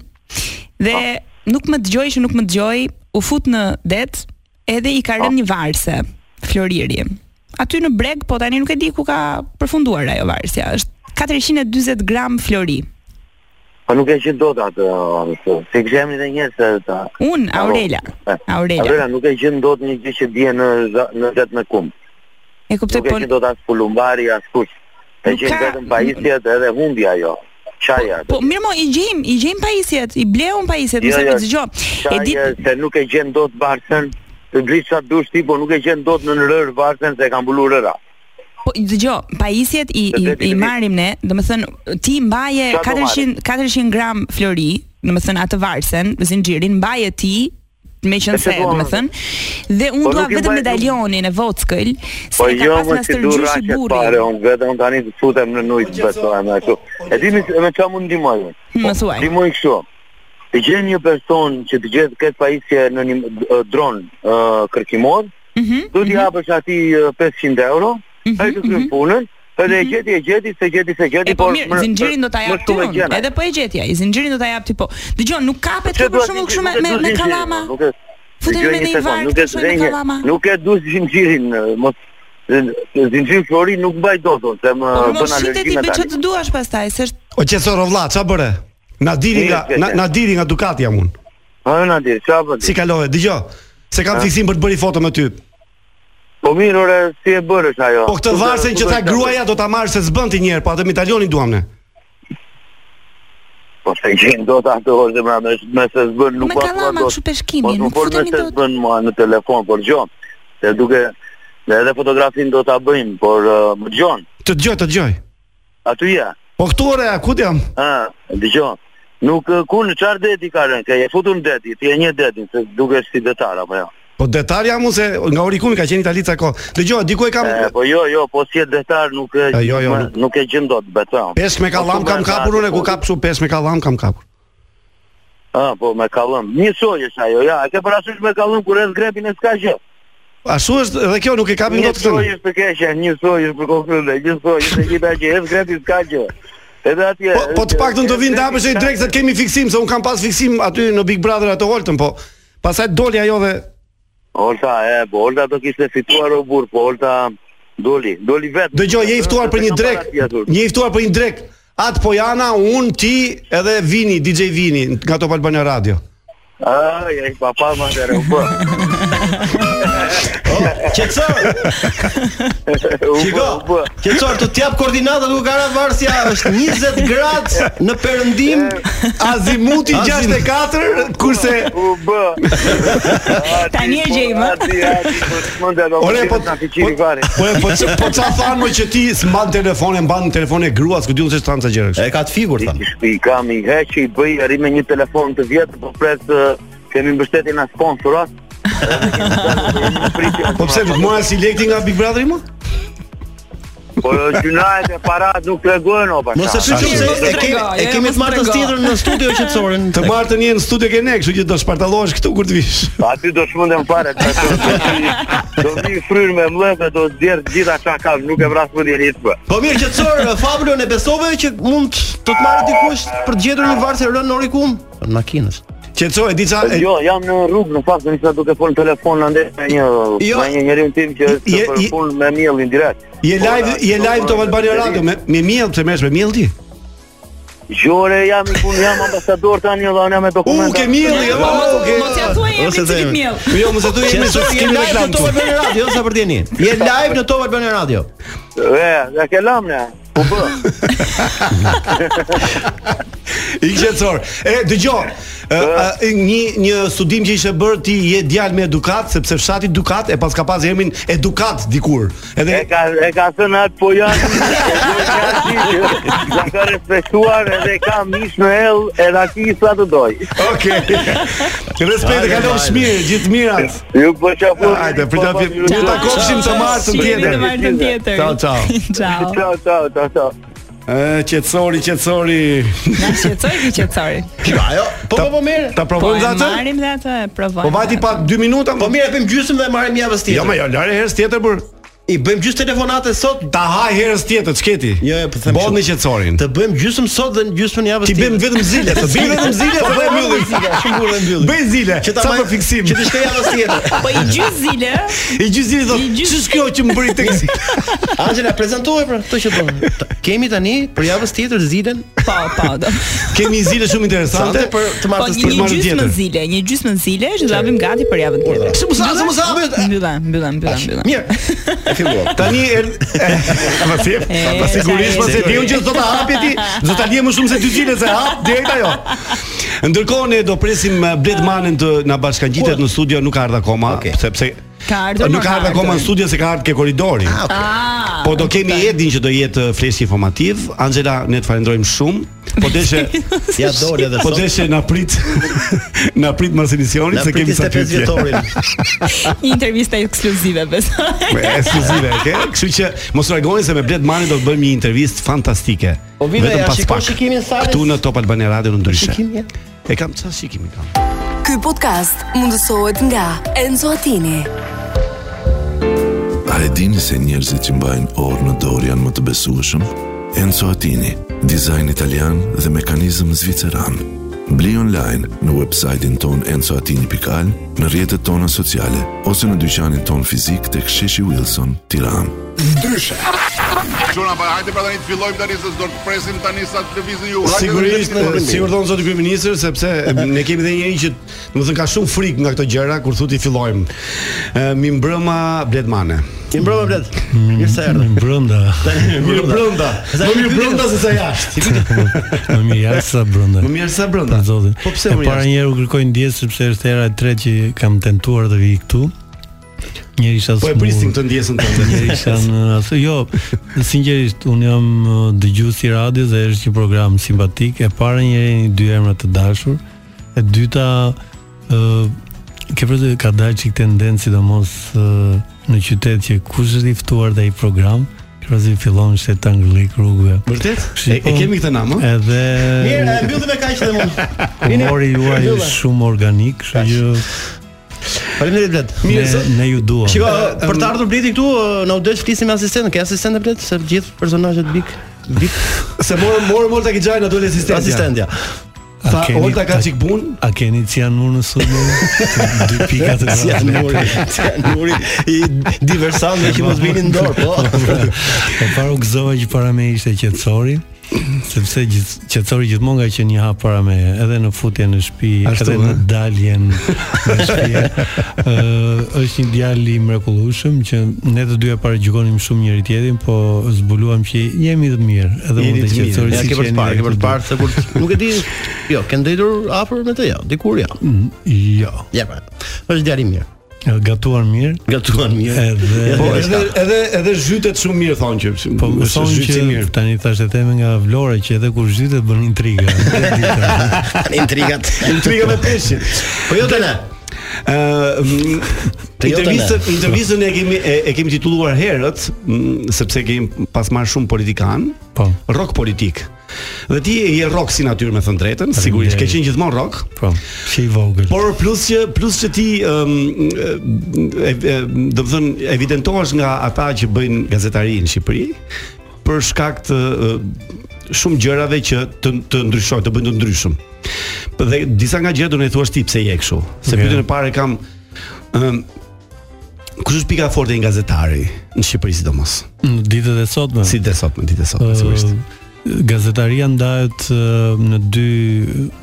[SPEAKER 9] Dhe
[SPEAKER 12] Po.
[SPEAKER 9] nuk më dëgjoi që nuk më dëgjoi, u fut në det, edhe i
[SPEAKER 12] Po.
[SPEAKER 9] ka rënë një varse, Floriri. Aty në breg, po tani nuk e di ku ka përfunduar ajo varsja. Është 440 gram flori.
[SPEAKER 12] Po nuk e gjej dot atë, ë, se- se kisha emrin e njerëz se ta.
[SPEAKER 9] Un Aurela. Aurela.
[SPEAKER 12] Po. Aurela nuk e gjej dot një gjë që bie në za- në vet me kum.
[SPEAKER 9] E kuptoj
[SPEAKER 12] Nuk e gjej dot as pulumbari, as kuq. E gjej vetëm pajisjet edhe hundi ajo. Çaja.
[SPEAKER 9] Po mirë mo, i gjejm, i gjejm pajisjet, i bleun pajisjet,
[SPEAKER 12] Jo,
[SPEAKER 9] nëse më
[SPEAKER 12] jo,
[SPEAKER 9] dëgjoj. E
[SPEAKER 12] Çaja
[SPEAKER 9] di
[SPEAKER 12] se nuk e gjen dot barsën, të ngrish sa dush ti, po nuk e gjen dot në rër barsën se e ka mbulur rëra.
[SPEAKER 9] Po dëgjoj, pajisjet i i, i marrim ne, domethënë ti mbaje
[SPEAKER 12] Sa do
[SPEAKER 9] 400 400 gram flori, domethënë atë varsen, zinxhirin mbaje ti me qenë
[SPEAKER 12] E
[SPEAKER 9] se,
[SPEAKER 12] se dua,
[SPEAKER 9] domethënë, dhe unë
[SPEAKER 12] Po
[SPEAKER 9] dua
[SPEAKER 12] nuk i
[SPEAKER 9] vetëm
[SPEAKER 12] mbaj-
[SPEAKER 9] medaljonin e vockël, se
[SPEAKER 12] Po
[SPEAKER 9] ka
[SPEAKER 12] jo,
[SPEAKER 9] pas
[SPEAKER 12] më
[SPEAKER 9] na
[SPEAKER 12] si du
[SPEAKER 9] stërgjyshi
[SPEAKER 12] raqet
[SPEAKER 9] burri.
[SPEAKER 12] pare, unë vetëm tani të futem në nujtë, besohem e kështu. E di mi- me qa mund ndimoj, unë?
[SPEAKER 9] Më Mm, thuaj.
[SPEAKER 12] ndimoj kështu. Të gjen një person që të gjetë këtë pajisje në një eh, dron eh, kërkimor,
[SPEAKER 9] Mhm,
[SPEAKER 12] du t'i japësh ati eh, 500 euro, e të krymë punën, edhe e gjeti, e gjeti, se gjeti, se gjeti,
[SPEAKER 9] mhm. E po mirë,
[SPEAKER 12] më-
[SPEAKER 9] zinxhirin do ta
[SPEAKER 12] më
[SPEAKER 9] jap ti.
[SPEAKER 12] shumë e
[SPEAKER 9] unë,
[SPEAKER 12] gjena.
[SPEAKER 9] Edhe po e gjetja, i zinxhirin do ta jap ti po. Dëgjoj, nuk kapet
[SPEAKER 12] Pse
[SPEAKER 9] kjo
[SPEAKER 12] dua
[SPEAKER 9] për shembull kështu
[SPEAKER 12] zinxhirin?
[SPEAKER 9] me
[SPEAKER 12] Nuk e
[SPEAKER 9] me
[SPEAKER 12] du
[SPEAKER 9] me
[SPEAKER 12] zinxhirin,
[SPEAKER 9] kallama.
[SPEAKER 12] Nuk e
[SPEAKER 9] Futemi
[SPEAKER 12] Dëgjoj
[SPEAKER 9] me
[SPEAKER 12] një
[SPEAKER 9] një
[SPEAKER 12] sekond,
[SPEAKER 9] varg,
[SPEAKER 12] nuk e
[SPEAKER 9] të shojmë me
[SPEAKER 12] zrenje,
[SPEAKER 9] kallama.
[SPEAKER 12] nuk e du zinxhirin, eh, mos zinxhir flori nuk mbaj dot, unë, se më
[SPEAKER 9] Po mos
[SPEAKER 12] bën
[SPEAKER 9] shitet ti
[SPEAKER 12] alergji me
[SPEAKER 9] me
[SPEAKER 12] Ah, tani.
[SPEAKER 9] ç'të duash pastaj, se është
[SPEAKER 7] O qetësor o vlla, ç'a bëre? Na diri
[SPEAKER 12] Mirë,
[SPEAKER 7] nga
[SPEAKER 12] qetësor.
[SPEAKER 7] na, na diri nga Ducati jam unë.
[SPEAKER 12] Ha, na po diri, ç'a bën?
[SPEAKER 7] Si kalove? Dëgjoj. Se kam
[SPEAKER 12] Ha?
[SPEAKER 7] fiksim për të bërë foto me ty.
[SPEAKER 12] Po mirë, ore, si e bërësh ajo?
[SPEAKER 7] Po këtë
[SPEAKER 12] Ku do-
[SPEAKER 7] varsen
[SPEAKER 12] ku
[SPEAKER 7] që
[SPEAKER 12] do
[SPEAKER 7] tha
[SPEAKER 12] të-
[SPEAKER 7] gruaja do ta marr se s'bën ti një herë, po atë me italianin duam ne.
[SPEAKER 12] Po se gjen do ta ato orë më me me se s'bën nuk
[SPEAKER 9] Me
[SPEAKER 12] po- pa
[SPEAKER 9] kallama
[SPEAKER 12] dot.
[SPEAKER 9] kështu peshkimin,
[SPEAKER 12] Po,
[SPEAKER 9] nuk
[SPEAKER 12] po,
[SPEAKER 9] futemi
[SPEAKER 12] nëse
[SPEAKER 9] dot.
[SPEAKER 12] s'bën mua në telefon, por gjon. Se duke ne edhe fotografin do ta bëjmë, por uh, më gjon.
[SPEAKER 7] Të dëgjoj, të dëgjoj.
[SPEAKER 12] Aty ja.
[SPEAKER 7] Po këtu ore, ku ti jam?
[SPEAKER 12] Ha, dëgjon. Nuk uh, ku në çfarë deti ka rënë, ke e futur në deti, ti e një detin, se dukesh si detar apo jo.
[SPEAKER 7] Po detar jam unë se nga orikumi ka qenë Itali ca kohë. Dëgjoj, diku e kam
[SPEAKER 12] E, po jo, jo, po si e detar nuk e
[SPEAKER 7] E, jo, jo,
[SPEAKER 12] më-
[SPEAKER 7] nuk-
[SPEAKER 12] nuk e gjen dot Po, beton.
[SPEAKER 7] pesh me kallam kam kapur unë, ku kap kështu pesh me kallam kam kapur.
[SPEAKER 12] Ah, po me kallëm. Një sojë është ajo, ja, e ke parasysh me kallëm kur e grepin e s'ka gjë.
[SPEAKER 7] Ashtu është, edhe kjo nuk e kapim dot
[SPEAKER 12] Një
[SPEAKER 7] këtë.
[SPEAKER 12] sojë është të keqe, një sojë është për konfrënde, një sojë është e gjitha që e s'greti s'ka gjë. Edhe atje... Po,
[SPEAKER 7] Po të paktën të vinë të hapësh ai drejt se kemi fiksim se un kam pas fiksim aty në Big Brother atë Holtën, po pastaj doli ajo dhe
[SPEAKER 12] Olta, e, po, Olta do kishte fituar o burë, po, Olta... Doli, doli vetë.
[SPEAKER 7] Dëgjoj, je i ftuar për një drek. Je i ftuar për një drek. At Pojana, un ti edhe Vini, DJ Vini nga Top Albania Radio.
[SPEAKER 12] Ah, je i pa pa ma të rëmbë.
[SPEAKER 8] Qetësor. Shiko, qetësor të t'jap koordinatat ku ka ra varsja është 20 gradë në perëndim,
[SPEAKER 7] azimuti 64, kurse
[SPEAKER 12] U bë.
[SPEAKER 9] Tani e gjejmë.
[SPEAKER 12] Ati, ati, po, s'mënda do
[SPEAKER 7] Ore,
[SPEAKER 12] më
[SPEAKER 7] po-
[SPEAKER 12] gjithë në fiqiri fare.
[SPEAKER 7] Po po po ça than më që ti s'mban telefonin, mban telefonin e gruas, ku diun se s'tan sa gjëra kështu.
[SPEAKER 8] E ka të figur than.
[SPEAKER 12] I kam i heq i bëj arri me një telefon të vjetë, po pres ë, kemi mbështetjen e sponsorat.
[SPEAKER 7] Po pse nuk mora si lekti nga Big Brotheri më?
[SPEAKER 12] Po gjynajet e parat nuk tregojnë o pasha.
[SPEAKER 8] Mos e shqyrë se e kemi e kemi të martës tjetër në studio qetësorin.
[SPEAKER 7] Të martën një në studio ke ne, kështu që do shpartallohesh këtu kur të vish.
[SPEAKER 12] Aty do shmendem fare të të- Do vi fryr me mllëve, do djerë gjitha çka kam, nuk e vras mendjen hiç më.
[SPEAKER 8] Po mirë qetësor, Fablo ne besove që mund të të marrë dikush për të gjetur një varsë rënë në orikum në makinës.
[SPEAKER 7] Qetësoj, di ça e-
[SPEAKER 12] Jo, jam në rrugë në fakt, nisa duke fol në telefon ande me një
[SPEAKER 7] Jo.
[SPEAKER 12] me një njeriu tim që është
[SPEAKER 7] Je-
[SPEAKER 12] për
[SPEAKER 7] je-
[SPEAKER 12] punë me miellin direkt.
[SPEAKER 7] Je
[SPEAKER 12] Po,
[SPEAKER 7] live,
[SPEAKER 12] na-
[SPEAKER 7] je live Top Albania Radio me me miell, pse merresh me miell ti?
[SPEAKER 12] Gjore jam i pun jam ambasador tani edhe unë jam me dokumenta.
[SPEAKER 7] U ke mirë, jo,
[SPEAKER 12] okay.
[SPEAKER 9] Mos ja thuaj emrin se ti ke miell.
[SPEAKER 7] Jo, mos e thuaj emrin se ti
[SPEAKER 8] Je
[SPEAKER 7] ke
[SPEAKER 8] live në Top
[SPEAKER 7] reklam.
[SPEAKER 8] Albania Radio, sa për dini. Je live në Top Albania Radio.
[SPEAKER 12] E, ja ke lëmë U bë.
[SPEAKER 7] I qetësor. E dëgjoj, ë, ë, një një studim që ishte bërë ti je djalë me edukat sepse fshati Dukat e pas ka pas emrin Edukat dikur. Edhe
[SPEAKER 12] E ka e ka thënë atë po janë. Ja ka respektuar edhe ka mish në hell edhe aty sa të doj.
[SPEAKER 7] Okej. Respekt e kalofsh mirë, gjithë mirat.
[SPEAKER 12] Ju po çapo.
[SPEAKER 7] Hajde, për ta për ta takofshim të martën tjetër. Ciao, ciao.
[SPEAKER 9] Ciao.
[SPEAKER 12] Ciao, ciao, ciao, ciao.
[SPEAKER 7] Ë, qetësori, qetësori.
[SPEAKER 9] Na shqetësoi ti qetësori.
[SPEAKER 8] Ajo, po po po mirë.
[SPEAKER 7] Ta provojmë
[SPEAKER 9] Po
[SPEAKER 7] dhe
[SPEAKER 9] e
[SPEAKER 7] atë?
[SPEAKER 9] marrim dhe atë, e provojmë.
[SPEAKER 7] Po vajti pa 2 minuta.
[SPEAKER 8] Po mirë, e bëjmë gjysmë dhe marrim javës tjetër.
[SPEAKER 7] Jo, më jo, lare herës tjetër për
[SPEAKER 8] I bëjmë gjysmë telefonate sot.
[SPEAKER 7] ta haj herës tjetër, çketi.
[SPEAKER 8] Jo, jo, po them.
[SPEAKER 7] Bod
[SPEAKER 8] kështu.
[SPEAKER 7] në qetësorin.
[SPEAKER 8] Të bëjmë gjysmë sot dhe në gjysmën javës
[SPEAKER 7] Ti bëjmë vetëm zile, të bëjmë vetëm zile, të
[SPEAKER 8] zile,
[SPEAKER 7] bëjmë mbyllim.
[SPEAKER 8] shumë burrë mbyllim.
[SPEAKER 7] Bëj zile,
[SPEAKER 8] Që ta
[SPEAKER 7] sa
[SPEAKER 8] maj-
[SPEAKER 7] për fiksim.
[SPEAKER 8] Që të shkojë javës tjetër.
[SPEAKER 9] Po i gjys zile,
[SPEAKER 7] I gjysë zile
[SPEAKER 9] I
[SPEAKER 7] thotë,
[SPEAKER 9] gjysë-
[SPEAKER 7] "Ç'është kjo që më bëri tek zile?"
[SPEAKER 8] Angela prezantoje pra, këtë që bën. Ta- Kemi tani për javës tjetër zilen
[SPEAKER 9] po, po. do-
[SPEAKER 7] Kemi zile
[SPEAKER 8] sante
[SPEAKER 7] shumë interesante.
[SPEAKER 8] për të
[SPEAKER 9] Po
[SPEAKER 8] martës
[SPEAKER 9] një
[SPEAKER 8] tjetër.
[SPEAKER 7] marrën
[SPEAKER 9] gjysmë
[SPEAKER 7] tjetër.
[SPEAKER 9] zile, një gjysmë zile, që do ta bëjmë gati për javën tjetër.
[SPEAKER 8] Se mos sa mos hapet.
[SPEAKER 9] Mbylla, mbylla, mbylla, mbylla.
[SPEAKER 8] Mirë. E filluam.
[SPEAKER 7] Tani er- el pasi pa sigurisht pas e diu që do ta hapi ti, do ta lije më shumë se dy zile se hap direkt ajo. Ndërkohë ne do presim eh, Bled Manën të na bashkangjitet në studio, nuk ka ardhur akoma,
[SPEAKER 8] Okej.
[SPEAKER 7] sepse
[SPEAKER 9] Ka ardhur,
[SPEAKER 7] nuk
[SPEAKER 9] por
[SPEAKER 7] ka
[SPEAKER 9] ka
[SPEAKER 7] ardhur akoma
[SPEAKER 9] ardhur.
[SPEAKER 7] në studio se ka ardhur ke koridori.
[SPEAKER 8] Ah, okay.
[SPEAKER 9] Ah.
[SPEAKER 7] Po do kemi Edin që do jetë eh, flesh informativ. Angela, ne të falenderojmë shumë. Po deshe
[SPEAKER 8] Ja doli edhe
[SPEAKER 7] Po
[SPEAKER 8] sot.
[SPEAKER 7] deshe na prit na prit mas emisionit
[SPEAKER 8] Na
[SPEAKER 7] se
[SPEAKER 8] prit
[SPEAKER 7] kemi sa
[SPEAKER 8] 25
[SPEAKER 7] pyetje.
[SPEAKER 8] vjetorin.
[SPEAKER 9] Një intervistë ekskluzive besoj.
[SPEAKER 7] Me ekskluzive, e ke? Kështu që mos reagoni se me Bled Mani do të bëjmë një intervistë fantastike.
[SPEAKER 8] O Vina, Po, ja shikon shikimin sa
[SPEAKER 7] Këtu në Top Albania Radio në ndryshe.
[SPEAKER 8] Shikim, ja.
[SPEAKER 7] E kam çfarë shikimi kam?
[SPEAKER 1] Ky podcast mundësohet nga Enzo Attini.
[SPEAKER 2] A e dini se njerëzit që mbajnë orë në dorë janë më të besueshëm? Enzo Attini, dizajn italian dhe mekanizëm zviceran. Bli online në websajtin ton enzoatini.al, në rjetët tona sociale, ose në dyqanin ton fizik të ksheshi Wilson, tiran.
[SPEAKER 10] Qona, pa hajde pra tani të fillojmë tani se do të presim tani sa të lëvizin ju. Hajde,
[SPEAKER 7] Sigurisht,
[SPEAKER 10] do të
[SPEAKER 7] e,
[SPEAKER 10] lëvizin.
[SPEAKER 7] si urdhon zoti kryeminist, sepse e, ne kemi edhe njëri që, domethënë ka shumë frikë nga këto gjëra kur thotë i fillojmë. E, Mi mbrëma Bled Mane.
[SPEAKER 8] Ti mbrëmë blet. Mirë se erdhe.
[SPEAKER 13] Brënda.
[SPEAKER 7] Mirë brenda. Më mirë brenda se sa jashtë.
[SPEAKER 13] Më mirë jashtë sa brenda.
[SPEAKER 7] Më mirë se brenda.
[SPEAKER 13] Zotin.
[SPEAKER 7] Po pse
[SPEAKER 13] E
[SPEAKER 7] më
[SPEAKER 13] para
[SPEAKER 7] jashtë?
[SPEAKER 13] një herë u kërkoj ndjes sepse është hera e tretë që kam tentuar të vi këtu. Njëri isha
[SPEAKER 7] Po e
[SPEAKER 13] smur,
[SPEAKER 7] pristim të ndjesën tonë.
[SPEAKER 13] Njëri isha në atë jo, sinqerisht unë jam uh, dëgjues i radios dhe është një program simpatik. E para një herë një dy emra të dashur. E dyta ë ke vërtet ka dalë çik tendencë sidomos ë, në qytet që kush është i ftuar te ai program, krasi fillon shtet anglik rrugëve.
[SPEAKER 7] Vërtet?
[SPEAKER 13] Kështu
[SPEAKER 7] E, e
[SPEAKER 13] po.
[SPEAKER 7] kemi këtë namë? ë?
[SPEAKER 13] Edhe
[SPEAKER 8] Mirë, e mbyllim me kaq dhe mund.
[SPEAKER 13] humori juaj
[SPEAKER 8] mbyllë.
[SPEAKER 13] është shumë organik, kështu që
[SPEAKER 8] Faleminderit blet.
[SPEAKER 13] ne, ne ju duam.
[SPEAKER 8] Shiko, për të ardhur bleti këtu, na u del flisim me asistentin. Ke asistente blet se gjithë personazhet bik bik
[SPEAKER 7] Se morëm morëm Olta Gixhaj na doli asistentja.
[SPEAKER 8] asistentja.
[SPEAKER 13] A
[SPEAKER 7] Tha
[SPEAKER 13] keni-
[SPEAKER 7] Olta ka
[SPEAKER 13] a-
[SPEAKER 7] çik punë.
[SPEAKER 13] A keni cianur në studio? Dy pika të
[SPEAKER 8] Cianuri, cianuri i diversantëve që mos vinin në dorë, po.
[SPEAKER 13] E para u gëzova që para me ishte qetësori, sepse gjith, qetësori gjithmonë ka qenë një hap para me, edhe në futjen në shtëpi,
[SPEAKER 7] Ashtu, eh?
[SPEAKER 13] edhe në
[SPEAKER 7] ëh?
[SPEAKER 13] daljen në shtëpi. eh, Ë është një djalë i mrekullueshëm që ne të dyja paragjykonim shumë njëri tjetrin, po zbuluam që jemi të mirë, edhe
[SPEAKER 7] Jeni
[SPEAKER 13] unë
[SPEAKER 7] të
[SPEAKER 13] dhe
[SPEAKER 7] mirë.
[SPEAKER 13] qetësori
[SPEAKER 8] Ja ke për të parë, ke për të parë se kur nuk e di, jo, ke ndëjtur afër me të ja, dikur ja.
[SPEAKER 13] Jo,
[SPEAKER 8] Ja pra. Është djalë i mirë.
[SPEAKER 13] gatuan mirë.
[SPEAKER 8] Gatuan mirë.
[SPEAKER 13] Edhe
[SPEAKER 7] Po
[SPEAKER 8] Ja,
[SPEAKER 7] edhe edhe edhe zhytet shumë mirë thonë që.
[SPEAKER 13] Po më
[SPEAKER 7] se
[SPEAKER 13] thonë
[SPEAKER 7] zhytet
[SPEAKER 13] që
[SPEAKER 7] si mirë.
[SPEAKER 13] tani thashë e theme nga Vlora që edhe kur zhytet bën intriga.
[SPEAKER 8] Intrigat.
[SPEAKER 7] Intriga me peshin.
[SPEAKER 8] Po jo tani.
[SPEAKER 7] Ë m,
[SPEAKER 8] Te jota
[SPEAKER 7] intervistën
[SPEAKER 8] ne.
[SPEAKER 7] intervistën e kemi e, e kemi titulluar herët m, sepse kemi pas marrë shumë politikan,
[SPEAKER 13] Po.
[SPEAKER 7] rock politik. Dhe ti je rock si natyrë me thënë drejtën, sigurisht ke qenë gjithmonë rock.
[SPEAKER 13] Po, që i vogël.
[SPEAKER 7] Por plus që plus që ti ëm e- e- do të thënë evidentohesh nga ata që bëjnë gazetari në Shqipëri për shkak të ë, shumë gjërave që të të ndryshojnë, të bëjnë të ndryshëm. P- Dhe disa nga gjërat do ne thuash ti pse je kështu. Se
[SPEAKER 13] Ok.
[SPEAKER 7] pyetjen e parë e kam ëm Kush është pika forte e një gazetari në Shqipëri sidomos?
[SPEAKER 13] Në ditët e sotme.
[SPEAKER 7] Si dhe sot, në ditë e sot,
[SPEAKER 13] ë,
[SPEAKER 7] sigurisht.
[SPEAKER 12] gazetaria ndahet ë, në dy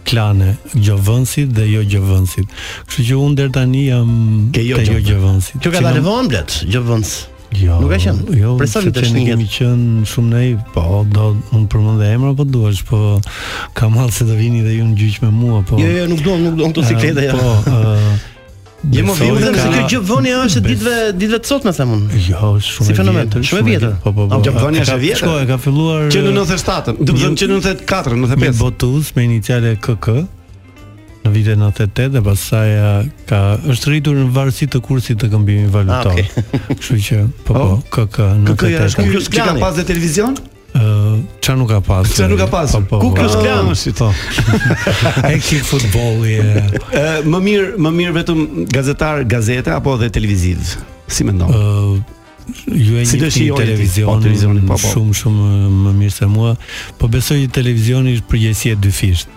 [SPEAKER 12] klane, gjovënësit dhe jo gjovënësit. Kështu që unë deri tani jam
[SPEAKER 8] Ke jo
[SPEAKER 12] te jo gjovënësit.
[SPEAKER 8] Kjo ka
[SPEAKER 12] Që
[SPEAKER 8] dalë
[SPEAKER 12] kam-
[SPEAKER 8] vonë blet, gjovënës.
[SPEAKER 12] Jo.
[SPEAKER 8] Nuk ka qenë.
[SPEAKER 12] Jo,
[SPEAKER 8] Për sa
[SPEAKER 12] sepse
[SPEAKER 8] vitesh
[SPEAKER 12] ne
[SPEAKER 8] në
[SPEAKER 12] kemi
[SPEAKER 8] jetë?
[SPEAKER 12] qenë shumë naiv, po do unë përmend dhe emra po duash, po kam hall se do vini dhe ju në gjyq me mua, po.
[SPEAKER 8] Jo, jo, nuk duam, nuk duam këto cikleta,
[SPEAKER 12] Eh,
[SPEAKER 8] jo.
[SPEAKER 12] Po, ë
[SPEAKER 8] Jo, më
[SPEAKER 12] besoj
[SPEAKER 8] vjen vetëm se
[SPEAKER 12] ka-
[SPEAKER 8] kjo gjovëni është e ditëve ditëve të sotme them unë.
[SPEAKER 12] Jo, shumë
[SPEAKER 8] Si
[SPEAKER 12] e
[SPEAKER 8] fenomen,
[SPEAKER 12] vjetër,
[SPEAKER 8] shumë e vjetër.
[SPEAKER 12] Po, po, po.
[SPEAKER 8] A, Gjovënia
[SPEAKER 12] Ka-
[SPEAKER 8] është e vjetër? Ah,
[SPEAKER 12] Shko, e ka filluar
[SPEAKER 7] Që në 97-ën, do të
[SPEAKER 12] një-
[SPEAKER 7] thënë që në 94-ën,
[SPEAKER 12] Me
[SPEAKER 7] 95.
[SPEAKER 12] botuz me iniciale KK në vitin 98 dhe pastaj a, ka është rritur në varësi të kursit të këmbimit valutor.
[SPEAKER 7] Ah, okay.
[SPEAKER 12] Kështu që po po
[SPEAKER 8] Oh.
[SPEAKER 12] KK në
[SPEAKER 7] KK ja është
[SPEAKER 12] 98.
[SPEAKER 7] Klus Klani. Ka pas dhe televizion?
[SPEAKER 12] Ë, çfarë nuk ka pasur?
[SPEAKER 7] Çfarë nuk ka pasur?
[SPEAKER 12] Po, po,
[SPEAKER 7] Ku
[SPEAKER 12] po.
[SPEAKER 7] Klus Klani është?
[SPEAKER 12] Po. E ki futbolli. e-
[SPEAKER 7] Ë, më mirë, më mirë vetëm gazetar, gazete apo edhe televiziv. Si mendon?
[SPEAKER 12] Ë, ju e
[SPEAKER 7] Si do
[SPEAKER 12] njihni
[SPEAKER 7] shijoni ti?
[SPEAKER 12] televizionin
[SPEAKER 7] Po, televizionin, po, po.
[SPEAKER 12] shumë shumë më mirë se mua, po besoj që televizioni është përgjegjësi e dyfisht.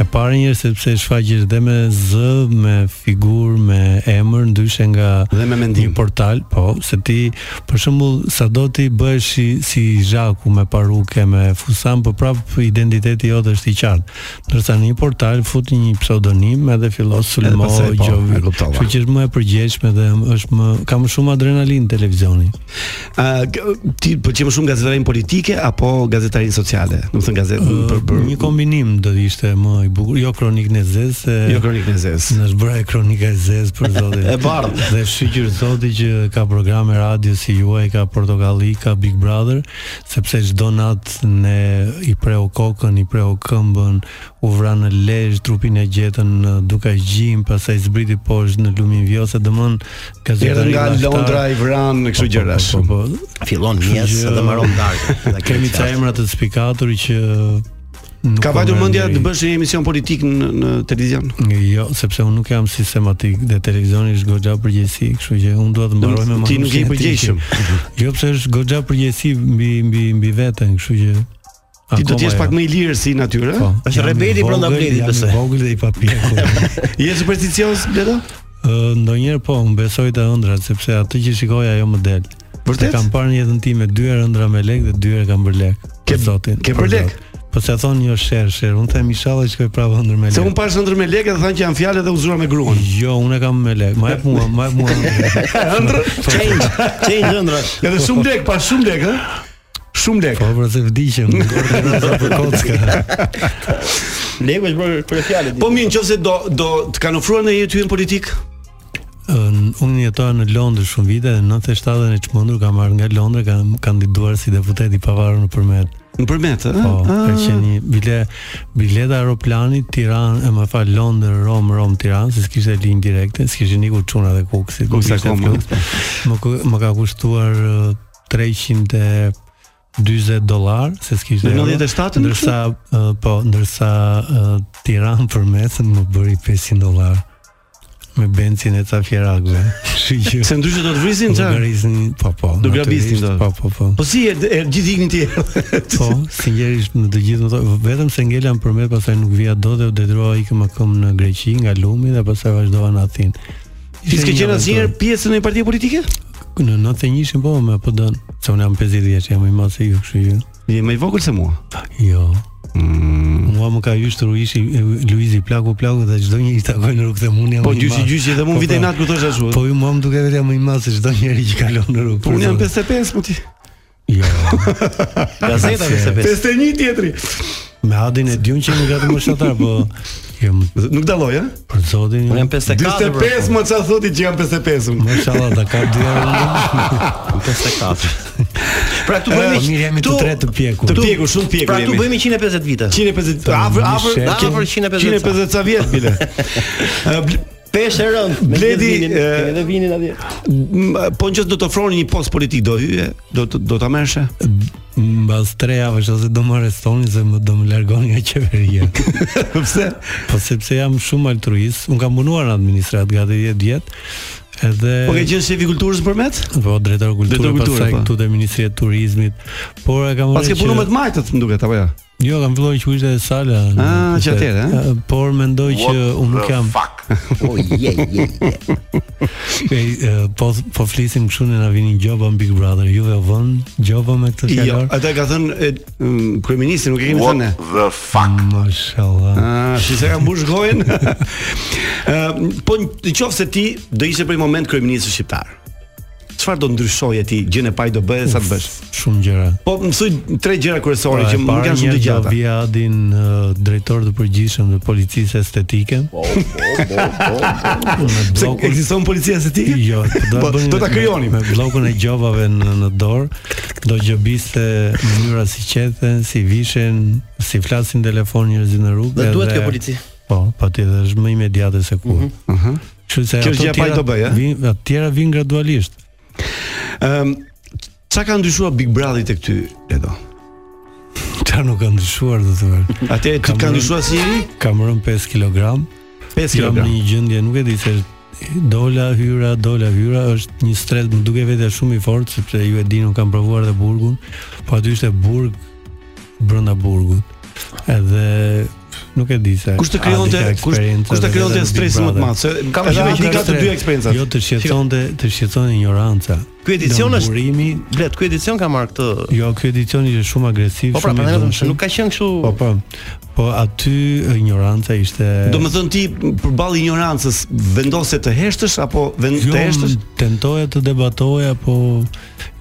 [SPEAKER 12] E parë njërë sepse shfaqesh dhe me zë, me figurë, me emër, ndryshe nga
[SPEAKER 7] dhe me mendim.
[SPEAKER 12] Një portal, po, se ti për shembull sado ti bëhesh si, si zhaku me paruke, me fusan, po prap identiteti jot është i qartë. Ndërsa në një portal futi një pseudonim edhe fillon sulmo,
[SPEAKER 7] pastaj, po, e
[SPEAKER 12] gjovi.
[SPEAKER 7] kuptova.
[SPEAKER 12] Kështu që është më e përgjegjshme dhe është më ka më shumë adrenalin televizioni.
[SPEAKER 7] Ë, g- ti pëlqen më shumë gazetarinë politike apo gazetarinë sociale? Do të thënë gazetë për për
[SPEAKER 12] Një kombinim do ishte më i bukur, jo kronikën e zezë. se-
[SPEAKER 7] Jo kronikën e zezë.
[SPEAKER 12] Në zbra e kronika e zezë për zotin.
[SPEAKER 7] E bardhë.
[SPEAKER 12] Dhe shqyqyr zoti që ka programe radio si juaj, ka Portokalli, ka Big Brother, sepse çdo natë ne i preu kokën, i preu këmbën, u vra në lezhë, trupin e gjetën në Duka Gjim, pastaj zbriti poshtë në Lumin Vjose, domon
[SPEAKER 7] Erdhën
[SPEAKER 12] gazetari
[SPEAKER 7] nga
[SPEAKER 12] laftar.
[SPEAKER 7] Londra, i Vran, kështu
[SPEAKER 12] Po, po,
[SPEAKER 7] gjëra
[SPEAKER 12] po, po, po.
[SPEAKER 8] Fillon
[SPEAKER 12] Kështu
[SPEAKER 8] mjes
[SPEAKER 12] që-
[SPEAKER 8] dhe mbaron darkë. Dhe kjo
[SPEAKER 12] Kemi
[SPEAKER 8] është
[SPEAKER 12] ca
[SPEAKER 8] qartë.
[SPEAKER 12] emra të spikatur që nuk
[SPEAKER 7] Ka
[SPEAKER 12] po
[SPEAKER 7] vajtur
[SPEAKER 12] merren
[SPEAKER 7] mendja
[SPEAKER 12] deri.
[SPEAKER 7] të bësh një emision politik në, në televizion?
[SPEAKER 12] Jo, sepse unë nuk jam sistematik dhe televizioni është goxha përgjegjësi, kështu që unë dua të mbaroj me
[SPEAKER 7] Domethënë, ti nuk je i
[SPEAKER 12] manushtin e
[SPEAKER 7] përgjegjshëm.
[SPEAKER 12] tij. jo, pse është goxha përgjegjësi mbi mbi mbi veten, kështu që
[SPEAKER 7] Ti do të jesh
[SPEAKER 12] akoma
[SPEAKER 7] pak
[SPEAKER 12] jo.
[SPEAKER 7] më i lirë si natyrë?
[SPEAKER 12] Po.
[SPEAKER 7] ë?
[SPEAKER 12] Jam i vogël, jam i vogël dhe i papjekur.
[SPEAKER 7] Je supersticios, Bledo?
[SPEAKER 12] Ë, ndonjëherë po, më besoj të ëndrat sepse atë që shikoj ajo më del.
[SPEAKER 7] Vërtet?
[SPEAKER 12] Se Kam parë në jetën time dy herë ëndra me lek dhe dy herë kam bërë lek. Ke zotin.
[SPEAKER 7] ke
[SPEAKER 12] për
[SPEAKER 7] bërë lek?
[SPEAKER 12] Zot. Po se thon jo sher sher, unë them inshallah shkoj prapë ëndër me lek.
[SPEAKER 7] Se un pash ndër me lekë dhe thanë që janë fjalë dhe u zura me gruan.
[SPEAKER 12] Jo, unë e kam me lek. Ma jep mua, ma jep mua.
[SPEAKER 7] Ëndër? Change, change ëndrash. Edhe shumë lek, pa shumë lek, ë? Shumë lek.
[SPEAKER 12] Po, pra se vdiqem, gordë rrasa për kocka.
[SPEAKER 7] Leku është për për fjalë. Po mirë, nëse do do të kanë ofruar në jetë hyn politik?
[SPEAKER 12] Ën, Unë jetoj në Londër shumë vite dhe 97-ën e çmendur kam ardhur nga Londra, kam kandiduar si deputet i pavarur nëpërmet.
[SPEAKER 7] Nëpërmet, ë?
[SPEAKER 12] Po, ka
[SPEAKER 7] Ah.
[SPEAKER 12] qenë një bile bileta e aeroplanit Tiranë, e më fal Londër, Rom, Rom, Tiranë, se s'kishte linjë direkte, s'kishte niku çuna dhe kuksit. nuk
[SPEAKER 7] Kuksa
[SPEAKER 12] ishte
[SPEAKER 7] koma.
[SPEAKER 12] fluks. Më ku- më ka kushtuar uh, ë, 340 dollar, se s'kishte.
[SPEAKER 7] Në
[SPEAKER 12] euro,
[SPEAKER 7] 97-ën,
[SPEAKER 12] jo. ndërsa ë, po, ndërsa ë, Tiranë për mesën më bëri 500 dollar me bencin e ca fjerakëve. Kështu që
[SPEAKER 7] Se ndryshe do të vrisin, çfarë?
[SPEAKER 12] Llogarizin, po po.
[SPEAKER 7] Do grabisnin do.
[SPEAKER 12] natyrisht, Po po po.
[SPEAKER 7] Po si e, e gjithë iknin ti?
[SPEAKER 12] Po, sinqerisht në të gjithë më thoj, vetëm se ngela në përmet pastaj nuk vija dot dhe u detyruava ikëm më këm në Greqi nga Lumi dhe pastaj vazhdova në Athinë.
[SPEAKER 7] Ti s'ke qenë asnjëherë pjesë në një parti politike?
[SPEAKER 12] në 91 ishin po me po dën. Se unë jam 50 vjeç, jam më i madh se ju, kështu që.
[SPEAKER 7] Je më i vogël se mua.
[SPEAKER 12] Jo.
[SPEAKER 7] Mm.
[SPEAKER 12] Mua më ka hyrë ishi Luizi plaku plaku dhe çdo një i takoj në rrugë dhe unë jam.
[SPEAKER 7] Po
[SPEAKER 12] më i
[SPEAKER 7] gjyshi
[SPEAKER 12] madh.
[SPEAKER 7] gjyshi dhe
[SPEAKER 12] Po,
[SPEAKER 7] mund vite
[SPEAKER 12] po.
[SPEAKER 7] natë ku thosh ashtu.
[SPEAKER 12] Po ju mua më duket vetë jam më i madh se çdo njeri që kalon në rrugë.
[SPEAKER 7] Unë jam 55 po ti.
[SPEAKER 12] Jo.
[SPEAKER 8] Gazeta
[SPEAKER 12] Se-
[SPEAKER 8] 55.
[SPEAKER 7] 51 tjetri.
[SPEAKER 12] Me Adin e Djun që jemi gati më shatar, po jam
[SPEAKER 7] Jo, nuk dalloj, ë?
[SPEAKER 12] Për zotin.
[SPEAKER 8] Unë jam 54.
[SPEAKER 7] 55 më çfarë thotë që jam 55.
[SPEAKER 12] Mashallah, da ka dy
[SPEAKER 8] Unë 54. Pra këtu bëjmë
[SPEAKER 12] Po, mirë, jemi të tre të pjekur.
[SPEAKER 7] Të pjekur, shumë pjekur
[SPEAKER 8] Pra këtu
[SPEAKER 7] jemi.
[SPEAKER 8] bëjmë 150 vite.
[SPEAKER 7] 150 afër afër
[SPEAKER 8] shef. Afër 150 ca.
[SPEAKER 7] 150 ca vjet bile.
[SPEAKER 8] Peshë e rënd. me
[SPEAKER 7] Bledi,
[SPEAKER 8] gjithë vinin,
[SPEAKER 7] e-
[SPEAKER 8] keni edhe vinin atje.
[SPEAKER 7] M- Po nëse do të ofroni një post politik do hyje, do të- do ta merreshe.
[SPEAKER 12] Mbas tre javësh ose do më arrestoni se më do më largoni nga qeveria.
[SPEAKER 7] Pse?
[SPEAKER 12] Po sepse jam shumë altruist, unë kam punuar në administrat gati 10 vjet. Edhe
[SPEAKER 7] Po ke qenë shefi kulturës përmet?
[SPEAKER 12] po drejtor kulture,
[SPEAKER 7] Drejtor kulture,
[SPEAKER 12] pastaj
[SPEAKER 7] po.
[SPEAKER 12] këtu te Ministria e Turizmit, por e kam
[SPEAKER 7] Pas ke
[SPEAKER 12] që-
[SPEAKER 7] punuar me të majtët, më duket apo jo?
[SPEAKER 12] Jo, kam filluar që ishte Sala.
[SPEAKER 14] Ah, që atëherë, ha?
[SPEAKER 12] Eh, Por mendoj që
[SPEAKER 14] What
[SPEAKER 12] unë
[SPEAKER 14] the
[SPEAKER 12] nuk jam.
[SPEAKER 14] fuck? Oh, je, je, je.
[SPEAKER 12] Ej, eh, po po flisim kështu ne na vinin gjoba në Big Brother. Juve u vën gjoba me këtë
[SPEAKER 14] Jo,
[SPEAKER 12] fjalor.
[SPEAKER 14] atë e ka thënë e, mm, kryeministri, nuk e kemi
[SPEAKER 12] What
[SPEAKER 14] thënë ne.
[SPEAKER 15] the fuck?
[SPEAKER 12] Mashallah.
[SPEAKER 14] Ah,
[SPEAKER 7] Si se ka mbush gojen. Ë, po në qoftë se ti do ishe për një moment kryeministër shqiptar. Çfarë do ndryshoje ti, gjën e paj do bëje sa të bësh?
[SPEAKER 12] Shumë gjëra.
[SPEAKER 7] Po mësoj tre gjëra kryesore
[SPEAKER 12] Po, e
[SPEAKER 7] që nuk
[SPEAKER 12] para
[SPEAKER 7] janë shumë të
[SPEAKER 12] njerë do
[SPEAKER 7] gjata.
[SPEAKER 12] Vi Adin eh, drejtor të përgjithshëm të policisë estetike. Po,
[SPEAKER 7] Pse ekziston policia se ti?
[SPEAKER 12] Jo, do
[SPEAKER 7] Po,
[SPEAKER 12] bëni
[SPEAKER 7] do ta krijonim.
[SPEAKER 12] me bllokun e gjobave në në dorë, do gjobiste mënyra si qeten, si vishen, si flasin telefon njerëzit në rrugë.
[SPEAKER 8] Dhe duhet
[SPEAKER 12] edhe-
[SPEAKER 8] kjo polici.
[SPEAKER 12] Po, patjetër është më imediate se
[SPEAKER 14] Mhm.
[SPEAKER 12] kur. Ëh. Kështu se
[SPEAKER 7] Kjo është gjë e pajtë do bëj, eh? a?
[SPEAKER 12] vin, ato tjera vin gradualisht.
[SPEAKER 7] Ëm, çka Ehm, ka ndryshuar Big Brother tek ty, Ledo?
[SPEAKER 12] Çfarë nuk ka ndryshuar do të thotë.
[SPEAKER 7] Atje ti ka ndryshuar si njeri?
[SPEAKER 12] Kam rënë 5 kg.
[SPEAKER 7] 5
[SPEAKER 12] Jam
[SPEAKER 7] kilogram.
[SPEAKER 12] në një gjendje, nuk e di se dola hyra, dola hyra, është një stres, më duke vetë shumë i fortë sepse ju e dini un kam provuar edhe burgun, po aty ishte burg brenda burgut. Edhe nuk e di se
[SPEAKER 7] Kush të krijonte-
[SPEAKER 12] a di ka
[SPEAKER 7] kush-
[SPEAKER 12] eksperiencë
[SPEAKER 7] kush të
[SPEAKER 12] edhe
[SPEAKER 7] krijonte
[SPEAKER 12] vetëm Big
[SPEAKER 7] stresin më të
[SPEAKER 12] Brother.
[SPEAKER 7] madh? Se kam edhe Adi ka të dy eksperjencat.
[SPEAKER 12] Jo të shqetësonte, të shqetësonte ignoranca.
[SPEAKER 8] Ky edicion është
[SPEAKER 12] burimi.
[SPEAKER 8] Blet, ky edicion ka marrë këtë.
[SPEAKER 12] Jo, ky edicion ishte shumë agresiv,
[SPEAKER 8] Po pra,
[SPEAKER 12] shumë i
[SPEAKER 8] prandaj vetëm se
[SPEAKER 12] dëmshëm.
[SPEAKER 8] nuk ka qenë kështu.
[SPEAKER 12] Po po. Po aty e, ignoranca ishte
[SPEAKER 7] Do të thënë ti përballë ignorancës vendose të heshtësh apo vend
[SPEAKER 12] Jo,
[SPEAKER 7] të heshtësh?
[SPEAKER 12] m- tentoja të debatoja, po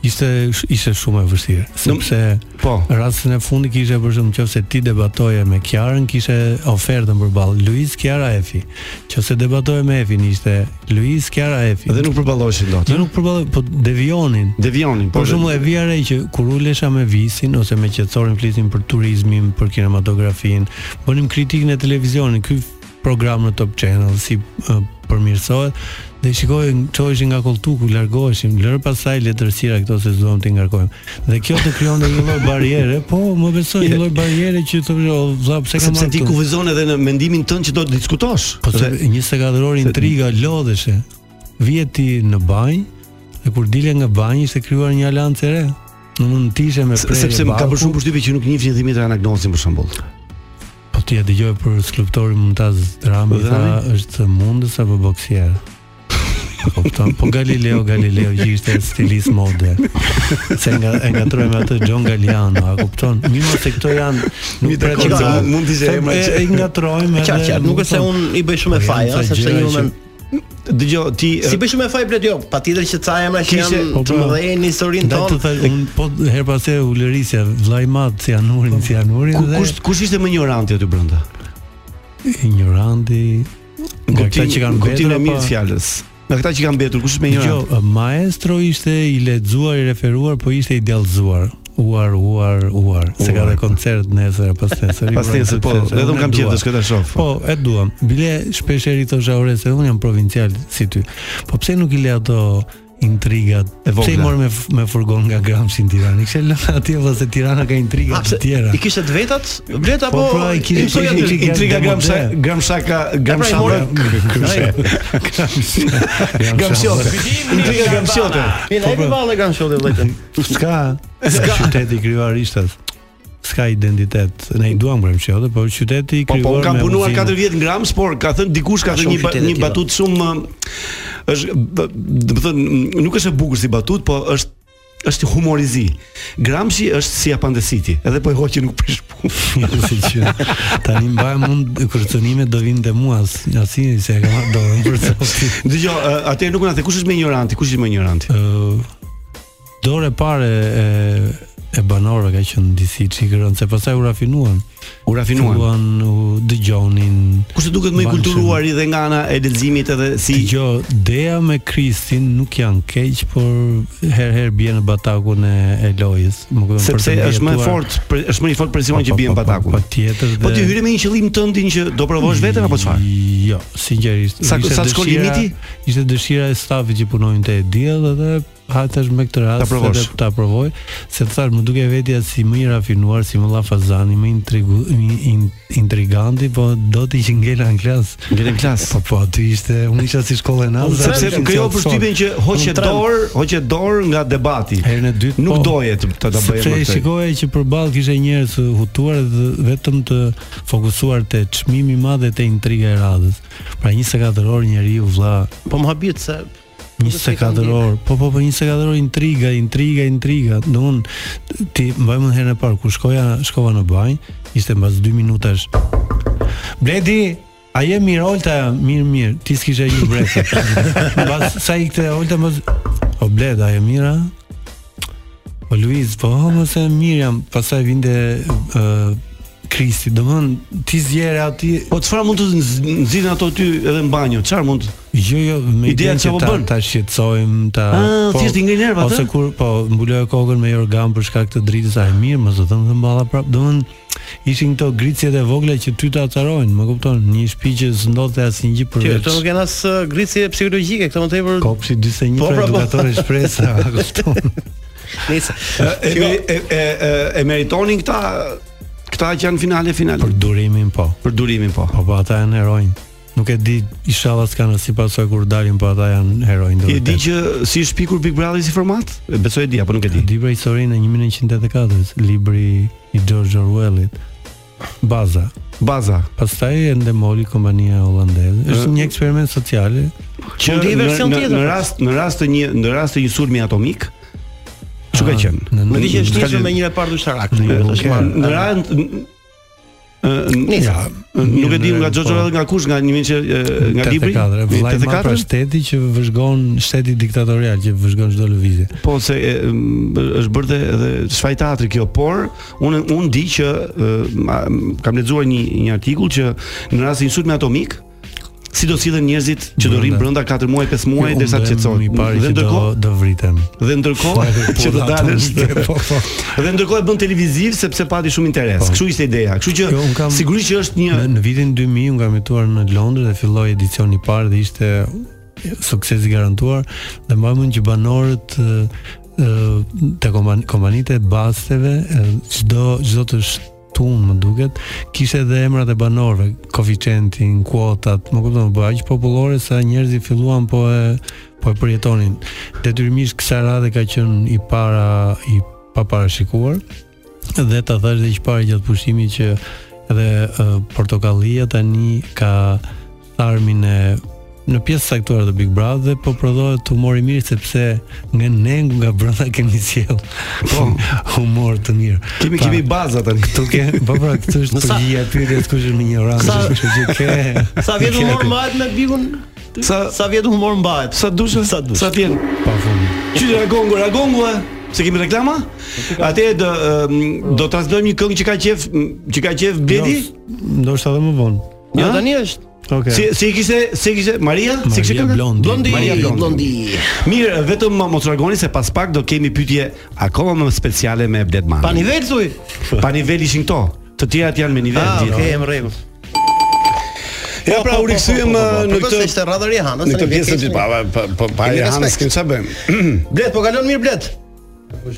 [SPEAKER 12] ishte ishte shumë e vështirë, sepse
[SPEAKER 7] po.
[SPEAKER 12] rastin e fundit kishe për shemb nëse ti debatoje me Kiarën, kishe ofertën përballë Luiz Kiara Efi. Nëse debatoje me Efin ishte Luiz Kiara Efi.
[SPEAKER 7] Dhe nuk përballoheshin dot.
[SPEAKER 12] Dhe nuk përballoj, po devionin.
[SPEAKER 7] Devionin, po.
[SPEAKER 12] Për shembull e vija re që kur u lesha me Visin ose me Qetësorin flisim për turizmin, për kinematografinë, bënim kritikën e televizionit, ky program në Top Channel si uh, përmirësohet dhe shikoj çohesh nga kolltuku, largoheshim, lër pastaj letërsira këto se zuam të ngarkojmë. Dhe kjo të krijonte një lloj barriere, po më besoj një lloj barriere që thonë "O, vlla pse kam
[SPEAKER 7] Sepse ti
[SPEAKER 12] këtu?"
[SPEAKER 7] kufizon edhe në mendimin tënd që do të diskutosh.
[SPEAKER 12] Po se
[SPEAKER 7] Dhe-
[SPEAKER 12] 24 orë intriga lodheshe. Vje ti në banjë dhe kur dile nga banjë ishte krijuar një alancë e re. Në mund të ishe me
[SPEAKER 7] se-
[SPEAKER 12] prerje.
[SPEAKER 7] sepse më ka
[SPEAKER 12] barku.
[SPEAKER 7] për shumë përshtypje që nuk njihnin Dimitri Anagnosin për shembull.
[SPEAKER 12] Po ti e dëgjoj për skulptorin Mumtaz Rami
[SPEAKER 7] Po Rami?
[SPEAKER 12] tha është mundës apo boksier. Po kupton, po Galileo Galileo që ishte stilist mode. Se nga e ngatroj me atë John Galliano, a kupton? Mimo se këto janë nuk pra
[SPEAKER 8] Mita
[SPEAKER 12] pretendoj.
[SPEAKER 8] Koza, mund t'ishte
[SPEAKER 12] Po,
[SPEAKER 8] emra
[SPEAKER 12] e-
[SPEAKER 8] që-
[SPEAKER 12] E Po, ngatrojmë
[SPEAKER 8] Qartë, qartë, nuk është se unë i bëj shumë e faj, a, sepse një moment-
[SPEAKER 7] dëgjoj ti
[SPEAKER 8] Si bëj shumë e faj blet jo, patjetër që ca emra që
[SPEAKER 12] Kishe-
[SPEAKER 8] janë
[SPEAKER 12] po,
[SPEAKER 8] të
[SPEAKER 12] po.
[SPEAKER 8] mëdhenj në historinë
[SPEAKER 12] Da të
[SPEAKER 8] tonë.
[SPEAKER 12] thaj, unë po her pas here u lërisja vllai mat si anurin, si anurin
[SPEAKER 7] Ku-
[SPEAKER 12] dhe
[SPEAKER 7] Kush kush ishte më ignoranti aty brenda?
[SPEAKER 12] ignoranti. Nga këta që kanë
[SPEAKER 7] kuptimin e
[SPEAKER 12] mbetur,
[SPEAKER 7] mirë
[SPEAKER 12] apo-
[SPEAKER 7] të fjalës. Nga këta që kanë mbetur, kush është më
[SPEAKER 12] Jo,
[SPEAKER 7] ignorant?
[SPEAKER 12] maestro ishte i lexuar, i referuar, po ishte i dallzuar. Uar, uar, uar. Se ka
[SPEAKER 7] Uar. po.
[SPEAKER 12] dhe koncert nesër pas nesër.
[SPEAKER 7] Pas nesër, po, edhe unë kam qenë të shkoj ta shoh.
[SPEAKER 12] jo, Po, e duam. Bile shpesh i thosha ore se unë jam provincial si ty. Po pse nuk i le ato intrigat?
[SPEAKER 7] E vogla.
[SPEAKER 12] Pse i morë me f- me furgon nga Gramsci në Tiranë? Kishë lënë atje vëse Tirana ka intriga
[SPEAKER 8] A, pse-
[SPEAKER 12] Jo, të tjera.
[SPEAKER 8] I kishte të vetat blet apo
[SPEAKER 12] Po, pra, i kishte-
[SPEAKER 8] mësoj aty.
[SPEAKER 12] i kishte-
[SPEAKER 7] Intriga
[SPEAKER 12] Gamsha-
[SPEAKER 7] Gramsha, Gramsha ka Gramsha.
[SPEAKER 8] morë-
[SPEAKER 7] Gramsha. Gamshote. Intriga Gamshote.
[SPEAKER 8] Mi na jemi vallë kanë shotë vllajtën.
[SPEAKER 12] Ska Ska qyteti kryuar ishtas Ska identitet Ne i duam grem qëllë Po qyteti
[SPEAKER 7] Po
[SPEAKER 12] kryuar
[SPEAKER 7] po kam
[SPEAKER 12] me
[SPEAKER 7] punuar
[SPEAKER 12] muzin.
[SPEAKER 7] 4 vjet në Grams, por ka thënë dikush ka
[SPEAKER 12] Ka
[SPEAKER 7] thënë
[SPEAKER 12] shumë
[SPEAKER 7] një ba-
[SPEAKER 12] qytete
[SPEAKER 7] një
[SPEAKER 12] tjera.
[SPEAKER 7] batut shumë ë, është b- do të thënë m, nuk është e bukur si batut, po është është humorizi. Gramsci është si Japande City, edhe po e hoqi nuk prish punë.
[SPEAKER 12] si që tani mbaj mund kërcënimet do vinë te mua as asnjë se e kam do për sot.
[SPEAKER 7] Dgjoj, atë eh, nuk na the kush është më ignoranti, kush është më ignoranti?
[SPEAKER 12] Eh, Dore pare e e banorëve ka qenë disi çikëron se pastaj u rafinuan.
[SPEAKER 7] U rafinuan.
[SPEAKER 12] Filluan u dëgjonin.
[SPEAKER 7] Kush të duket më i
[SPEAKER 12] mbanshëm.
[SPEAKER 7] kulturuar i dhe nga ana e leximit edhe si
[SPEAKER 12] Dgjoj, Dea me Kristin nuk janë keq, por her her bie në batakun e e lojës. Më kupton për
[SPEAKER 7] sepse
[SPEAKER 12] të
[SPEAKER 7] është më
[SPEAKER 12] mbijetuar.
[SPEAKER 7] fort, pre- është më i fort presion
[SPEAKER 12] Po,
[SPEAKER 7] që
[SPEAKER 12] po,
[SPEAKER 7] bien
[SPEAKER 12] po, po,
[SPEAKER 7] patakun.
[SPEAKER 12] Patjetër dhe
[SPEAKER 7] Po ti hyri me një qëllim tëndin që do provosh veten apo çfarë?
[SPEAKER 12] Jo, sinqerisht.
[SPEAKER 7] Sa-
[SPEAKER 12] ishte
[SPEAKER 7] sa të shkon
[SPEAKER 12] dëshira-
[SPEAKER 7] limiti?
[SPEAKER 12] Ishte dëshira e stafit që punonin te Edia dhe, dhe
[SPEAKER 13] hatesh me këtë rast
[SPEAKER 16] Ta provosh.
[SPEAKER 13] edhe ta provoj, se të thash më duke vetja si më i rafinuar, si më llafazani, më intrigu, i- in- intriganti, po do të që ngela në klasë.
[SPEAKER 16] Ngela në klasë.
[SPEAKER 13] Po po, aty ishte, unë isha si shkolla e nazë.
[SPEAKER 7] Sepse krijo përshtypjen që hoqe dorë, hoqe dorë nga debati.
[SPEAKER 13] Herën e dytë po.
[SPEAKER 7] nuk doje të të ta bëjmë
[SPEAKER 13] Sepse
[SPEAKER 7] këtë.
[SPEAKER 13] shikoja që përballë kishte njerëz të hutuar dhe vetëm të fokusuar te çmimi i madh dhe te intriga e radhës. Pra 24 orë njeriu vlla.
[SPEAKER 8] Po muhabit se
[SPEAKER 13] 24 orë. Po po po 24 orë intriga, intriga, intriga. Domun ti mbaj më herën e parë kur shkoja, shkova në banjë, ishte mbas 2 minutash. Bledi, a je mirë Olta? Mirë, mirë. Ti s'kishe një bresa. mbas sa ikte Olta mos O Bled, a je mira? O Luiz, po mos e mirë jam. Pastaj vinte ë Kristi, domthon ti zjere aty.
[SPEAKER 7] Po çfarë mund të nxitën ato ty edhe në banjë? Çfarë mund?
[SPEAKER 13] Jo, jo, me
[SPEAKER 7] ideja që po
[SPEAKER 13] ta-
[SPEAKER 7] bën.
[SPEAKER 13] ta shqetësojmë, ta po,
[SPEAKER 12] Po,
[SPEAKER 7] Ah, thjesht i ngrin nervat,
[SPEAKER 13] Ose
[SPEAKER 8] eh?
[SPEAKER 7] ë?
[SPEAKER 13] kur po mbuloja kokën me organ për shkak të dritës, a e mirë, mos e them të mballa prap. Domthon ishin këto gricjet e vogla që ty ta atarojnë, më kupton? Një shtëpi që s'ndodhte asnjë gjë
[SPEAKER 8] Ti
[SPEAKER 13] përveç.
[SPEAKER 8] këto nuk janë as uh, gricje psikologjike, këto më tepër
[SPEAKER 13] kopshi 41
[SPEAKER 8] po, pra, po.
[SPEAKER 13] edukatore shpresa, a kupton?
[SPEAKER 8] Nice.
[SPEAKER 7] E, e, e, e, e meritonin këta këta që janë finale finale. Për
[SPEAKER 13] durimin po.
[SPEAKER 7] Për durimin po.
[SPEAKER 13] Po po ata janë heronj. Nuk e di, inshallah s'kan asnjë pasojë kur dalin, po ata janë heronj.
[SPEAKER 7] Ti e di që si është pikur Big Brother si format? E Besoj e di apo nuk e di.
[SPEAKER 13] Libra historinë e 1984, libri i George Orwellit. Baza.
[SPEAKER 7] Baza.
[SPEAKER 13] Pastaj e ndemoli kompania holandeze. Është
[SPEAKER 7] Ë.
[SPEAKER 13] një eksperiment social
[SPEAKER 7] Që në, në,
[SPEAKER 13] po.
[SPEAKER 7] në rast në rast të një në rast të një sulmi atomik çu ka
[SPEAKER 13] Ah,
[SPEAKER 7] qenë.
[SPEAKER 13] në-
[SPEAKER 8] Më di që është
[SPEAKER 7] Ka
[SPEAKER 8] nisur
[SPEAKER 7] qenë-
[SPEAKER 8] me një raport ushtarak.
[SPEAKER 7] Në
[SPEAKER 8] Në
[SPEAKER 7] në rand
[SPEAKER 8] Nisa.
[SPEAKER 7] nuk e di nga George
[SPEAKER 13] po.
[SPEAKER 7] Orwell nga kush, nga një që e, nga libri
[SPEAKER 13] 84, vllai i madh pra
[SPEAKER 7] 84.
[SPEAKER 13] shteti që vëzhgon shteti diktatorial që vëzhgon çdo lëvizje.
[SPEAKER 7] Po se e, m, është bërë dhe- edhe shfaj teatri kjo, por unë unë di që e, ma- m, kam lexuar një një artikull që në rast të një sulmi atomik si do sillen njerëzit që do rrinë brenda 4 muaj, 5 muaj
[SPEAKER 13] Unë
[SPEAKER 7] derisa të
[SPEAKER 13] bëhem
[SPEAKER 7] qetësohen.
[SPEAKER 13] i pari
[SPEAKER 7] Dhe
[SPEAKER 13] që do
[SPEAKER 7] ndërkohë
[SPEAKER 13] do vritem.
[SPEAKER 7] dhe ndërkohë
[SPEAKER 13] Fare
[SPEAKER 7] që do
[SPEAKER 13] pudha
[SPEAKER 7] dalësh.
[SPEAKER 13] atomike, po, po.
[SPEAKER 7] Dhe ndërkohë e bën televiziv sepse pati shumë interes. Kështu ishte ideja. Kështu që
[SPEAKER 13] Jo, unë kam-
[SPEAKER 7] sigurisht që është një
[SPEAKER 13] Në, në vitin 2000 unë kam jetuar në Londër dhe filloi edicioni i parë dhe ishte sukses i garantuar dhe më mund që banorët ë, ë, të kompan- kompanitë e basteve ë, çdo çdo të shtun më duket kishte edhe emrat e banorëve koeficientin kuotat më kupton po aq popullore sa njerëzit filluan po e po e përjetonin detyrimisht kësaj radhe ka qenë i para i paparashikuar dhe ta thash dhe që pare gjatë pushimit që edhe uh, portokallia tani ka tharmin e në pjesë saktuar të Big Brother dhe po prodhohet humor i mirë sepse nga neng nga brenda kemi sjell po humor të mirë. Pra,
[SPEAKER 7] Kemi- kemi baza tani.
[SPEAKER 13] Këtu ke, po pra këtu është
[SPEAKER 8] Në sa-
[SPEAKER 13] përgjigja e pyetjes kush është ignorant,
[SPEAKER 8] Sa-
[SPEAKER 13] kështu që ke.
[SPEAKER 8] Sa vjet
[SPEAKER 13] ke
[SPEAKER 8] humor
[SPEAKER 13] atë.
[SPEAKER 8] mbahet me Bikun?
[SPEAKER 7] Sa
[SPEAKER 8] sa vjet humor mbahet?
[SPEAKER 7] Sa dushë?
[SPEAKER 8] Sa dushë?
[SPEAKER 7] Sa tjen?
[SPEAKER 13] Pa fund.
[SPEAKER 7] Qyri Ragongu, Ragongu, e? se kemi reklama? Atë do em, do transmetojmë një këngë që ka qef që ka qef Bledi?
[SPEAKER 13] Jo. Ndoshta edhe më vonë.
[SPEAKER 8] Jo,
[SPEAKER 12] Ah?
[SPEAKER 7] Ha?
[SPEAKER 8] tani është.
[SPEAKER 13] Okej.
[SPEAKER 7] Si si kishte si kishte Maria? si kishte
[SPEAKER 13] Maria
[SPEAKER 7] kënga?
[SPEAKER 13] Blondi.
[SPEAKER 7] Maria Blondi.
[SPEAKER 8] Blondi.
[SPEAKER 7] Mirë, vetëm më mos largoni se pas pak do kemi pyetje akoma më speciale me Bled Mami.
[SPEAKER 8] Pa nivel thuj.
[SPEAKER 7] Pa nivel ishin këto. Të tjerat janë me nivel.
[SPEAKER 8] Ah,
[SPEAKER 7] gjithë.
[SPEAKER 8] okay, më rregull.
[SPEAKER 7] Ja pra
[SPEAKER 8] po,
[SPEAKER 7] u rikthyem në
[SPEAKER 8] Përpos se ishte
[SPEAKER 7] këtë
[SPEAKER 8] radhë e Hanës.
[SPEAKER 7] në këtë
[SPEAKER 8] tani
[SPEAKER 7] pjesë
[SPEAKER 8] vjen
[SPEAKER 7] të
[SPEAKER 8] keq.
[SPEAKER 7] pa pa pa pa
[SPEAKER 8] Kemi
[SPEAKER 7] ja Hanës
[SPEAKER 8] respekt.
[SPEAKER 7] kënë çfarë bëjmë.
[SPEAKER 8] Blet, po kalon mirë Blet.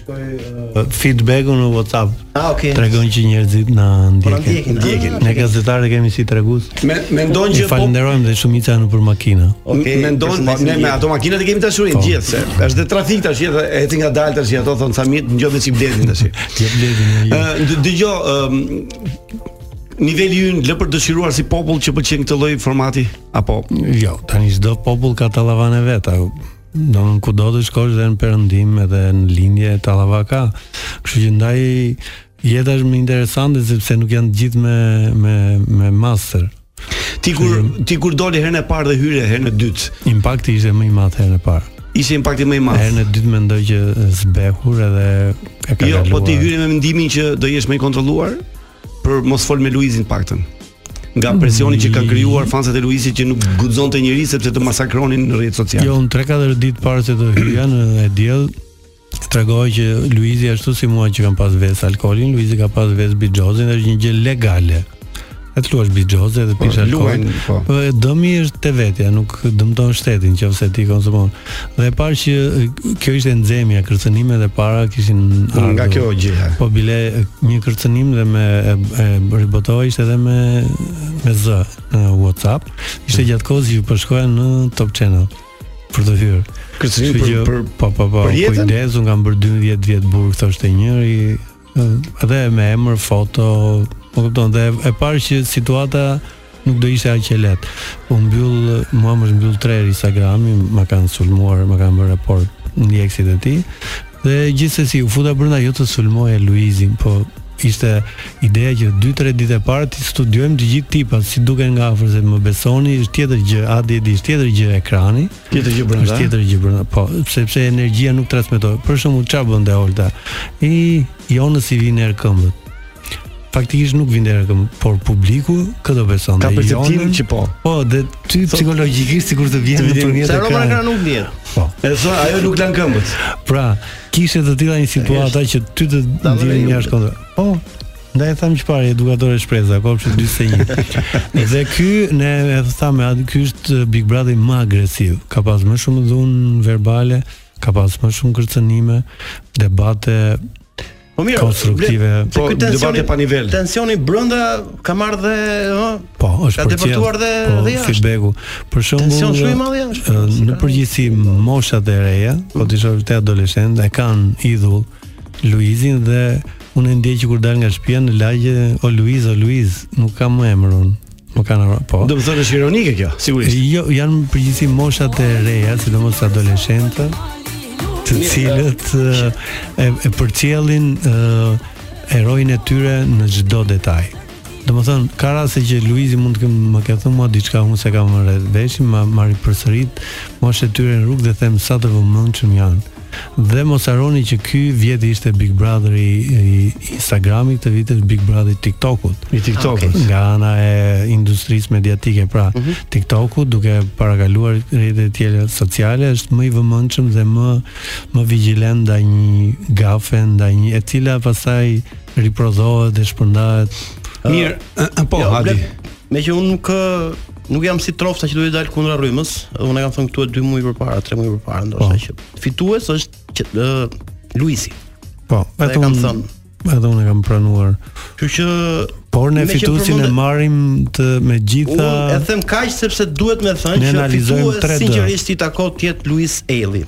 [SPEAKER 13] uh, feedback-u në WhatsApp.
[SPEAKER 8] Ah, okay.
[SPEAKER 13] Tregon që njerëzit na
[SPEAKER 8] na
[SPEAKER 13] ndjekin.
[SPEAKER 8] ndjekin, ah,
[SPEAKER 13] Ne gazetarë kemi si tregus.
[SPEAKER 7] Me mendon
[SPEAKER 13] Ju
[SPEAKER 7] që po
[SPEAKER 13] falenderojmë dhe shumica janë për makina.
[SPEAKER 8] Okej,
[SPEAKER 7] mendon po,
[SPEAKER 8] përshëndesim
[SPEAKER 7] ne me
[SPEAKER 8] gjithë.
[SPEAKER 7] ato makinat e kemi dashurinë gjithë se është dhe trafik tash edhe eti nga dal tash ato thon Samit ngjohet si bledin tash.
[SPEAKER 13] Je bledin e ju.
[SPEAKER 7] Ë, d- Dëgjoj ëm, niveli ynë lë për dëshiruar si popull që pëlqen këtë lloj formati apo
[SPEAKER 13] Jo, tani çdo popull ka tallavane vet. a- Domthon kudo të shkosh dhe në perëndim edhe në lindje tallava ka. Kështu që ndaj jeta është më interesante sepse nuk janë të gjithë me me me master.
[SPEAKER 7] ti kur ti kur doli herën e parë dhe hyre herën e dytë
[SPEAKER 13] Impakti ishte më i madh herën e parë.
[SPEAKER 7] ishte impakti më i madh.
[SPEAKER 13] Herën e dytë mendoj që zbehur edhe e ka
[SPEAKER 7] Jo,
[SPEAKER 13] kaluar.
[SPEAKER 7] po ti hyre me mendimin që do jesh më i kontrolluar për mos fol me Luizin paktën. Nga presioni që kanë krijuar fansat e Luizit që nuk guxonte njerëz sepse të masakronin në rrjetet sociale.
[SPEAKER 13] Jo, unë 3-4 ditë parë se të hyja në e diell tregoj që Luizi ashtu si mua që kam pas ves alkolin, Luizi ka pas ves bigjozin, është një gjë legale. E të luash bigjoze dhe pish
[SPEAKER 16] Po,
[SPEAKER 13] alkool.
[SPEAKER 16] luajnë, po.
[SPEAKER 13] Po e dëmi është te vetja, nuk dëmton shtetin nëse ti konsumon. Dhe e parë që e, kjo ishte nxemja, kërcënimet e para kishin
[SPEAKER 16] Nga
[SPEAKER 13] ardhur.
[SPEAKER 16] kjo gjëja.
[SPEAKER 13] Po bile e, një kërcënim dhe me e, e ribotoi ishte edhe me me z në WhatsApp.
[SPEAKER 16] Mm.
[SPEAKER 13] Ishte gjatë kohës që ju po shkoja në Top Channel për të hyrë.
[SPEAKER 16] Kërcënim
[SPEAKER 13] Kështu
[SPEAKER 16] për-
[SPEAKER 13] që,
[SPEAKER 16] për-
[SPEAKER 13] po po po.
[SPEAKER 16] për jetën?
[SPEAKER 13] Kujdes, unë kam bërë 12 vjet burg, thoshte njëri, ë, edhe me emër, foto, po kupton, dhe e- e parë që situata nuk do ishte aq e lehtë. U mbyll, mua më është mbyll tre Instagrami, ma kanë sulmuar, ma kanë bërë raport ndjekësit e tij. Dhe gjithsesi u futa brenda jo të sulmoja Luizin, po ishte ideja që 2-3 ditë e para ti studiojmë të gjithë tipat, si duken nga afër se më besoni, është tjetër gjë, Adi e di, është tjetër gjë ekrani.
[SPEAKER 16] Tjetër gjë brenda.
[SPEAKER 13] Është tjetër gjë brenda. Po, sepse energjia nuk transmetohet. Për shembull, çfarë bën dhe Olta? I Jonës i vjen erë këmbët. Faktikisht nuk vjen erë këmbët, por publiku këtë beson.
[SPEAKER 16] Ka
[SPEAKER 13] dhe
[SPEAKER 16] perceptim
[SPEAKER 13] Jonën-
[SPEAKER 16] që po.
[SPEAKER 13] Po, dhe ty psikologjikisht sikur të vjen nëpërmjet
[SPEAKER 16] Se Roma në
[SPEAKER 13] ekranit.
[SPEAKER 16] ekran nuk ndjen.
[SPEAKER 13] Po.
[SPEAKER 16] E thonë ajo nuk lan këmbët.
[SPEAKER 13] Pra, kishte të tilla një situata që ty të ndjen jashtë kontra. Po. Ndaj e tham që parë edukatore shpreza, po, kopshë 41. dhe ky ne e thamë, atë ky është Big Brother më agresiv. Ka pas më shumë dhunë verbale, ka pas më shumë kërcënime, debate
[SPEAKER 8] Po mirë,
[SPEAKER 13] konstruktive.
[SPEAKER 8] Po tensioni
[SPEAKER 16] pa nivel.
[SPEAKER 8] Tensioni brenda ka marrë dhe, ëh,
[SPEAKER 13] Po, është
[SPEAKER 8] Ka
[SPEAKER 13] përcjell.
[SPEAKER 8] depërtuar dhe
[SPEAKER 13] po,
[SPEAKER 8] dhe jashtë.
[SPEAKER 13] feedbacku. Për shembull,
[SPEAKER 8] Tension shumë i madh Mm. jashtë.
[SPEAKER 13] ë, Në përgjithësi moshat e reja, po ti shoh te adoleshent, e kanë idhull Luizin dhe unë e ndjej që kur dal nga shtëpia në lagje o Luiz o Luiz, nuk kam më emrin. Më kanë po.
[SPEAKER 16] Do të thonë është ironike kjo, sigurisht.
[SPEAKER 13] Jo, janë në përgjithësi moshat e reja, sidomos adoleshentët, të cilët ë, e, e përcjellin ë erojin e tyre në çdo detaj. Domethënë, ka raste që Luizi mund të kem më ka thënë mua diçka unë se kam marrë veshin, ma marri përsërit, moshë e tyre në rrugë dhe them sa të vëmendshëm janë. Dhe mos harroni që ky vjet ishte Big Brother i, i Instagramit, këtë vit është Big Brother i TikTokut.
[SPEAKER 16] I TikTokut.
[SPEAKER 13] Okay. Nga ana e industrisë mediatike, pra
[SPEAKER 8] Mhm.
[SPEAKER 13] TikToku duke parakaluar rrjetet e tjera sociale është më i vëmendshëm dhe më më vigjilent ndaj një gafe, ndaj një e cila pastaj riprodhohet dhe shpërndahet.
[SPEAKER 8] Mirë,
[SPEAKER 16] po,
[SPEAKER 8] Jo,
[SPEAKER 16] Adi.
[SPEAKER 8] blef, Me që unë nuk ë, nuk jam si trofta që duhet dal kundra rrymës. Unë e kam thënë këtu e 2 muaj përpara, 3 muaj përpara
[SPEAKER 16] Po.
[SPEAKER 8] ndoshta që fitues është që, ë, Luisi.
[SPEAKER 13] Po,
[SPEAKER 8] Dhe e
[SPEAKER 13] vetëm
[SPEAKER 8] kam thënë.
[SPEAKER 13] Edhe unë e kam pranuar.
[SPEAKER 8] Kështu që
[SPEAKER 13] por ne
[SPEAKER 8] me që
[SPEAKER 13] fituesin e
[SPEAKER 8] përmende-
[SPEAKER 13] marrim të me gjitha
[SPEAKER 8] Unë e them kaq sepse duhet me thënë
[SPEAKER 13] Ne
[SPEAKER 8] që
[SPEAKER 13] analizojmë
[SPEAKER 8] fitues
[SPEAKER 13] 3D.
[SPEAKER 8] sinqerisht i takon tjet Luis Eli.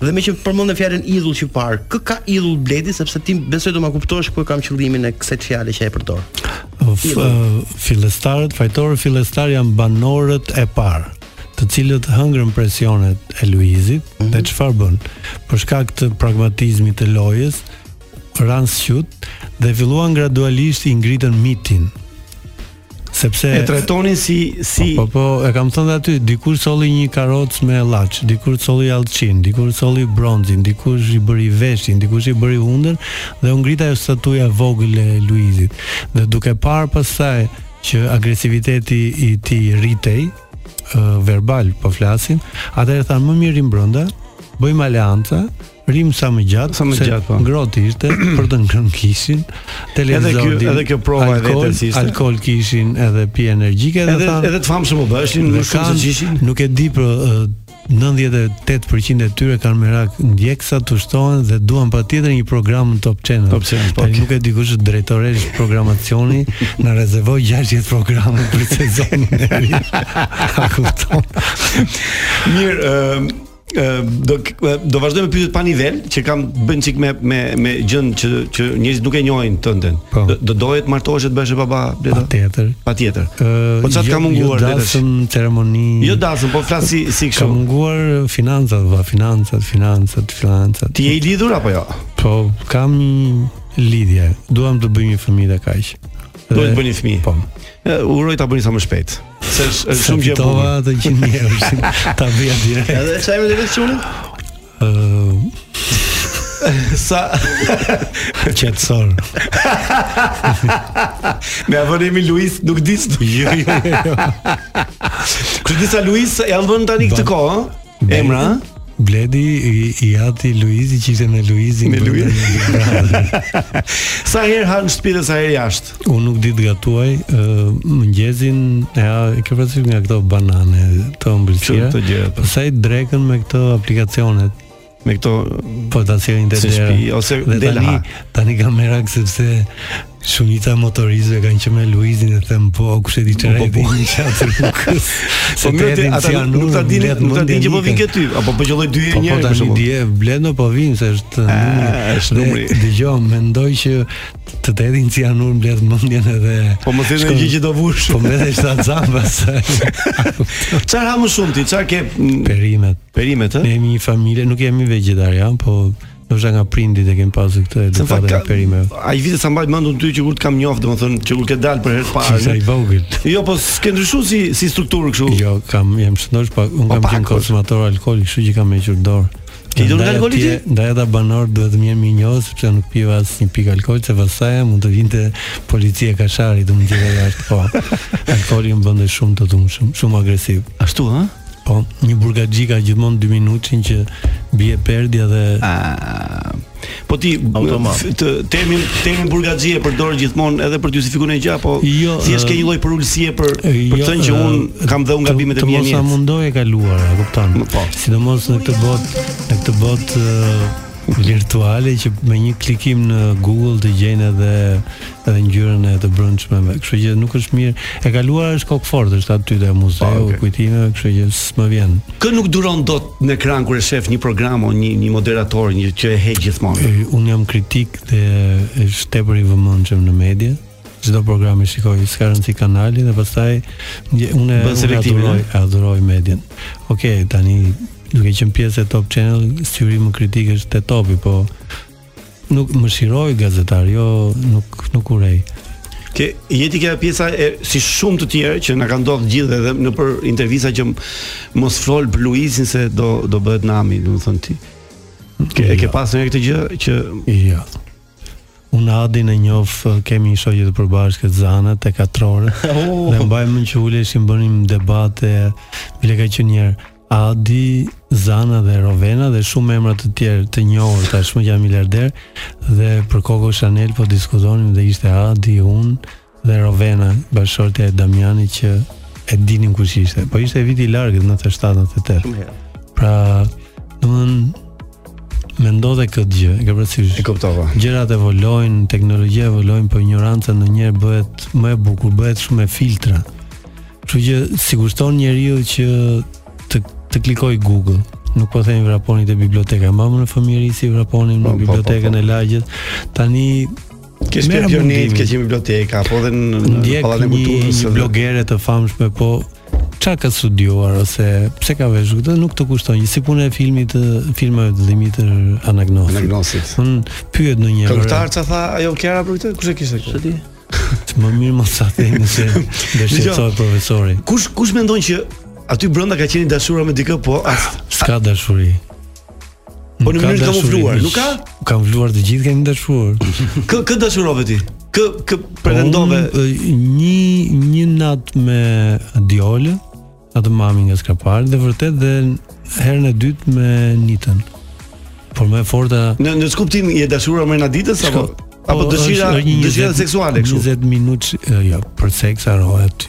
[SPEAKER 8] Dhe me që përmendën fjalën idhull që parë, kë ka idhull Bledi sepse ti besoj do ma kuptosh ku e kam qëllimin e kësaj fjale që e përdor.
[SPEAKER 13] f- ë, fillestarët, fajtorë fillestar janë banorët e parë, të cilët hëngrën presionet e Luizit dhe çfarë bën? Për shkak të pragmatizmit të lojës, ran shoot dhe filluan gradualisht i ngritën mitin. Sepse
[SPEAKER 16] E trajtonin si si
[SPEAKER 13] Po, po, po, e kam thënë dhe aty, dikur solli një karrocë me llaç, dikur solli allçin, dikur solli bronzin, dikur i bëri veshin, dikur i bëri hundën dhe u ngrita ajo statuja e vogël e Luizit. Dhe duke parë pastaj që agresiviteti i tij rritej, ë, verbal po flasim, atëherë thanë më mirë im brenda, bëjmë aleanca, rim sa më gjatë,
[SPEAKER 16] Sa më
[SPEAKER 13] se
[SPEAKER 16] gjatë, po.
[SPEAKER 13] ngroti ishte për të ngrënë kishin, televizor,
[SPEAKER 16] kjo- edhe kjo prova e vetes ishte.
[SPEAKER 13] Alkool kishin edhe pije energjike
[SPEAKER 16] Edhe- edhe të famshëm u bëshin,
[SPEAKER 13] po. Dhe
[SPEAKER 16] më shumë
[SPEAKER 13] kanë-
[SPEAKER 16] se gjishin.
[SPEAKER 13] Nuk e di për ë, 98% e tyre kanë merak ndjeksa të shtohen dhe duan patjetër një program në Top Channel.
[SPEAKER 16] Top Channel, po,
[SPEAKER 13] Tani nuk e di kush është drejtoresh programacioni, na rezervoi 60 programe për sezonin e ri. A kupton?
[SPEAKER 16] Mirë, ëm ë, do do vazhdoj me pyetjet pa nivel që kam bën çik me me me gjën që që njerëzit nuk e njohin tënden.
[SPEAKER 13] Po.
[SPEAKER 16] Do, do dohet martohesh të bësh e baba Bleda?
[SPEAKER 13] Patjetër.
[SPEAKER 16] Patjetër.
[SPEAKER 13] Ë,
[SPEAKER 16] Po çat
[SPEAKER 13] jo-
[SPEAKER 16] ka munguar
[SPEAKER 13] jo
[SPEAKER 16] Bleda?
[SPEAKER 13] dasëm ceremoni.
[SPEAKER 16] Jo dasëm, po flas si si
[SPEAKER 13] Ka
[SPEAKER 16] kështu.
[SPEAKER 13] munguar eh, financat, va, financat, financat, financat.
[SPEAKER 16] Ti je i lidhur apo jo?
[SPEAKER 13] Po, kam një lidhje. Duam të bëjmë një fëmijë dhe kaq.
[SPEAKER 16] Duhet
[SPEAKER 13] Dhe-
[SPEAKER 16] të bëni fëmijë.
[SPEAKER 13] Po.
[SPEAKER 16] Ë, Uroj ta bëni sa më shpejt. Se është është
[SPEAKER 13] Se
[SPEAKER 16] shumë gjë e
[SPEAKER 13] fitova
[SPEAKER 16] bukur.
[SPEAKER 13] të gjithë njerëzit, ta bëja direkt.
[SPEAKER 8] Edhe çfarë më duhet çunin?
[SPEAKER 16] Sa
[SPEAKER 13] qetësor.
[SPEAKER 16] Me avonimi Luis nuk di s'du. Jo, jo, jo. Kështë disa Luis janë vënë tani këtë kohë, ë? Emra, ë?
[SPEAKER 13] Bledi i, i ati Luizi që ishte me Luizin.
[SPEAKER 7] Me
[SPEAKER 13] bëndën
[SPEAKER 7] Luizin.
[SPEAKER 13] Big Brother.
[SPEAKER 7] Sa herë ha në shtëpi dhe sa herë jashtë.
[SPEAKER 13] Unë nuk di të gatuaj, ë, mëngjesin e ha e ke parasysh nga këto banane të ëmbëlsira.
[SPEAKER 7] Shumë të gjëra, po.
[SPEAKER 13] Pastaj drekën me këto aplikacionet
[SPEAKER 7] me këto
[SPEAKER 13] po ta sjellin te
[SPEAKER 7] si
[SPEAKER 13] dera
[SPEAKER 7] shtëpi, ose
[SPEAKER 13] Dhe
[SPEAKER 7] del
[SPEAKER 13] tani
[SPEAKER 7] ha.
[SPEAKER 13] tani kam merak sepse shumica motoristëve kanë qenë me Luizin e them po kush e di çfarë
[SPEAKER 7] Po,
[SPEAKER 13] po,
[SPEAKER 7] po, po.
[SPEAKER 13] qatë nuk
[SPEAKER 7] Po mirë, ti- ata nuk- nuk ta dinin, nuk ta dinin që po vin këtu, apo po qelloj dy
[SPEAKER 13] Po
[SPEAKER 7] herë
[SPEAKER 13] po
[SPEAKER 7] një herë, për
[SPEAKER 13] tani
[SPEAKER 7] shembull.
[SPEAKER 13] dje bledno po vin se është numri.
[SPEAKER 7] është
[SPEAKER 13] Dhe
[SPEAKER 7] numri.
[SPEAKER 13] Dëgjoj, mendoj që të të hedhin cianur mbledh mendjen edhe
[SPEAKER 7] Po mos thënë
[SPEAKER 13] shkon-
[SPEAKER 7] gjë që do vush.
[SPEAKER 13] Po mbledh shtat zam pastaj.
[SPEAKER 7] Çfarë ha më shumë ti? Çfarë ke mm,
[SPEAKER 13] Perimet.
[SPEAKER 7] Perimet, ë?
[SPEAKER 13] Ne jemi një familje, nuk jemi vegetarian, po ndoshta nga prindit e kemi pasur këtë
[SPEAKER 7] Se në fakt
[SPEAKER 13] edukatën e
[SPEAKER 7] ka-
[SPEAKER 13] perimeve.
[SPEAKER 7] Ai vite sa mbaj mendun ty që kur të kam njoft, domethënë që kur ke dalë për herë të parë.
[SPEAKER 13] Qisha i vogël.
[SPEAKER 7] Jo, po s'ke ndryshuar si si strukturë kështu.
[SPEAKER 13] Jo, kam jam shëndosh pak, un kam
[SPEAKER 7] pak,
[SPEAKER 13] qenë
[SPEAKER 7] po.
[SPEAKER 13] konsumator alkooli, kështu që kam hequr dorë.
[SPEAKER 7] Ke hequr
[SPEAKER 13] Ndaj
[SPEAKER 7] alkooli
[SPEAKER 13] atje- Ndaj ata banor duhet të më mirë sepse nuk piva asnjë pikë alkool, se pastaj mund të vinte policia e Kasharit, unë të jashtë po. Alkooli më bënte shumë të dhunshëm, shumë agresiv.
[SPEAKER 7] Ashtu, ha?
[SPEAKER 13] Po, një burgaxhika gjithmonë 2 minutën që bie perdja dhe
[SPEAKER 7] Po ti
[SPEAKER 13] Automat.
[SPEAKER 7] f- të temin temin burgaxhie përdor gjithmonë edhe për të justifikuar një gjë apo
[SPEAKER 13] Jo,
[SPEAKER 7] po thjesht ke
[SPEAKER 13] ë,
[SPEAKER 7] një lloj përulësie për për të thënë që
[SPEAKER 13] ë,
[SPEAKER 7] un kam dhe
[SPEAKER 13] jo,
[SPEAKER 7] un
[SPEAKER 13] të-
[SPEAKER 7] gabimet e
[SPEAKER 13] Të
[SPEAKER 7] mia
[SPEAKER 13] mos
[SPEAKER 7] në
[SPEAKER 13] ta
[SPEAKER 7] jetë.
[SPEAKER 13] mundoj e kaluar, e kupton.
[SPEAKER 7] Po.
[SPEAKER 13] Sidomos në këtë botë, në këtë botë ë, virtuale që me një klikim në Google të gjejnë edhe edhe ngjyrën e të brëndshmeve. Kështu që nuk është mirë. E kaluara është kokë fortë, është aty te muzeu,
[SPEAKER 7] okej.
[SPEAKER 13] kujtimeve, kështu që s'më vjen.
[SPEAKER 7] Kë nuk duron dot në ekran kur e shef një program o një një moderator një që e heq gjithmonë.
[SPEAKER 13] E, Unë jam kritik dhe është tepër i vëmendshëm në media. Çdo program e shikoj, s'ka rëndsi kanali dhe pastaj ndje- unë
[SPEAKER 7] Bën
[SPEAKER 13] unë
[SPEAKER 7] selektimin, eh?
[SPEAKER 13] aduroj,
[SPEAKER 7] e?
[SPEAKER 13] aduroj median. Okej, tani duke qenë pjesë e Top Channel, syri më kritik është te topi, po nuk më shiroj gazetar, jo nuk nuk urej.
[SPEAKER 7] Ke jeti kjo pjesa e si shumë të tjerë që na ka ndodhur gjithë edhe në për intervista që m- mos fol për Luizin se do do bëhet nami, domethënë ti. Ke e ke pasur një këtë gjë që
[SPEAKER 13] Jo. Unë Adin e njoh, kemi një shoqje të përbashkët Zana te katrore.
[SPEAKER 7] Oh.
[SPEAKER 13] Dhe mbajmë në quleshim bënim debate, bile ka qenë një herë Adi, Zana dhe Rovena dhe shumë emra të tjerë të njohur tashmë që janë miliarder dhe për Coco Chanel po diskutonim dhe ishte Adi, unë dhe Rovena, bashortja e Damiani që e dinim kush ishte. Po ishte viti i largët 97-98.
[SPEAKER 7] Shumë herë.
[SPEAKER 13] Pra, domthon mendo dhe këtë gjë, e ke parasysh.
[SPEAKER 7] E kuptova.
[SPEAKER 13] Gjërat evolojnë, teknologjia evolojnë, por ignoranca ndonjëherë bëhet më e bukur, bëhet shumë e filtra. Kështu që si kushton njeriu që të të klikoj Google, nuk po themi vraponit e biblioteka, mamë në fëmijëri si vraponin në
[SPEAKER 7] Po, po,
[SPEAKER 13] bibliotekën
[SPEAKER 7] po, po.
[SPEAKER 13] e lagjit. Tani
[SPEAKER 7] Ke
[SPEAKER 13] merrem
[SPEAKER 7] shpjegjonit,
[SPEAKER 13] mundimin.
[SPEAKER 7] ke qenë biblioteka apo edhe në në
[SPEAKER 13] ndjek
[SPEAKER 7] pallatin e
[SPEAKER 13] një,
[SPEAKER 7] kulturës.
[SPEAKER 13] një
[SPEAKER 7] edhe-
[SPEAKER 13] blogere të famshme, po çka ka studiuar ose pse ka veshur këtë nuk të kushton. Si puna e filmit të filmave të Dimitër Anagnosit.
[SPEAKER 7] Anagnosit.
[SPEAKER 13] Un pyet në një
[SPEAKER 7] Këngëtar ça tha ajo Kiara për këtë? Kush e kishte këtë? Ç'di?
[SPEAKER 13] më mirë mos sa themi se dëshiroj profesori.
[SPEAKER 7] Kush kush mendon që aty brenda ka qenë dashura me dikë, po as
[SPEAKER 13] S'ka dashuri.
[SPEAKER 7] Po
[SPEAKER 13] Nuk
[SPEAKER 7] në
[SPEAKER 13] ka
[SPEAKER 7] mënyrë të
[SPEAKER 13] dashuri,
[SPEAKER 7] kamufluar,
[SPEAKER 13] miq.
[SPEAKER 7] nuk ka?
[SPEAKER 13] Kam vluar të gjithë kemi dashuruar.
[SPEAKER 7] kë kë dashurove ti? Kë kë pretendove?
[SPEAKER 13] Unë, ë, Po, një një natë me Diole, atë mami nga Skrapari dhe vërtet dhe herën e dytë me Nitën. Por më e forta
[SPEAKER 7] Në në skuptim je dashura me Naditës apo apo
[SPEAKER 13] Po,
[SPEAKER 7] dëshira
[SPEAKER 13] është- është një
[SPEAKER 7] dëshira
[SPEAKER 13] 20
[SPEAKER 7] seksuale kështu?
[SPEAKER 13] 20 minutë ë, jo, për seks harohet aty.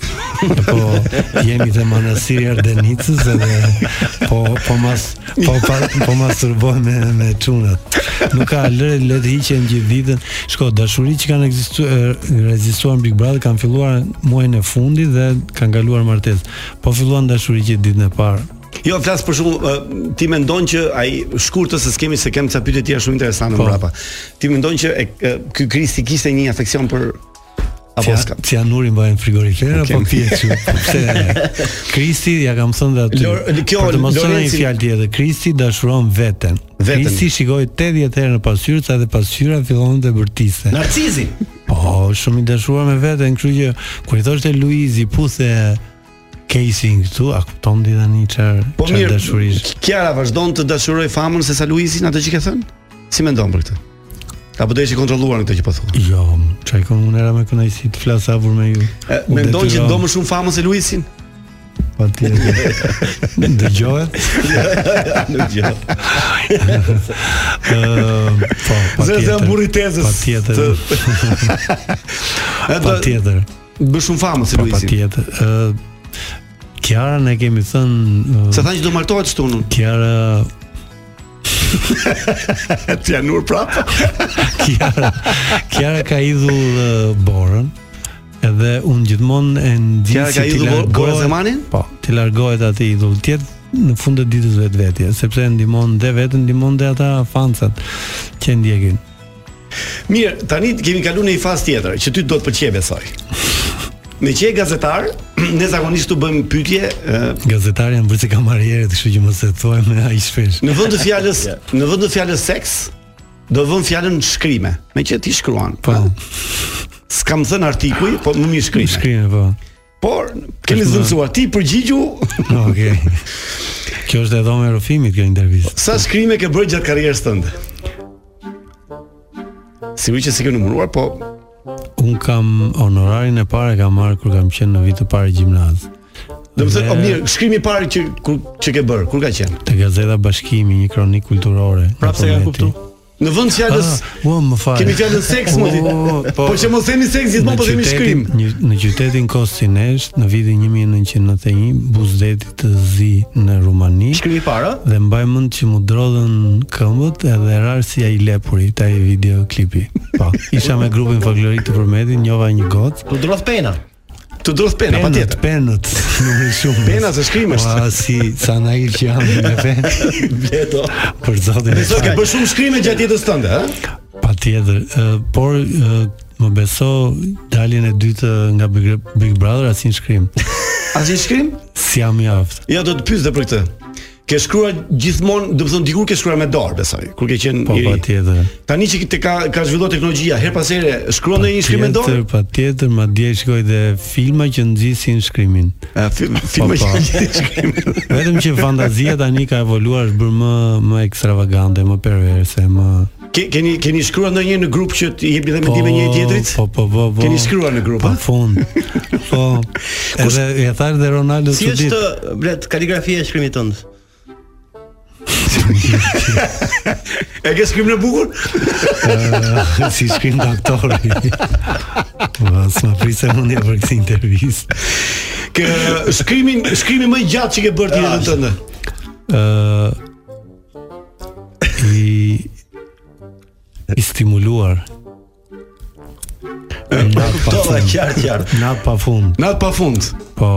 [SPEAKER 13] Po jemi te manastiri i Ardenicës edhe po po mas po pa, po masturboj me me çunat. Nuk ka lëre le të hiqen gjithë ditën. Shko dashuri që kanë ekzistuar rezistuar në Big Brother kanë filluar muajin e fundit dhe kanë kaluar martesë. Po filluan dashuri që ditën e parë.
[SPEAKER 7] Jo, flas për shkakun ë, ti mendon që ai shkurtës se skemi se kem ca pyetje të tjera shumë interesante
[SPEAKER 13] Po.
[SPEAKER 7] mbrapa. Ti mendon që e- e, ky Kristi kishte një afeksion për apo
[SPEAKER 13] Cia-
[SPEAKER 7] s'ka?
[SPEAKER 13] Cianuri mbaj në frigorifer apo
[SPEAKER 7] Kem-
[SPEAKER 13] pije kështu. Po Pse? Kristi ja kam thënë dhe aty.
[SPEAKER 7] Lor- kjo,
[SPEAKER 13] për të mos thënë një
[SPEAKER 7] Lorenci-
[SPEAKER 13] fjalë tjetër, Kristi dashuron veten.
[SPEAKER 7] Veten.
[SPEAKER 13] Kristi shikoi 80 herë në pasqyrë, sa dhe pasqyra fillon të bërtiste.
[SPEAKER 7] Narcizi.
[SPEAKER 13] Po, shumë i dashuar me veten, kështu që kur i thoshte Luizi puthe casing këtu, a kupton ti tani çfarë
[SPEAKER 7] Po
[SPEAKER 13] çfarë
[SPEAKER 7] mirë,
[SPEAKER 13] dashurish?
[SPEAKER 7] Kiara vazhdon të dashuroj famën se sa Luizin atë që ke thënë? Si mendon për këtë? Apo do jesh i kontrolluar në këtë që po thua?
[SPEAKER 13] Jo, çaj komunera me kënaqësi të flas afër me ju.
[SPEAKER 7] E,
[SPEAKER 13] U
[SPEAKER 7] Mendon që
[SPEAKER 13] detyron.
[SPEAKER 7] do më shumë famën se Luizin?
[SPEAKER 13] Patjetër. Dëgjohet?
[SPEAKER 7] Nuk dëgjohet.
[SPEAKER 13] Ë, po,
[SPEAKER 7] Zë
[SPEAKER 13] patjetër.
[SPEAKER 7] janë burri i tezës.
[SPEAKER 13] Patjetër. Patjetër.
[SPEAKER 7] Bësh shumë famë si
[SPEAKER 13] Po,
[SPEAKER 7] Luisi.
[SPEAKER 13] Patjetër. Ë, Kiara ne kemi thënë ehm,
[SPEAKER 7] Sa thanë që do martohet stunën.
[SPEAKER 13] Kiara
[SPEAKER 7] Ti janur prapë.
[SPEAKER 13] Kiara Kiara ka idhull uh, Borën edhe unë gjithmonë e ndjej
[SPEAKER 7] Kiara ka
[SPEAKER 13] ti
[SPEAKER 7] idhull Bor- Borën
[SPEAKER 13] largohet-
[SPEAKER 7] Zemanin?
[SPEAKER 13] Po, ti largohet atë idhull tjetër në fund të ditës vetvetje, sepse e ndihmon dhe veten, ndihmon dhe ata fancat që e ndjekin.
[SPEAKER 7] Mirë, tani kemi kaluar në një fazë tjetër që ty do të pëlqej besoj. Me që je gazetar, ne zakonisht u bëjmë pyetje ë,
[SPEAKER 13] Gazetari janë bërë si kamarierët, kështu që mos e thuaj me aq shpesh.
[SPEAKER 7] në vend të fjalës, në vend të fjalës seks, do vëmë fjalën shkrime, me që ti shkruan.
[SPEAKER 13] Po.
[SPEAKER 7] S'kam thën artikuj, po më mirë shkrime.
[SPEAKER 13] Shkrime, po.
[SPEAKER 7] Por
[SPEAKER 13] Është
[SPEAKER 7] kemi
[SPEAKER 13] më-
[SPEAKER 7] zënësuar ti përgjigju
[SPEAKER 13] Okej. Kjo është edhe me Rufimit kjo intervistë.
[SPEAKER 7] Sa shkrime ke bërë gjatë karrierës tënde? Sigurisht që s'e ke numëruar, po
[SPEAKER 13] Un kam honorarin e parë e kam marr kur kam qenë në vit të parë gjimnaz.
[SPEAKER 7] do të
[SPEAKER 13] Dhe
[SPEAKER 7] thotë, o mirë, shkrimi i parë që kur që ke bër, kur ka qenë?
[SPEAKER 13] te gazeta Bashkimi, një kronik kulturore.
[SPEAKER 7] Prapë se kanë kuptuar. Në vend të fjalës
[SPEAKER 13] Ah, Oh, ua, më fal.
[SPEAKER 7] Kemi fjalën seks më di. Po që mos themi seks gjithmonë, po themi shkrim.
[SPEAKER 13] Një, në qytetin Kostinesh në vitin 1991 buzdetit të zi në Rumani.
[SPEAKER 7] Shkrimi para
[SPEAKER 13] dhe mbaj mend që mu drodhën këmbët edhe rar si ai lepuri, ta i videoklipi. Po, isha me grupin folklorik të Përmetit, njova një gocë.
[SPEAKER 8] Tu drodh pena.
[SPEAKER 7] Tu drodh pena, patjetër.
[SPEAKER 13] Penët, numri shumë.
[SPEAKER 7] Pena se shkrim është.
[SPEAKER 13] Ua, si sa nail që jam me penë.
[SPEAKER 7] Bleto.
[SPEAKER 13] Për zotin.
[SPEAKER 7] Beso ke bërë shumë shkrime gjatë jetës tënde, ëh?
[SPEAKER 13] Patjetër, ë, por ë, më beso daljen e dytë nga Big, Big Brother asnjë shkrim.
[SPEAKER 7] Asnjë shkrim?
[SPEAKER 13] Si jam mjaft.
[SPEAKER 7] Ja do të pyes dhe për këtë. Ke shkruar gjithmonë, do të thonë dikur ke shkruar me dorë, besoj, kur ke qenë
[SPEAKER 13] Po
[SPEAKER 7] i ri.
[SPEAKER 13] patjetër.
[SPEAKER 7] Tani që te ka ka zhvilluar teknologjia, her pas here shkruan ndonjë shkrim me dorë?
[SPEAKER 13] Tjetër, patjetër, madje shkoj dhe filma që nxisin shkrimin. po,
[SPEAKER 7] Ë, film, filma që nxisin shkrimin.
[SPEAKER 13] Vetëm që fantazia tani ka evoluar, është bërë më më ekstravagante, më perverse, më
[SPEAKER 7] Ke, keni keni shkruar ndonjë në grup që të jepni dhe mendime njëri tjetrit?
[SPEAKER 13] Po, po, po, po.
[SPEAKER 7] Keni shkruar në grup?
[SPEAKER 13] Po, fund. Po. Edhe e thash dhe Ronaldo
[SPEAKER 8] Si
[SPEAKER 13] çudit.
[SPEAKER 8] është blet kaligrafia e shkrimit tënd?
[SPEAKER 7] E ke shkrim në bukur?
[SPEAKER 13] Ë, si shkrim të aktori. Po, Vas, më prisë mundja për këtë intervistë.
[SPEAKER 7] Ke shkrimin, shkrimi më i gjatë që ke bërë ti
[SPEAKER 13] Ah,
[SPEAKER 7] në jetën tënde.
[SPEAKER 13] Ë i i stimuluar. Na
[SPEAKER 7] kuptova, qartë, qartë.
[SPEAKER 13] Na pa fund.
[SPEAKER 7] Nat pa fund.
[SPEAKER 13] Po.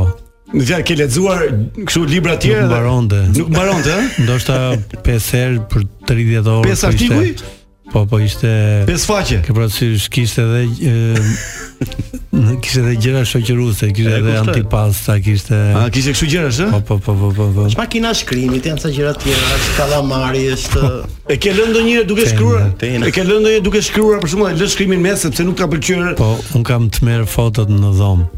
[SPEAKER 7] Në fjalë ke lexuar kështu libra të tjerë.
[SPEAKER 13] Nuk
[SPEAKER 7] dhe-
[SPEAKER 13] mbaronte.
[SPEAKER 7] Nuk mbaronte, ëh?
[SPEAKER 13] Ndoshta 5 herë për 30 orë. po
[SPEAKER 7] Pesë
[SPEAKER 13] ishte-
[SPEAKER 7] artikuj?
[SPEAKER 13] Po, po ishte
[SPEAKER 7] Pesë faqe.
[SPEAKER 13] Ke parasysh kishte edhe ë, kishte edhe gjëra shoqëruese, kishte
[SPEAKER 8] E
[SPEAKER 13] edhe
[SPEAKER 8] kuptoj.
[SPEAKER 13] antipasta, kishte
[SPEAKER 7] A Ah, kishte kështu gjërash, ëh?
[SPEAKER 13] Po, po, po, po, po. po.
[SPEAKER 8] Makina e shkrimit, janë ca gjëra të tjera, është kallamari, është
[SPEAKER 7] E ke lënë ndonjëherë duke
[SPEAKER 13] Pena,
[SPEAKER 7] shkruar?
[SPEAKER 8] pena.
[SPEAKER 7] E ke lënë ndonjëherë duke shkruar për shembull, e lë shkrimin mes sepse nuk ka pëlqyer.
[SPEAKER 13] Po, un kam të merr fotot në dhomë.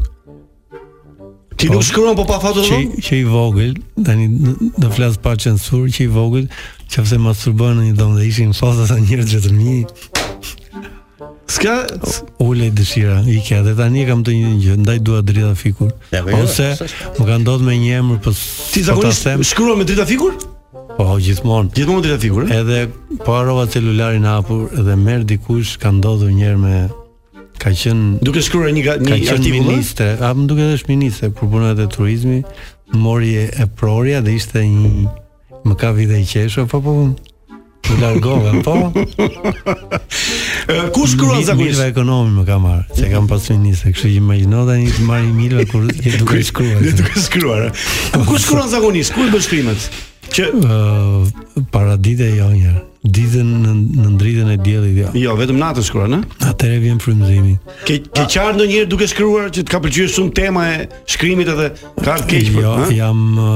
[SPEAKER 7] Ti nuk shkruan po pa foto
[SPEAKER 13] që,
[SPEAKER 7] thonë?
[SPEAKER 13] që i vogël, tani n- do flas pa censur, që i vogël, qofse masturbohen në një dhomë dhe ishin fotot e njerëzve të mi,
[SPEAKER 7] S'ka
[SPEAKER 13] ule i dëshira, i kja, dhe tani e kam të një gjë, ndaj dua drita fikur.
[SPEAKER 8] Ja, po, jo,
[SPEAKER 13] Ose
[SPEAKER 8] s'është.
[SPEAKER 13] më ka ndodhur me një emër, po
[SPEAKER 7] ti
[SPEAKER 13] si
[SPEAKER 7] zakonisht shkruan me drita fikur?
[SPEAKER 13] Po, gjithmonë.
[SPEAKER 7] Gjithmonë me drita fikur, ëh?
[SPEAKER 13] Edhe po harrova celularin hapur dhe merr dikush ka ndodhur një herë me ka qenë
[SPEAKER 7] Duke shkruar një ga-
[SPEAKER 13] Ka
[SPEAKER 7] një
[SPEAKER 13] qenë
[SPEAKER 7] artikull. ëh?
[SPEAKER 13] ministre, a më duket është ministre për punat e turizmi, mori e, e prorja dhe ishte një më ka vite i qeshur, po po më largova, po
[SPEAKER 7] Ë, Ku
[SPEAKER 13] Mi-
[SPEAKER 7] shkruan
[SPEAKER 13] Milva
[SPEAKER 7] zakonisht?
[SPEAKER 13] ekonomi më ka marrë, se kam pas ministre, kështu që imagjino tani të marrë një Milva kur je duke shkruar.
[SPEAKER 7] Ne duke shkruar. ëh. Ku- Ku shkruan zakonisht? Ku i bën shkrimet? Që
[SPEAKER 13] Ë, paradite jo një ditën në, në ndritën e diellit jo.
[SPEAKER 7] Jo, vetëm natën shkruan, ëh?
[SPEAKER 13] Atëre vjen frymëzimi.
[SPEAKER 7] Ke ke qartë ndonjëherë duke shkruar që të ka pëlqyer shumë tema e shkrimit edhe ka ardhur keq për,
[SPEAKER 13] Jo,
[SPEAKER 7] ha?
[SPEAKER 13] jam ë,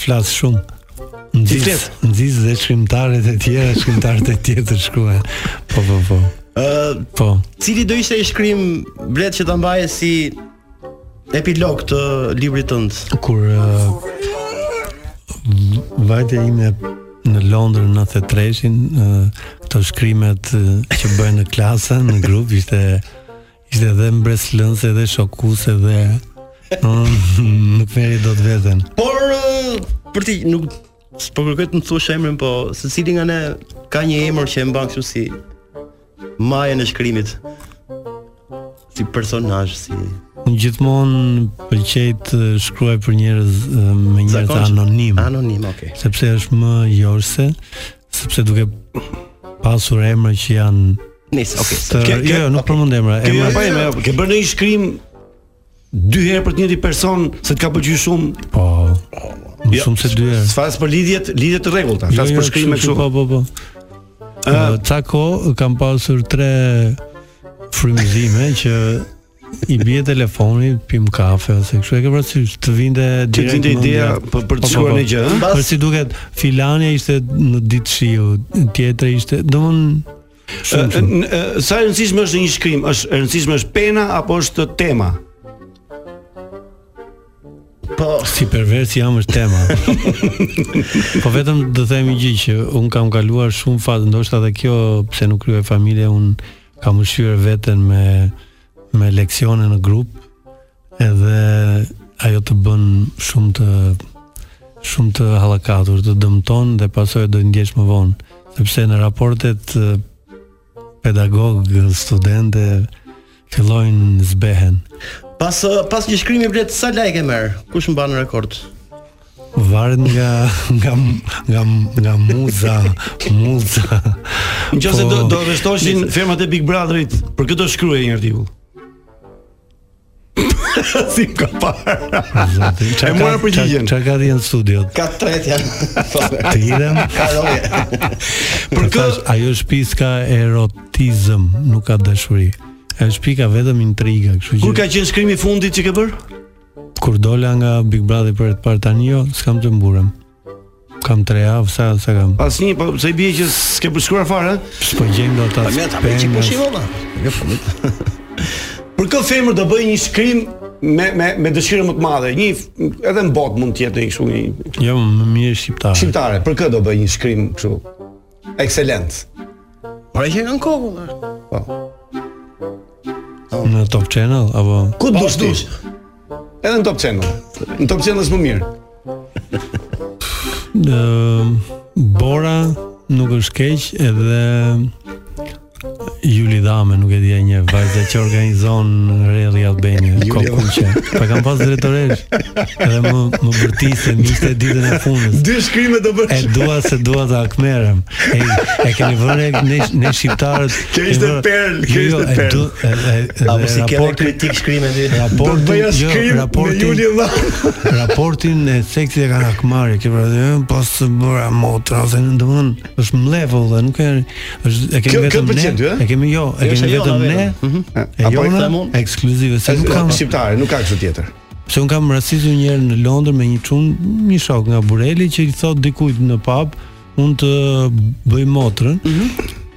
[SPEAKER 13] flas shumë. Nxis,
[SPEAKER 7] flet?
[SPEAKER 13] nxis dhe shkrimtarët e tjerë, shkrimtarët e tjerë të shkruajnë. Po, po, po.
[SPEAKER 8] ë
[SPEAKER 13] Po.
[SPEAKER 8] cili do ishte i shkrim blet që ta mbaje si epilog të librit tënd?
[SPEAKER 13] Kur ë, v- vajte ime në Londër në 93-shin, ë, këto shkrimet ë, që bëhen në klasë, në grup ishte ishte edhe mbreslënse dhe shokuese dhe Unë nuk merri dot veten.
[SPEAKER 8] Por ë, për ti nuk po kërkoj të më thuash emrin, po secili nga ne ka një emër që e mban kështu si majën e shkrimit. Si personazh, si
[SPEAKER 13] Unë gjithmonë pëlqej të shkruaj për njerëz eh, me njerëz
[SPEAKER 8] Zakonisht.
[SPEAKER 13] anonim.
[SPEAKER 8] Anonim, okay.
[SPEAKER 13] Sepse është më jorse, sepse duke pasur emra që janë
[SPEAKER 8] Nice, okay.
[SPEAKER 13] Të, jo, jo, nuk përmend emra.
[SPEAKER 7] Ke
[SPEAKER 13] Emra
[SPEAKER 7] emra pa emra, jo, ke bërë një shkrim dy herë për të njëjtin person se të ka pëlqyer shumë.
[SPEAKER 13] Po. Më
[SPEAKER 7] Jo,
[SPEAKER 13] shumë se dy herë.
[SPEAKER 7] S'fas për lidhjet, lidhjet të rregullta,
[SPEAKER 13] Jo,
[SPEAKER 7] flas
[SPEAKER 13] jo,
[SPEAKER 7] për shkrimë
[SPEAKER 13] kështu,
[SPEAKER 7] kështu.
[SPEAKER 13] Po, po, po. Ë, ca kohë kam pasur tre frymëzime që i bie telefoni, pim kafe ose kështu e ke parasysh të vinte direkt
[SPEAKER 7] vinte
[SPEAKER 13] mendja.
[SPEAKER 7] ideja për-
[SPEAKER 13] Po,
[SPEAKER 7] për të
[SPEAKER 13] po,
[SPEAKER 7] shkruar
[SPEAKER 13] po.
[SPEAKER 7] një gjë, ëh?
[SPEAKER 13] Për si duket filania ishte në ditë shiu, tjetra ishte, domthon shumë
[SPEAKER 7] Ë,
[SPEAKER 13] shumë.
[SPEAKER 7] n- ë, Sa e rëndësishme është një shkrim? Është e rëndësishme është pena apo është tema?
[SPEAKER 8] Po,
[SPEAKER 13] si pervers jam është tema. po vetëm do themi një gjë që un kam kaluar shumë fazë, ndoshta edhe kjo pse nuk kryej familje, un kam ushqyer veten me me leksione në grup edhe ajo të bën shumë të shumë të hallakatur, të dëmton dhe pasoj do të ndjesh më vonë, sepse në raportet eh, pedagog studente fillojnë zbehen.
[SPEAKER 8] Pas ë, pas një shkrimi blet sa like e merr? Kush mban rekord?
[SPEAKER 13] Varet nga nga nga nga muza, muza.
[SPEAKER 7] Nëse
[SPEAKER 13] Po,
[SPEAKER 7] do do vështoshin firmat e Big Brotherit, për këtë do shkruaj një artikull. si ka parë.
[SPEAKER 13] zoti,
[SPEAKER 7] E mora përgjigjen.
[SPEAKER 13] Çka ka dhënë në studio?
[SPEAKER 8] Ka tret janë.
[SPEAKER 13] Të idhem.
[SPEAKER 8] Ka roje.
[SPEAKER 13] Për kë ajo shtëpi s'ka erotizëm, nuk ka dashuri. Ajo shtëpi ka vetëm intriga, kështu që
[SPEAKER 7] Kur ka qenë shkrimi i fundit që ke bër?
[SPEAKER 13] kur dola nga Big Brother për të parë tani jo, s'kam të mburem. Kam 3 javë, sa sa kam.
[SPEAKER 7] Asnjë, po se i bie që s'ke përshkruar fare. eh? Jo, po, ë?
[SPEAKER 13] Po gjejmë dot atë.
[SPEAKER 7] mja, ta po bëj çik pushim, olla. Për kë femër do bëj një shkrim me me me dëshirë më të madhe. Një f- edhe në botë mund të jetë një kështu një
[SPEAKER 13] Jo, më mirë shqiptare.
[SPEAKER 7] shqiptare. Për kë do bëj një shkrim kështu ekselent.
[SPEAKER 8] Por e që kanë kokën.
[SPEAKER 13] Në Top Channel apo
[SPEAKER 7] Ku të dush Po, dush? Edhe në Top Channel. Në Top Channel është më mirë.
[SPEAKER 13] Ëm, Bora nuk është keq edhe Juli Dame, nuk e di e një vajzë që organizon Rally Albania, Kokuqe. Pa kam pas drejtoresh. Edhe më më bërtiste miqtë e ditën e punës.
[SPEAKER 7] Dy shkrime do bësh.
[SPEAKER 13] E dua se dua ta akmerem. E, e keni vënë ne ne shqiptarët.
[SPEAKER 7] Kjo ishte
[SPEAKER 13] keni vënë-
[SPEAKER 7] perl, kjo
[SPEAKER 13] Jo, jo,
[SPEAKER 7] ishte
[SPEAKER 13] e
[SPEAKER 7] perl. po
[SPEAKER 13] du- e- e- e-
[SPEAKER 8] Apo si ke
[SPEAKER 13] raporti-
[SPEAKER 8] kritik shkrimë ti.
[SPEAKER 13] Raportin,
[SPEAKER 7] Do të bëja
[SPEAKER 13] jo,
[SPEAKER 7] shkrim me
[SPEAKER 13] raportin-
[SPEAKER 7] Juli Dhame.
[SPEAKER 13] raportin e seksit e kanë akmarrë, ke vërë, "Ë, po së bëra motra ose në domthon, është mlevull dhe nuk e është e kemi
[SPEAKER 7] Kjo- kjo
[SPEAKER 13] vetëm
[SPEAKER 7] të pëlqen ty,
[SPEAKER 13] ne.
[SPEAKER 7] ë?
[SPEAKER 13] E kemi jo, e
[SPEAKER 7] Kjo është
[SPEAKER 13] kemi
[SPEAKER 7] e jona
[SPEAKER 13] vetëm ne.
[SPEAKER 7] vetëm. Mhm.
[SPEAKER 13] E
[SPEAKER 7] Apo e
[SPEAKER 13] jona
[SPEAKER 7] them unë?
[SPEAKER 13] ekskluzive, se nuk kam
[SPEAKER 7] shqiptare, nuk ka kështu tjetër.
[SPEAKER 13] Se un kam rastisur një herë në Londër me një çun, një shok nga Bureli që i thot dikujt në pub, un të bëj motrën.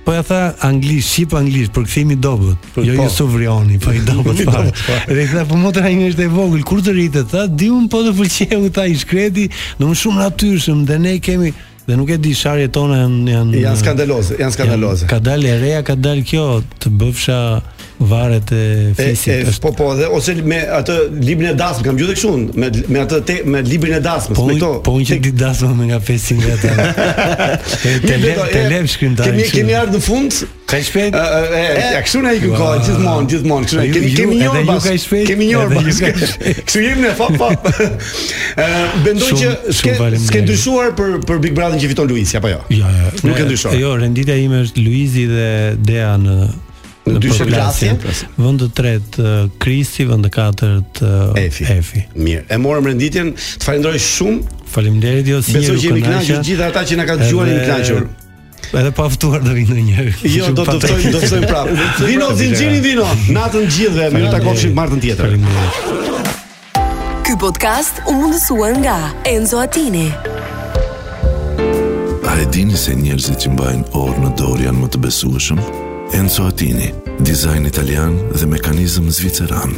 [SPEAKER 13] Po ja tha anglisht, shqip anglisht, për kthimi dobët. Jo
[SPEAKER 7] po.
[SPEAKER 13] jo sovrioni, po i dobët fare. Edhe i tha po motra ime është e vogël, kur të rritet, tha, di un po të pëlqeu ta i shkreti, domun shumë natyrshëm dhe ne kemi dhe nuk e di sharjet tona janë janë
[SPEAKER 7] Janë skandaloze, janë skandaloze.
[SPEAKER 13] Mm. Janë- Ka dalë e reja, ka dalë kjo të bëfsha varet e
[SPEAKER 7] E,
[SPEAKER 13] fisit.
[SPEAKER 7] e,
[SPEAKER 13] është
[SPEAKER 7] po po dhe ose me atë librin e dasmës kam gjuhë kështu unë, me me atë te, me librin e dasmës
[SPEAKER 13] Po
[SPEAKER 7] me
[SPEAKER 13] unë,
[SPEAKER 7] këto
[SPEAKER 13] po unë që di dasma me nga 500 veta. te
[SPEAKER 7] Mirë,
[SPEAKER 13] le
[SPEAKER 7] Beto,
[SPEAKER 13] te
[SPEAKER 7] e,
[SPEAKER 13] lem shkrimtar.
[SPEAKER 7] Kemi
[SPEAKER 13] kështu.
[SPEAKER 7] kemi ardhur në fund.
[SPEAKER 13] Ka shpejt?
[SPEAKER 7] E, e, e, ja kështu na iku
[SPEAKER 13] Ua.
[SPEAKER 7] koha gjithmonë, gjithmonë kështu. na-
[SPEAKER 13] Ju-
[SPEAKER 7] Kemi
[SPEAKER 13] ju-
[SPEAKER 7] kemi një
[SPEAKER 13] edhe
[SPEAKER 7] orë
[SPEAKER 13] ju
[SPEAKER 7] pas.
[SPEAKER 13] ka shpejt,
[SPEAKER 7] Kemi një orë
[SPEAKER 13] edhe
[SPEAKER 7] pas.
[SPEAKER 13] ju ka
[SPEAKER 7] Kështu jemi ne fap fap. Ë bendoj
[SPEAKER 13] Shumë-
[SPEAKER 7] që
[SPEAKER 13] shumë
[SPEAKER 7] s'ke
[SPEAKER 13] faleminderit.
[SPEAKER 7] s'ke ndryshuar për për Big Brother që fiton Luisi apo jo?
[SPEAKER 13] Jo, jo.
[SPEAKER 7] Nuk e
[SPEAKER 13] Ne-
[SPEAKER 7] ndryshon.
[SPEAKER 13] Jo, renditja ime është Luizi dhe Dea në
[SPEAKER 7] Në dy
[SPEAKER 13] përplasje.
[SPEAKER 7] përplasje.
[SPEAKER 13] Vend të tretë ë, Kristi, vend të katërt ë,
[SPEAKER 7] Efi.
[SPEAKER 13] Efi.
[SPEAKER 7] Mirë, e morëm renditjen, të falenderoj shumë.
[SPEAKER 13] Faleminderit jo si
[SPEAKER 7] Besoj
[SPEAKER 13] ju
[SPEAKER 7] që jemi kënaqur,
[SPEAKER 13] kënaqja.
[SPEAKER 7] gjithë ata që na kanë dëgjuar jemi
[SPEAKER 13] Edhe-
[SPEAKER 7] kënaqur.
[SPEAKER 13] Edhe pa ftuar do vinë ndonjëherë.
[SPEAKER 7] Jo, do të ftojmë, do të ftojmë prapë. Vino zinxhirin vino. Natën gjithëve, më takofshim martën tjetër.
[SPEAKER 13] Faleminderit.
[SPEAKER 3] Ky podcast u mundësua nga Enzo Attini.
[SPEAKER 2] A e dini se njerëzit që mbajnë orë në dorë janë më të besueshëm? Enzo Attini, dizajn italian dhe mekanizëm zviceran.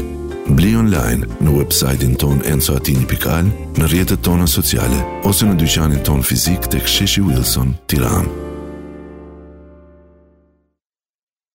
[SPEAKER 2] Bli online në website-in ton enzoatini.al, në rjetët tona sociale, ose në dyqanin ton fizik të ksheshi Wilson, tiran.